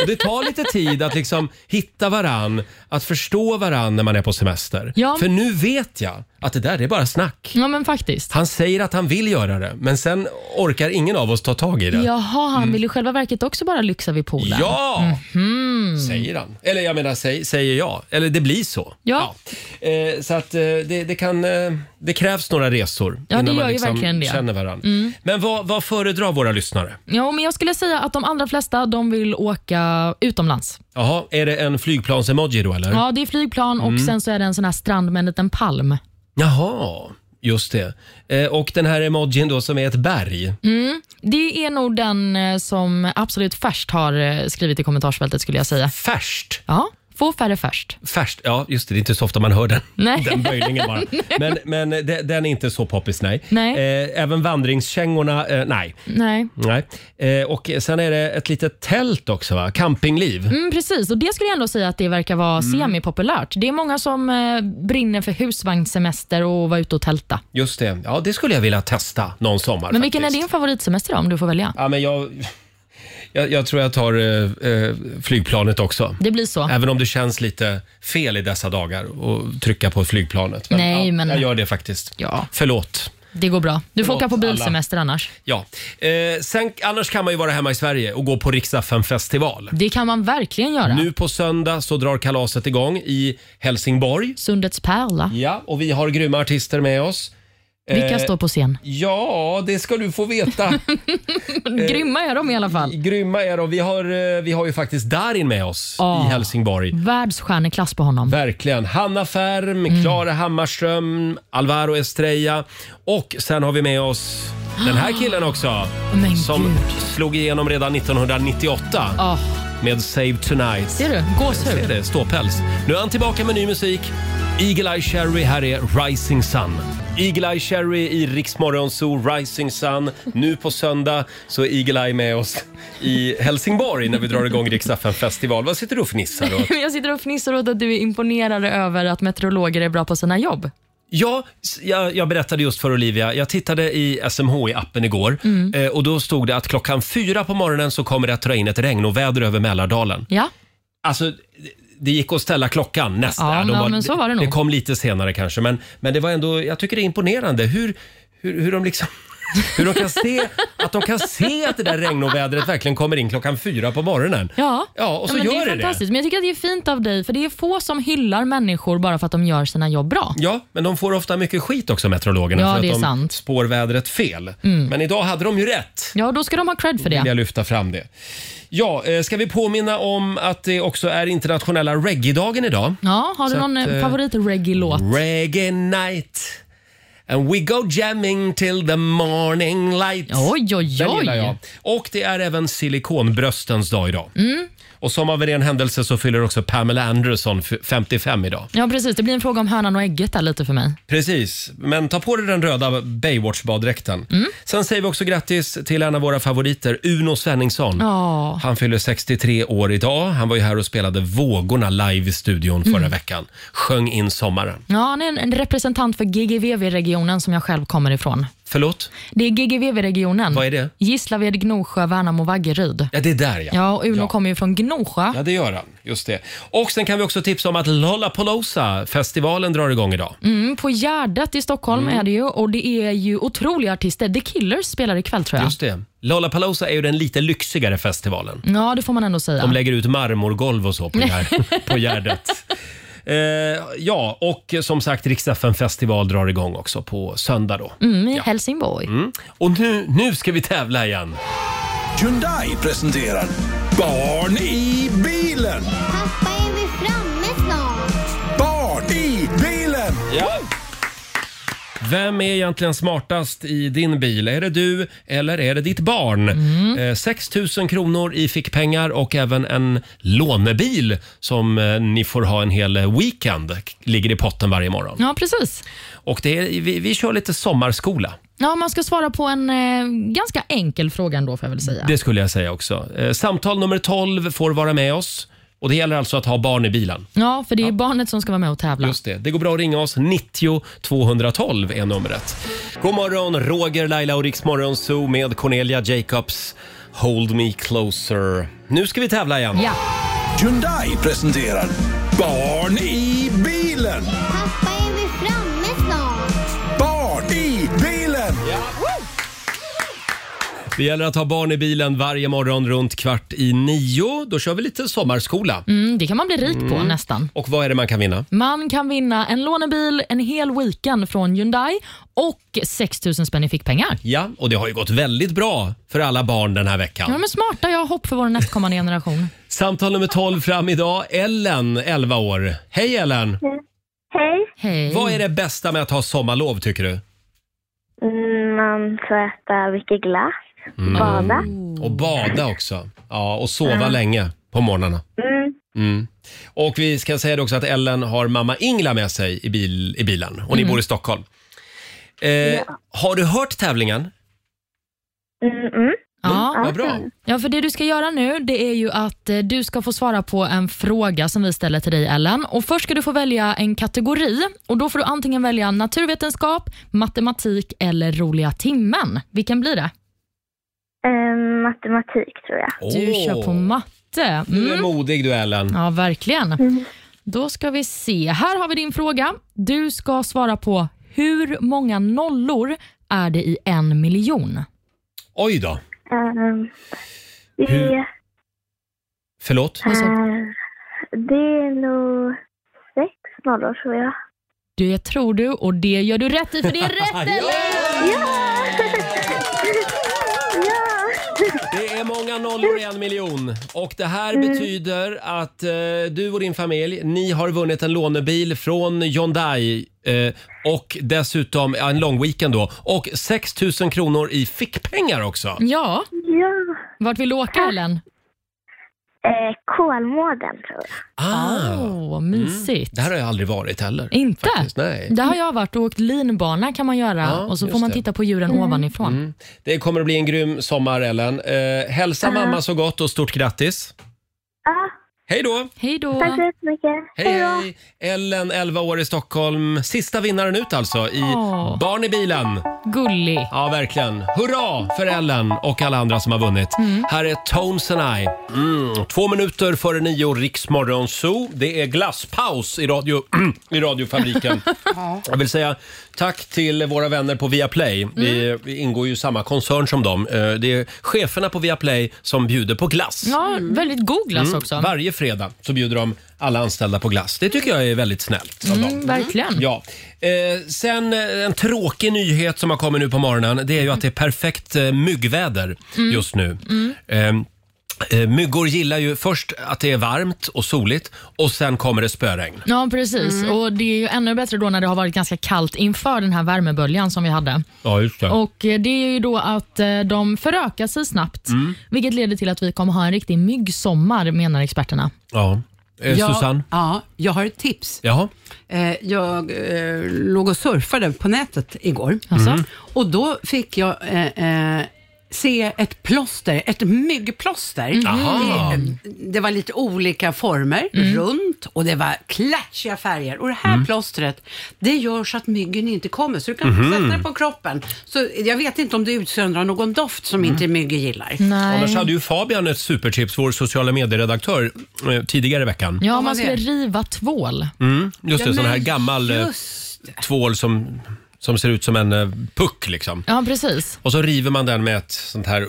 [SPEAKER 1] Och det tar lite tid att liksom hitta varann, att förstå varann när man är på semester.
[SPEAKER 3] Ja.
[SPEAKER 1] För nu vet jag att det där det är bara snack.
[SPEAKER 3] Ja, men faktiskt.
[SPEAKER 1] Han säger att han vill göra det, men sen orkar ingen av oss ta tag i det.
[SPEAKER 3] Jaha, han
[SPEAKER 1] Mm.
[SPEAKER 3] vill i själva verket också bara lyxa vid poolen.
[SPEAKER 1] Ja!
[SPEAKER 3] Mhm.
[SPEAKER 1] Säger han. Eller jag menar, säg, säger jag. Eller det blir så.
[SPEAKER 3] Ja.
[SPEAKER 1] Eh, så att eh, det, det kan... Eh, det krävs några resor
[SPEAKER 3] Ja, det
[SPEAKER 1] innan
[SPEAKER 3] gör
[SPEAKER 1] man
[SPEAKER 3] ju
[SPEAKER 1] liksom
[SPEAKER 3] verkligen det.
[SPEAKER 1] känner varandra.
[SPEAKER 3] Mm.
[SPEAKER 1] Men vad, vad föredrar våra lyssnare?
[SPEAKER 3] Ja, men jag skulle säga att de allra flesta de vill åka utomlands.
[SPEAKER 1] Jaha, är det en flygplans-emoji då eller?
[SPEAKER 3] Ja, det är flygplan och
[SPEAKER 1] Mm.
[SPEAKER 3] sen så är det en sån här strand med en liten palm.
[SPEAKER 1] Jaha, just det. Eh, och den här emojin då som är ett berg.
[SPEAKER 3] Mm. Det är nog den eh, som absolut färst har eh, skrivit i kommentarsfältet skulle jag säga.
[SPEAKER 1] Färst?
[SPEAKER 3] Ja, Få färre först.
[SPEAKER 1] Färst, ja just det, det är inte så ofta man hör den,
[SPEAKER 3] Nej.
[SPEAKER 1] den böjningen bara.
[SPEAKER 3] Nej.
[SPEAKER 1] Men, men de- den är inte så poppis, nej.
[SPEAKER 3] Nej.
[SPEAKER 1] Eh, även vandringskängorna, eh, nej.
[SPEAKER 3] Nej.
[SPEAKER 1] nej. Eh, och sen är det ett litet tält också, va? Campingliv.
[SPEAKER 3] Mm, precis, och det skulle jag ändå säga att det verkar vara
[SPEAKER 1] Mm.
[SPEAKER 3] semipopulärt. Det är många som eh, brinner för husvagnssemester och vara ute och tälta.
[SPEAKER 1] Just det, ja det skulle jag vilja testa någon sommar.
[SPEAKER 3] Men vilken är din favoritsemester då, om du får välja?
[SPEAKER 1] Ja, men jag, jag, jag tror jag tar eh, eh, flygplanet också.
[SPEAKER 3] Det blir så.
[SPEAKER 1] Även om det känns lite fel i dessa dagar att trycka på flygplanet. Men,
[SPEAKER 3] Nej,
[SPEAKER 1] ja,
[SPEAKER 3] men-
[SPEAKER 1] Jag gör det faktiskt.
[SPEAKER 3] Ja.
[SPEAKER 1] Förlåt.
[SPEAKER 3] Det går bra. Du får
[SPEAKER 1] Förlåt,
[SPEAKER 3] åka på
[SPEAKER 1] alla.
[SPEAKER 3] bilsemester annars.
[SPEAKER 1] Ja. Eh, sen, annars kan man ju vara hemma i Sverige och gå på Riksaffen festival.
[SPEAKER 3] Det kan man verkligen göra.
[SPEAKER 1] Nu på söndag så drar kalaset igång i Helsingborg.
[SPEAKER 3] Sundets pärla.
[SPEAKER 1] Ja, och vi har grymma artister med oss.
[SPEAKER 3] Vilka
[SPEAKER 1] Eh,
[SPEAKER 3] står på scen?
[SPEAKER 1] Ja, det ska du få veta. eh,
[SPEAKER 3] Grymma är de i alla fall.
[SPEAKER 1] Grymma är de. Vi har, eh, vi har ju faktiskt Darin med oss
[SPEAKER 3] Ja.
[SPEAKER 1] i Helsingborg.
[SPEAKER 3] Världsstjärneklass på honom.
[SPEAKER 1] Verkligen. Hanna Färm,
[SPEAKER 3] Mm.
[SPEAKER 1] Klara Hammarström, Alvaro Estrella och sen har vi med oss den här killen också.
[SPEAKER 3] Men
[SPEAKER 1] som
[SPEAKER 3] gud.
[SPEAKER 1] slog igenom redan 1998
[SPEAKER 3] Ja,
[SPEAKER 1] med Save Tonight.
[SPEAKER 3] Ah. ser du?
[SPEAKER 1] Ser
[SPEAKER 3] Gåshud.
[SPEAKER 1] det, ståpäls. Nu är han tillbaka med ny musik. Eagle Eye Cherry, här är Rising Sun. Eagle Eye Cherry i Rix Morgon Zoo, Rising Sun. Nu på söndag så är Eagle Eye med oss i Helsingborg när vi drar igång Rix FM festival. Vad sitter du och fnissar åt?
[SPEAKER 3] Jag sitter och fnissar åt att du är imponerad över att meteorologer är bra på sina jobb.
[SPEAKER 1] Ja, s- jag, jag berättade just för Olivia. Jag tittade i SMHI-appen igår
[SPEAKER 3] Mm.
[SPEAKER 1] eh, och då stod det att klockan fyra på morgonen så kommer det att dra in ett regn och väder över Mälardalen.
[SPEAKER 3] Ja,
[SPEAKER 1] Alltså, det- det gick att ställa klockan nästan.
[SPEAKER 3] Ja, men- men så var det nog.
[SPEAKER 1] Det kom lite senare kanske, men, men det var ändå, jag tycker det är imponerande hur, hur, hur de liksom hur de kan se att de kan se att det där regnovädret verkligen kommer in klockan fyra på morgonen.
[SPEAKER 3] Ja,
[SPEAKER 1] Ja, och så
[SPEAKER 3] men
[SPEAKER 1] gör
[SPEAKER 3] det är
[SPEAKER 1] det det.
[SPEAKER 3] fantastiskt. Men jag tycker att det är fint av dig, för det är få som hyllar människor bara för att de gör sina jobb bra.
[SPEAKER 1] Ja, men de får ofta mycket skit också meteorologerna
[SPEAKER 3] Ja,
[SPEAKER 1] för att
[SPEAKER 3] det är
[SPEAKER 1] de
[SPEAKER 3] sant.
[SPEAKER 1] spår vädret fel.
[SPEAKER 3] Mm.
[SPEAKER 1] Men idag hade de ju rätt.
[SPEAKER 3] Ja, då ska de ha cred för
[SPEAKER 1] vill jag
[SPEAKER 3] det.
[SPEAKER 1] lyfta fram det. Ja, eh, ska vi påminna om att det också är internationella reggae-dagen idag?
[SPEAKER 3] Ja, har du
[SPEAKER 1] Så
[SPEAKER 3] någon
[SPEAKER 1] att, eh,
[SPEAKER 3] favorit-reggae-låt?
[SPEAKER 1] Reggae night and we go jamming till the morning light.
[SPEAKER 3] Oj, oj,
[SPEAKER 1] Den gillar
[SPEAKER 3] oj.
[SPEAKER 1] jag. Och det är även silikonbröstens dag idag.
[SPEAKER 3] Mm.
[SPEAKER 1] Och som av en ren händelse så fyller också Pamela Anderson f- 55 idag.
[SPEAKER 3] Ja, precis. Det blir en fråga om hönan och ägget där lite för mig.
[SPEAKER 1] Precis, men ta på dig den röda Baywatch-baddräkten.
[SPEAKER 3] Mm.
[SPEAKER 1] Sen säger vi också grattis till en av våra favoriter, Uno Svenningsson.
[SPEAKER 3] Ja.
[SPEAKER 1] Han fyller 63 år idag. Han var ju här och spelade Vågorna live i studion förra
[SPEAKER 3] Mm.
[SPEAKER 1] veckan. Sjöng in sommaren.
[SPEAKER 3] Ja, han är en, en representant för GGVV-regionen som jag själv kommer ifrån.
[SPEAKER 1] Förlåt?
[SPEAKER 3] Det är GGVV-regionen.
[SPEAKER 1] Vad är det?
[SPEAKER 3] Gislaved, Gnosjö, Värnamo, Vaggeryd.
[SPEAKER 1] Ja, det är där ja.
[SPEAKER 3] Ja, och Uno kommer ju från Gnosjö.
[SPEAKER 1] Ja, det gör han. Just det. Och sen kan vi också tipsa om att Lollapalooza-festivalen drar igång idag.
[SPEAKER 3] Mm, på Gärdet i Stockholm
[SPEAKER 1] Mm.
[SPEAKER 3] är det ju och det är ju otroliga artister. The Killers spelar ikväll tror jag.
[SPEAKER 1] Just det. Lollapalooza är ju den lite lyxigare festivalen.
[SPEAKER 3] Ja, det får man ändå säga.
[SPEAKER 1] De lägger ut marmorgolv och så på, Gär- på Gärdet. Eh, ja, och som sagt, Riksdagen festival drar igång också på söndag då.
[SPEAKER 3] Mm, i Helsingborg.
[SPEAKER 1] Mm. Och nu, nu ska vi tävla igen.
[SPEAKER 21] Hyundai presenterar Barn i bilen.
[SPEAKER 11] Pappa, är vi framme snart?
[SPEAKER 21] Barn i bilen.
[SPEAKER 1] Ja. Vem är egentligen smartast i din bil? Är det du eller är det ditt barn? Eh, 6 000 kronor i fickpengar och även en lånebil som eh, ni får ha en hel weekend. K- Ligger i potten varje morgon.
[SPEAKER 3] Ja, precis.
[SPEAKER 1] Och det är, vi, vi kör lite sommarskola.
[SPEAKER 3] Ja, man ska svara på en eh, ganska enkel fråga ändå får jag väl säga.
[SPEAKER 1] Det skulle jag säga också. Eh, Samtal nummer 12 får vara med oss. Och Det gäller alltså att ha barn i bilen.
[SPEAKER 3] Ja, för det är barnet som ska vara med och tävla.
[SPEAKER 1] Just det. det går bra att ringa oss. 90 212 är numret. God morgon, Roger, Laila och Riksmorgon Zoo med Cornelia Jacobs. Hold me closer. Nu ska vi tävla igen.
[SPEAKER 21] Ja. Hyundai presenterar Barn i bilen.
[SPEAKER 11] Pappa, är vi framme snart?
[SPEAKER 21] Barn i bilen.
[SPEAKER 1] Det gäller att ha barn i bilen varje morgon runt kvart i nio. Då kör vi lite sommarskola.
[SPEAKER 3] Mm, det kan man bli rik på
[SPEAKER 1] Mm.
[SPEAKER 3] nästan.
[SPEAKER 1] Och vad är det man kan vinna?
[SPEAKER 3] Man kan vinna en lånebil, en hel weekend från Hyundai och 6 000 spänn i fickpengar.
[SPEAKER 1] Ja, och det har ju gått väldigt bra för alla barn den här veckan.
[SPEAKER 3] Ja. men smarta, jag har hopp för vår nästkommande generation.
[SPEAKER 1] Samtal nummer 12 fram idag. Ellen, 11 år. Hej Ellen!
[SPEAKER 22] Hej.
[SPEAKER 3] Hej.
[SPEAKER 1] Vad är det bästa med att ha sommarlov tycker du?
[SPEAKER 22] Mm, Man får äta mycket glass,
[SPEAKER 1] Mm.
[SPEAKER 22] bada.
[SPEAKER 1] Och bada också. Ja, och sova
[SPEAKER 22] Ja.
[SPEAKER 3] Mm.
[SPEAKER 1] länge på morgnarna.
[SPEAKER 22] Mm,
[SPEAKER 1] Mm. Och vi ska säga det också att Ellen har mamma Ingla med sig i, bil, i bilen och ni
[SPEAKER 22] Mm.
[SPEAKER 1] bor i Stockholm. Eh, Har du hört tävlingen?
[SPEAKER 22] Mm,
[SPEAKER 3] Ja.
[SPEAKER 1] vad bra.
[SPEAKER 3] Ja, för det du ska göra nu det är ju att eh, du ska få svara på en fråga som vi ställer till dig Ellen. Och Först ska du få välja en kategori och då får du antingen välja naturvetenskap, matematik eller roliga timmen. Vilken blir det?
[SPEAKER 22] Ehm, matematik tror jag.
[SPEAKER 3] Du kör på matte.
[SPEAKER 1] Du är
[SPEAKER 3] Mm.
[SPEAKER 1] modig du Ellen.
[SPEAKER 3] Ja, verkligen. Då ska vi se. Här har vi din fråga. Du ska svara på hur många nollor är det i en miljon?
[SPEAKER 1] Oj då.
[SPEAKER 22] Ehm, det,
[SPEAKER 1] Hur- Förlåt?
[SPEAKER 3] Alltså,
[SPEAKER 22] ehm, det är nog sex nollor tror jag.
[SPEAKER 3] Det tror du och det gör du rätt i för det är rätt Ellen!
[SPEAKER 1] Det är många nollor i en miljon. Och det här betyder att eh, du och din familj, ni har vunnit en lånebil från Hyundai eh, och dessutom ja, en lång weekend då. Och 6 000 kronor i fickpengar också.
[SPEAKER 3] Ja.
[SPEAKER 22] ja.
[SPEAKER 3] Vart vill du åka Ellen?
[SPEAKER 22] Eh, Kolmården tror jag.
[SPEAKER 1] Ah.
[SPEAKER 3] Åh, mysigt.
[SPEAKER 1] Det här har jag aldrig varit heller.
[SPEAKER 3] Inte?
[SPEAKER 1] nej.
[SPEAKER 3] Där har jag varit och åkt linbana kan man göra
[SPEAKER 1] Ja,
[SPEAKER 3] och så får
[SPEAKER 1] just
[SPEAKER 3] man
[SPEAKER 1] det.
[SPEAKER 3] titta på djuren ovanifrån.
[SPEAKER 1] Mm. Det kommer att bli en grym sommar, Ellen. Eh, hälsa
[SPEAKER 22] Ja.
[SPEAKER 1] mamma så gott och stort grattis.
[SPEAKER 22] Ja.
[SPEAKER 1] Hej då!
[SPEAKER 3] Hej då!
[SPEAKER 22] Tack så jättemycket.
[SPEAKER 1] Hej,
[SPEAKER 22] då.
[SPEAKER 1] hej! Ellen, 11 år i Stockholm. Sista vinnaren ut alltså i
[SPEAKER 3] Åh.
[SPEAKER 1] Barn i bilen.
[SPEAKER 3] Gullig.
[SPEAKER 1] Ja, verkligen. Hurra för Ellen och alla andra som har vunnit.
[SPEAKER 3] Mm.
[SPEAKER 1] Här är Tones and I. Mm. Två minuter före nio, Riksmorgon Zoo. Det är glasspaus i, radio, i radiofabriken. Jag vill säga tack till våra vänner på Viaplay. Vi,
[SPEAKER 3] Mm.
[SPEAKER 1] vi ingår ju i samma koncern som dem. Eh, Det är cheferna på Viaplay som bjuder på glass.
[SPEAKER 3] Ja, väldigt god glass
[SPEAKER 1] Mm.
[SPEAKER 3] också.
[SPEAKER 1] Varje fredag så bjuder de alla anställda på glass. Det tycker jag är väldigt snällt av dem.
[SPEAKER 3] Mm, verkligen.
[SPEAKER 1] Ja. Eh, sen eh, en tråkig nyhet som har kommit nu på morgonen. Det är ju att det är perfekt eh, myggväder
[SPEAKER 11] Mm.
[SPEAKER 1] just nu.
[SPEAKER 11] Mm.
[SPEAKER 1] Ehm, Eh, myggor gillar ju först att det är varmt och soligt och sen kommer det spöregn.
[SPEAKER 3] Ja, precis. Och Det är ju ännu bättre då när det har varit ganska kallt inför den här värmeböljan som vi hade.
[SPEAKER 1] Ja, just det.
[SPEAKER 3] Och eh, Det är ju då att eh, de förökar sig snabbt,
[SPEAKER 1] Mm.
[SPEAKER 3] vilket leder till att vi kommer ha en riktig myggsommar, menar experterna.
[SPEAKER 1] Ja. Eh,
[SPEAKER 4] Jag-
[SPEAKER 1] Susanne?
[SPEAKER 4] Ja, jag har ett tips.
[SPEAKER 1] Jaha?
[SPEAKER 4] Eh, jag eh, låg och surfade på nätet igår.
[SPEAKER 3] Alltså? Mm.
[SPEAKER 4] Och då fick jag eh, eh, se ett plåster, ett myggplåster.
[SPEAKER 1] Mm.
[SPEAKER 11] Jaha.
[SPEAKER 4] Det, det var lite olika former,
[SPEAKER 1] Mm.
[SPEAKER 4] runt och det var klatschiga färger. Och det här plåstret, det gör så att myggen inte kommer. Så du kan
[SPEAKER 11] Mhm.
[SPEAKER 4] sätta det på kroppen. Så jag vet inte om det utsöndrar någon doft
[SPEAKER 1] Mm.
[SPEAKER 4] som inte myggor gillar.
[SPEAKER 1] Annars hade ju Fabian ett supertips, vår sociala medieredaktör, eh, tidigare i veckan.
[SPEAKER 3] Ja, man skulle riva tvål.
[SPEAKER 1] Mm, just det,
[SPEAKER 3] Ja,
[SPEAKER 1] sån
[SPEAKER 3] men
[SPEAKER 1] här gammal eh, tvål som, som ser ut som en eh, puck liksom.
[SPEAKER 3] Ja, precis.
[SPEAKER 1] Och så river man den med ett sånt här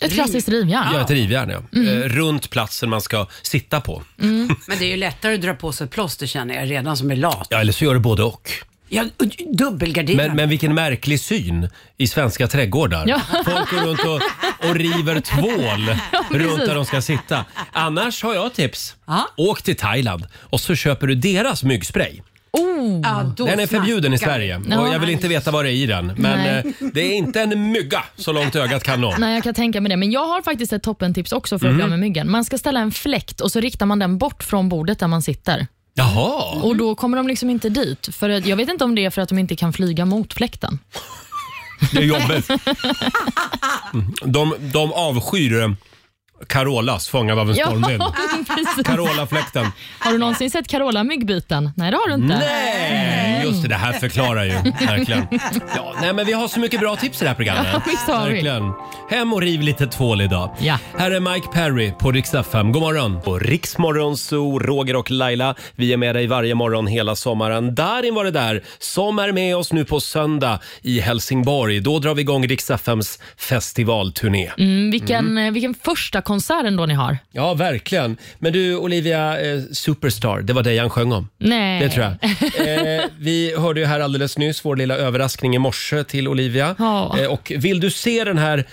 [SPEAKER 3] Ett klassiskt rivjärn.
[SPEAKER 1] Ja, ett rivjärn ja.
[SPEAKER 3] Mm.
[SPEAKER 1] Eh, runt platsen man ska sitta på.
[SPEAKER 4] Men det är ju lättare att dra på sig ett plåster känner jag redan som är lat.
[SPEAKER 1] Ja, eller så gör du både och.
[SPEAKER 4] Jag dubbelgarderar
[SPEAKER 1] Men, men vilken märklig syn i svenska trädgårdar.
[SPEAKER 4] Ja.
[SPEAKER 1] Folk går runt och, och river tvål
[SPEAKER 11] Ja, precis.
[SPEAKER 1] runt där de ska sitta. Annars har jag ett tips. Åk till Thailand och så köper du deras myggspray.
[SPEAKER 3] Oh.
[SPEAKER 1] Den är förbjuden i Sverige och jag vill inte veta vad det är i den. Men
[SPEAKER 3] Nej.
[SPEAKER 1] eh, det är inte en mygga så långt ögat kan nå.
[SPEAKER 3] Nej, jag kan tänka mig det. Men jag har faktiskt ett toppentips också för att
[SPEAKER 1] Mm.
[SPEAKER 3] bli av med myggen. Man ska ställa en fläkt och så riktar man den bort från bordet där man sitter.
[SPEAKER 1] Jaha.
[SPEAKER 3] Och Då kommer de liksom inte dit. För att, jag vet inte om det är för att de inte kan flyga mot fläkten.
[SPEAKER 1] Det är jobbigt. Mm. De, de avskyr eh, Carolas Fångad av en stormvind.
[SPEAKER 3] precis.
[SPEAKER 1] Carola-fläkten.
[SPEAKER 3] Har du någonsin sett Carola-myggbiten? Nej, det har du inte. Mm.
[SPEAKER 1] Nej, just det. Det här förklarar ju verkligen. Ja, nej, men vi har så mycket bra tips i det här programmet.
[SPEAKER 3] Ja, visst har vi.
[SPEAKER 1] verkligen. Hem och riv lite tvål idag. Här är Mike Perry på Rix FM. God morgon! På Rix Morgon Zoo, Roger och Laila. Vi är med dig varje morgon hela sommaren. Darin var det där som är med oss nu på söndag i Helsingborg. Då drar vi igång Rix FMs festivalturné.
[SPEAKER 3] Mm, vilken, eh, vilken första konsert ändå ni har.
[SPEAKER 1] Ja, verkligen. Men du, Olivia eh, Superstar, det var dig han sjöng om.
[SPEAKER 3] Nej.
[SPEAKER 1] Det tror jag. Eh, vi hörde ju här alldeles nyss vår lilla överraskning i morse till Olivia.
[SPEAKER 3] Ja.
[SPEAKER 1] Eh, och vill du se den här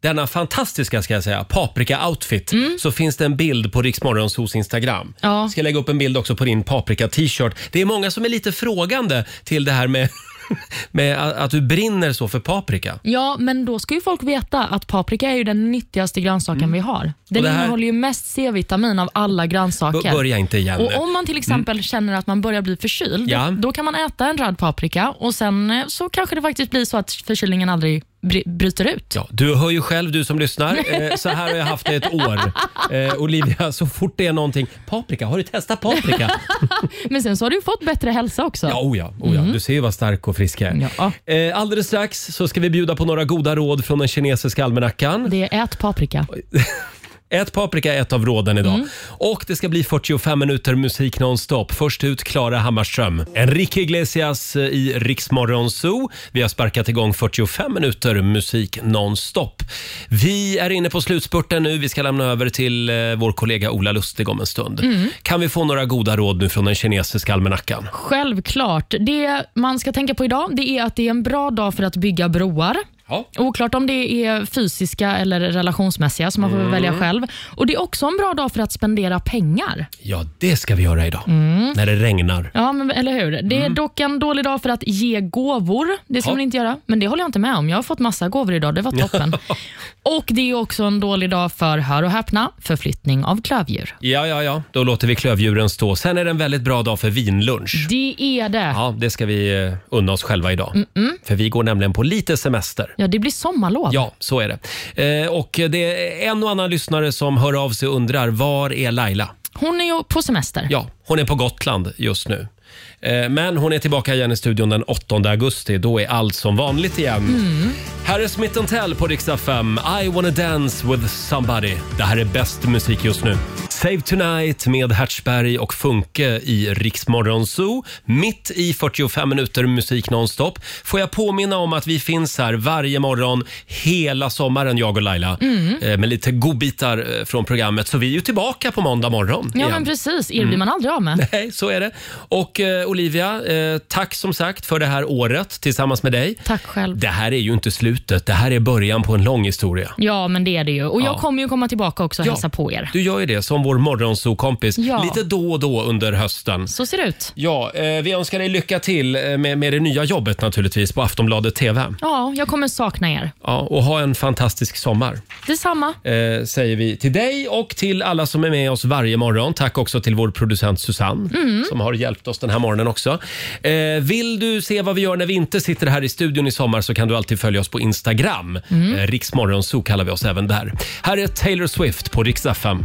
[SPEAKER 1] denna fantastiska ska jag säga, paprika-outfit så finns det en bild på Riksmorgonsos Instagram.
[SPEAKER 3] Mm. Ja.
[SPEAKER 1] Ska lägga upp en bild också på din paprika-t-shirt. Det är många som är lite frågande till det här med med a- att du brinner så för paprika.
[SPEAKER 3] Ja, men då ska ju folk veta att paprika är ju den nyttigaste grönsaken vi har. Den
[SPEAKER 1] Mm. det här-
[SPEAKER 3] innehåller ju mest C-vitamin av alla grönsaker.
[SPEAKER 1] B- börja inte igen. Mm.
[SPEAKER 3] Och om man till exempel känner att man börjar bli förkyld,
[SPEAKER 1] Ja.
[SPEAKER 3] då kan man äta en röd paprika och sen eh, så kanske det faktiskt blir så att förkylningen aldrig bry- bryter ut.
[SPEAKER 1] Ja, du hör ju själv, du som lyssnar. Eh, så här har jag haft det ett år. Eh, Olivia, så fort det är någonting. Paprika, har du testat paprika?
[SPEAKER 3] Men sen så har du ju fått bättre hälsa också.
[SPEAKER 1] Ja, oh ja, oh ja. Du ser ju vad stark och frisk jag är. Eh, alldeles strax så ska vi bjuda på några goda råd från den kinesiska almanackan.
[SPEAKER 3] Det är ät paprika.
[SPEAKER 1] Ät paprika är ett av råden idag.
[SPEAKER 3] Mm.
[SPEAKER 1] Och det ska bli 45 minuter musik nonstop. Först ut Klara Hammarström. Enrique Iglesias eh, i Riksmorgon Zoo. Vi har sparkat igång 45 minuter musik nonstop. Vi är inne på slutspurten nu. Vi ska lämna över till eh, vår kollega Ola Lustig om en stund.
[SPEAKER 3] Mm.
[SPEAKER 1] Kan vi få några goda råd nu från den kinesiska almanackan?
[SPEAKER 3] Självklart. Det man ska tänka på idag det är att det är en bra dag för att bygga broar.
[SPEAKER 1] Ja.
[SPEAKER 3] Oklart om det är fysiska eller relationsmässiga, så man får väl
[SPEAKER 1] Mm.
[SPEAKER 3] välja själv. Och Det är också en bra dag för att spendera pengar.
[SPEAKER 1] Ja, det ska vi göra idag.
[SPEAKER 3] Mm.
[SPEAKER 1] När det regnar.
[SPEAKER 3] Ja, men eller hur? Det är dock en dålig dag för att ge gåvor. Det
[SPEAKER 1] Mm. Ja.
[SPEAKER 3] ska man inte göra, men det håller jag inte med om. Jag har fått massa gåvor idag. Det var toppen. och Det är också en dålig dag för, hör och häpna, förflyttning av klövdjur.
[SPEAKER 1] Ja, ja, ja. Då låter vi klövdjuren stå. Sen är det en väldigt bra dag för vinlunch.
[SPEAKER 3] Det är det. Ja.
[SPEAKER 1] Ja, det ska vi eh, unna oss själva idag.
[SPEAKER 3] Mm-mm.
[SPEAKER 1] För vi går nämligen på lite semester.
[SPEAKER 3] det blir sommarlov.
[SPEAKER 1] Ja, så är det. Eh, Och det är en och annan lyssnare som hör av sig och undrar, var är Laila?
[SPEAKER 3] Hon är ju på semester.
[SPEAKER 1] Ja, hon är på Gotland just nu. Eh, Men hon är tillbaka igen i studion den 8 augusti. Då är allt som vanligt igen.
[SPEAKER 3] Mm.
[SPEAKER 1] Här är Smith Tell på riksdag 5. I wanna dance with somebody. Det här är bäst musik just nu. Save Tonight med Hertzberg och Funke i Riksmorgon Zoo. Mitt i 45 minuter musik nonstop. Får jag påminna om att vi finns här varje morgon hela sommaren, jag och Laila.
[SPEAKER 3] Mm.
[SPEAKER 1] Eh, Med lite godbitar eh, från programmet. Så vi är ju tillbaka på måndag morgon.
[SPEAKER 3] Ja,
[SPEAKER 1] igen.
[SPEAKER 3] men precis. Er blir
[SPEAKER 1] Mm.
[SPEAKER 3] man aldrig av med.
[SPEAKER 1] Nej, så är det. Och eh, Olivia, eh, tack som sagt för det här året tillsammans med dig.
[SPEAKER 3] Tack själv.
[SPEAKER 1] Det här är ju inte slutet, det här är början på en lång historia.
[SPEAKER 3] Ja, men det är det ju. Och jag
[SPEAKER 1] Ja.
[SPEAKER 3] kommer ju komma tillbaka också och hälsa på er.
[SPEAKER 1] Du gör ju det som vår morgonsokompis
[SPEAKER 3] Ja.
[SPEAKER 1] lite då och då under hösten.
[SPEAKER 3] Så ser det ut.
[SPEAKER 1] Ja, eh, vi önskar dig lycka till eh, med, med det nya jobbet naturligtvis på Aftonbladet TV.
[SPEAKER 3] Ja, jag kommer sakna er.
[SPEAKER 1] Ja, och ha en fantastisk sommar.
[SPEAKER 3] Detsamma.
[SPEAKER 1] Eh, säger vi till dig och till alla som är med oss varje morgon. Tack också till vår producent Susanne
[SPEAKER 2] Mm.
[SPEAKER 1] som har hjälpt oss den här morgonen också. Eh, vill du se vad vi gör när vi inte sitter här i studion i sommar så kan du alltid följa oss på Instagram.
[SPEAKER 2] Mm.
[SPEAKER 1] Eh, Riksmorgonzoo kallar vi oss även där. Här är Taylor Swift på Rix FM.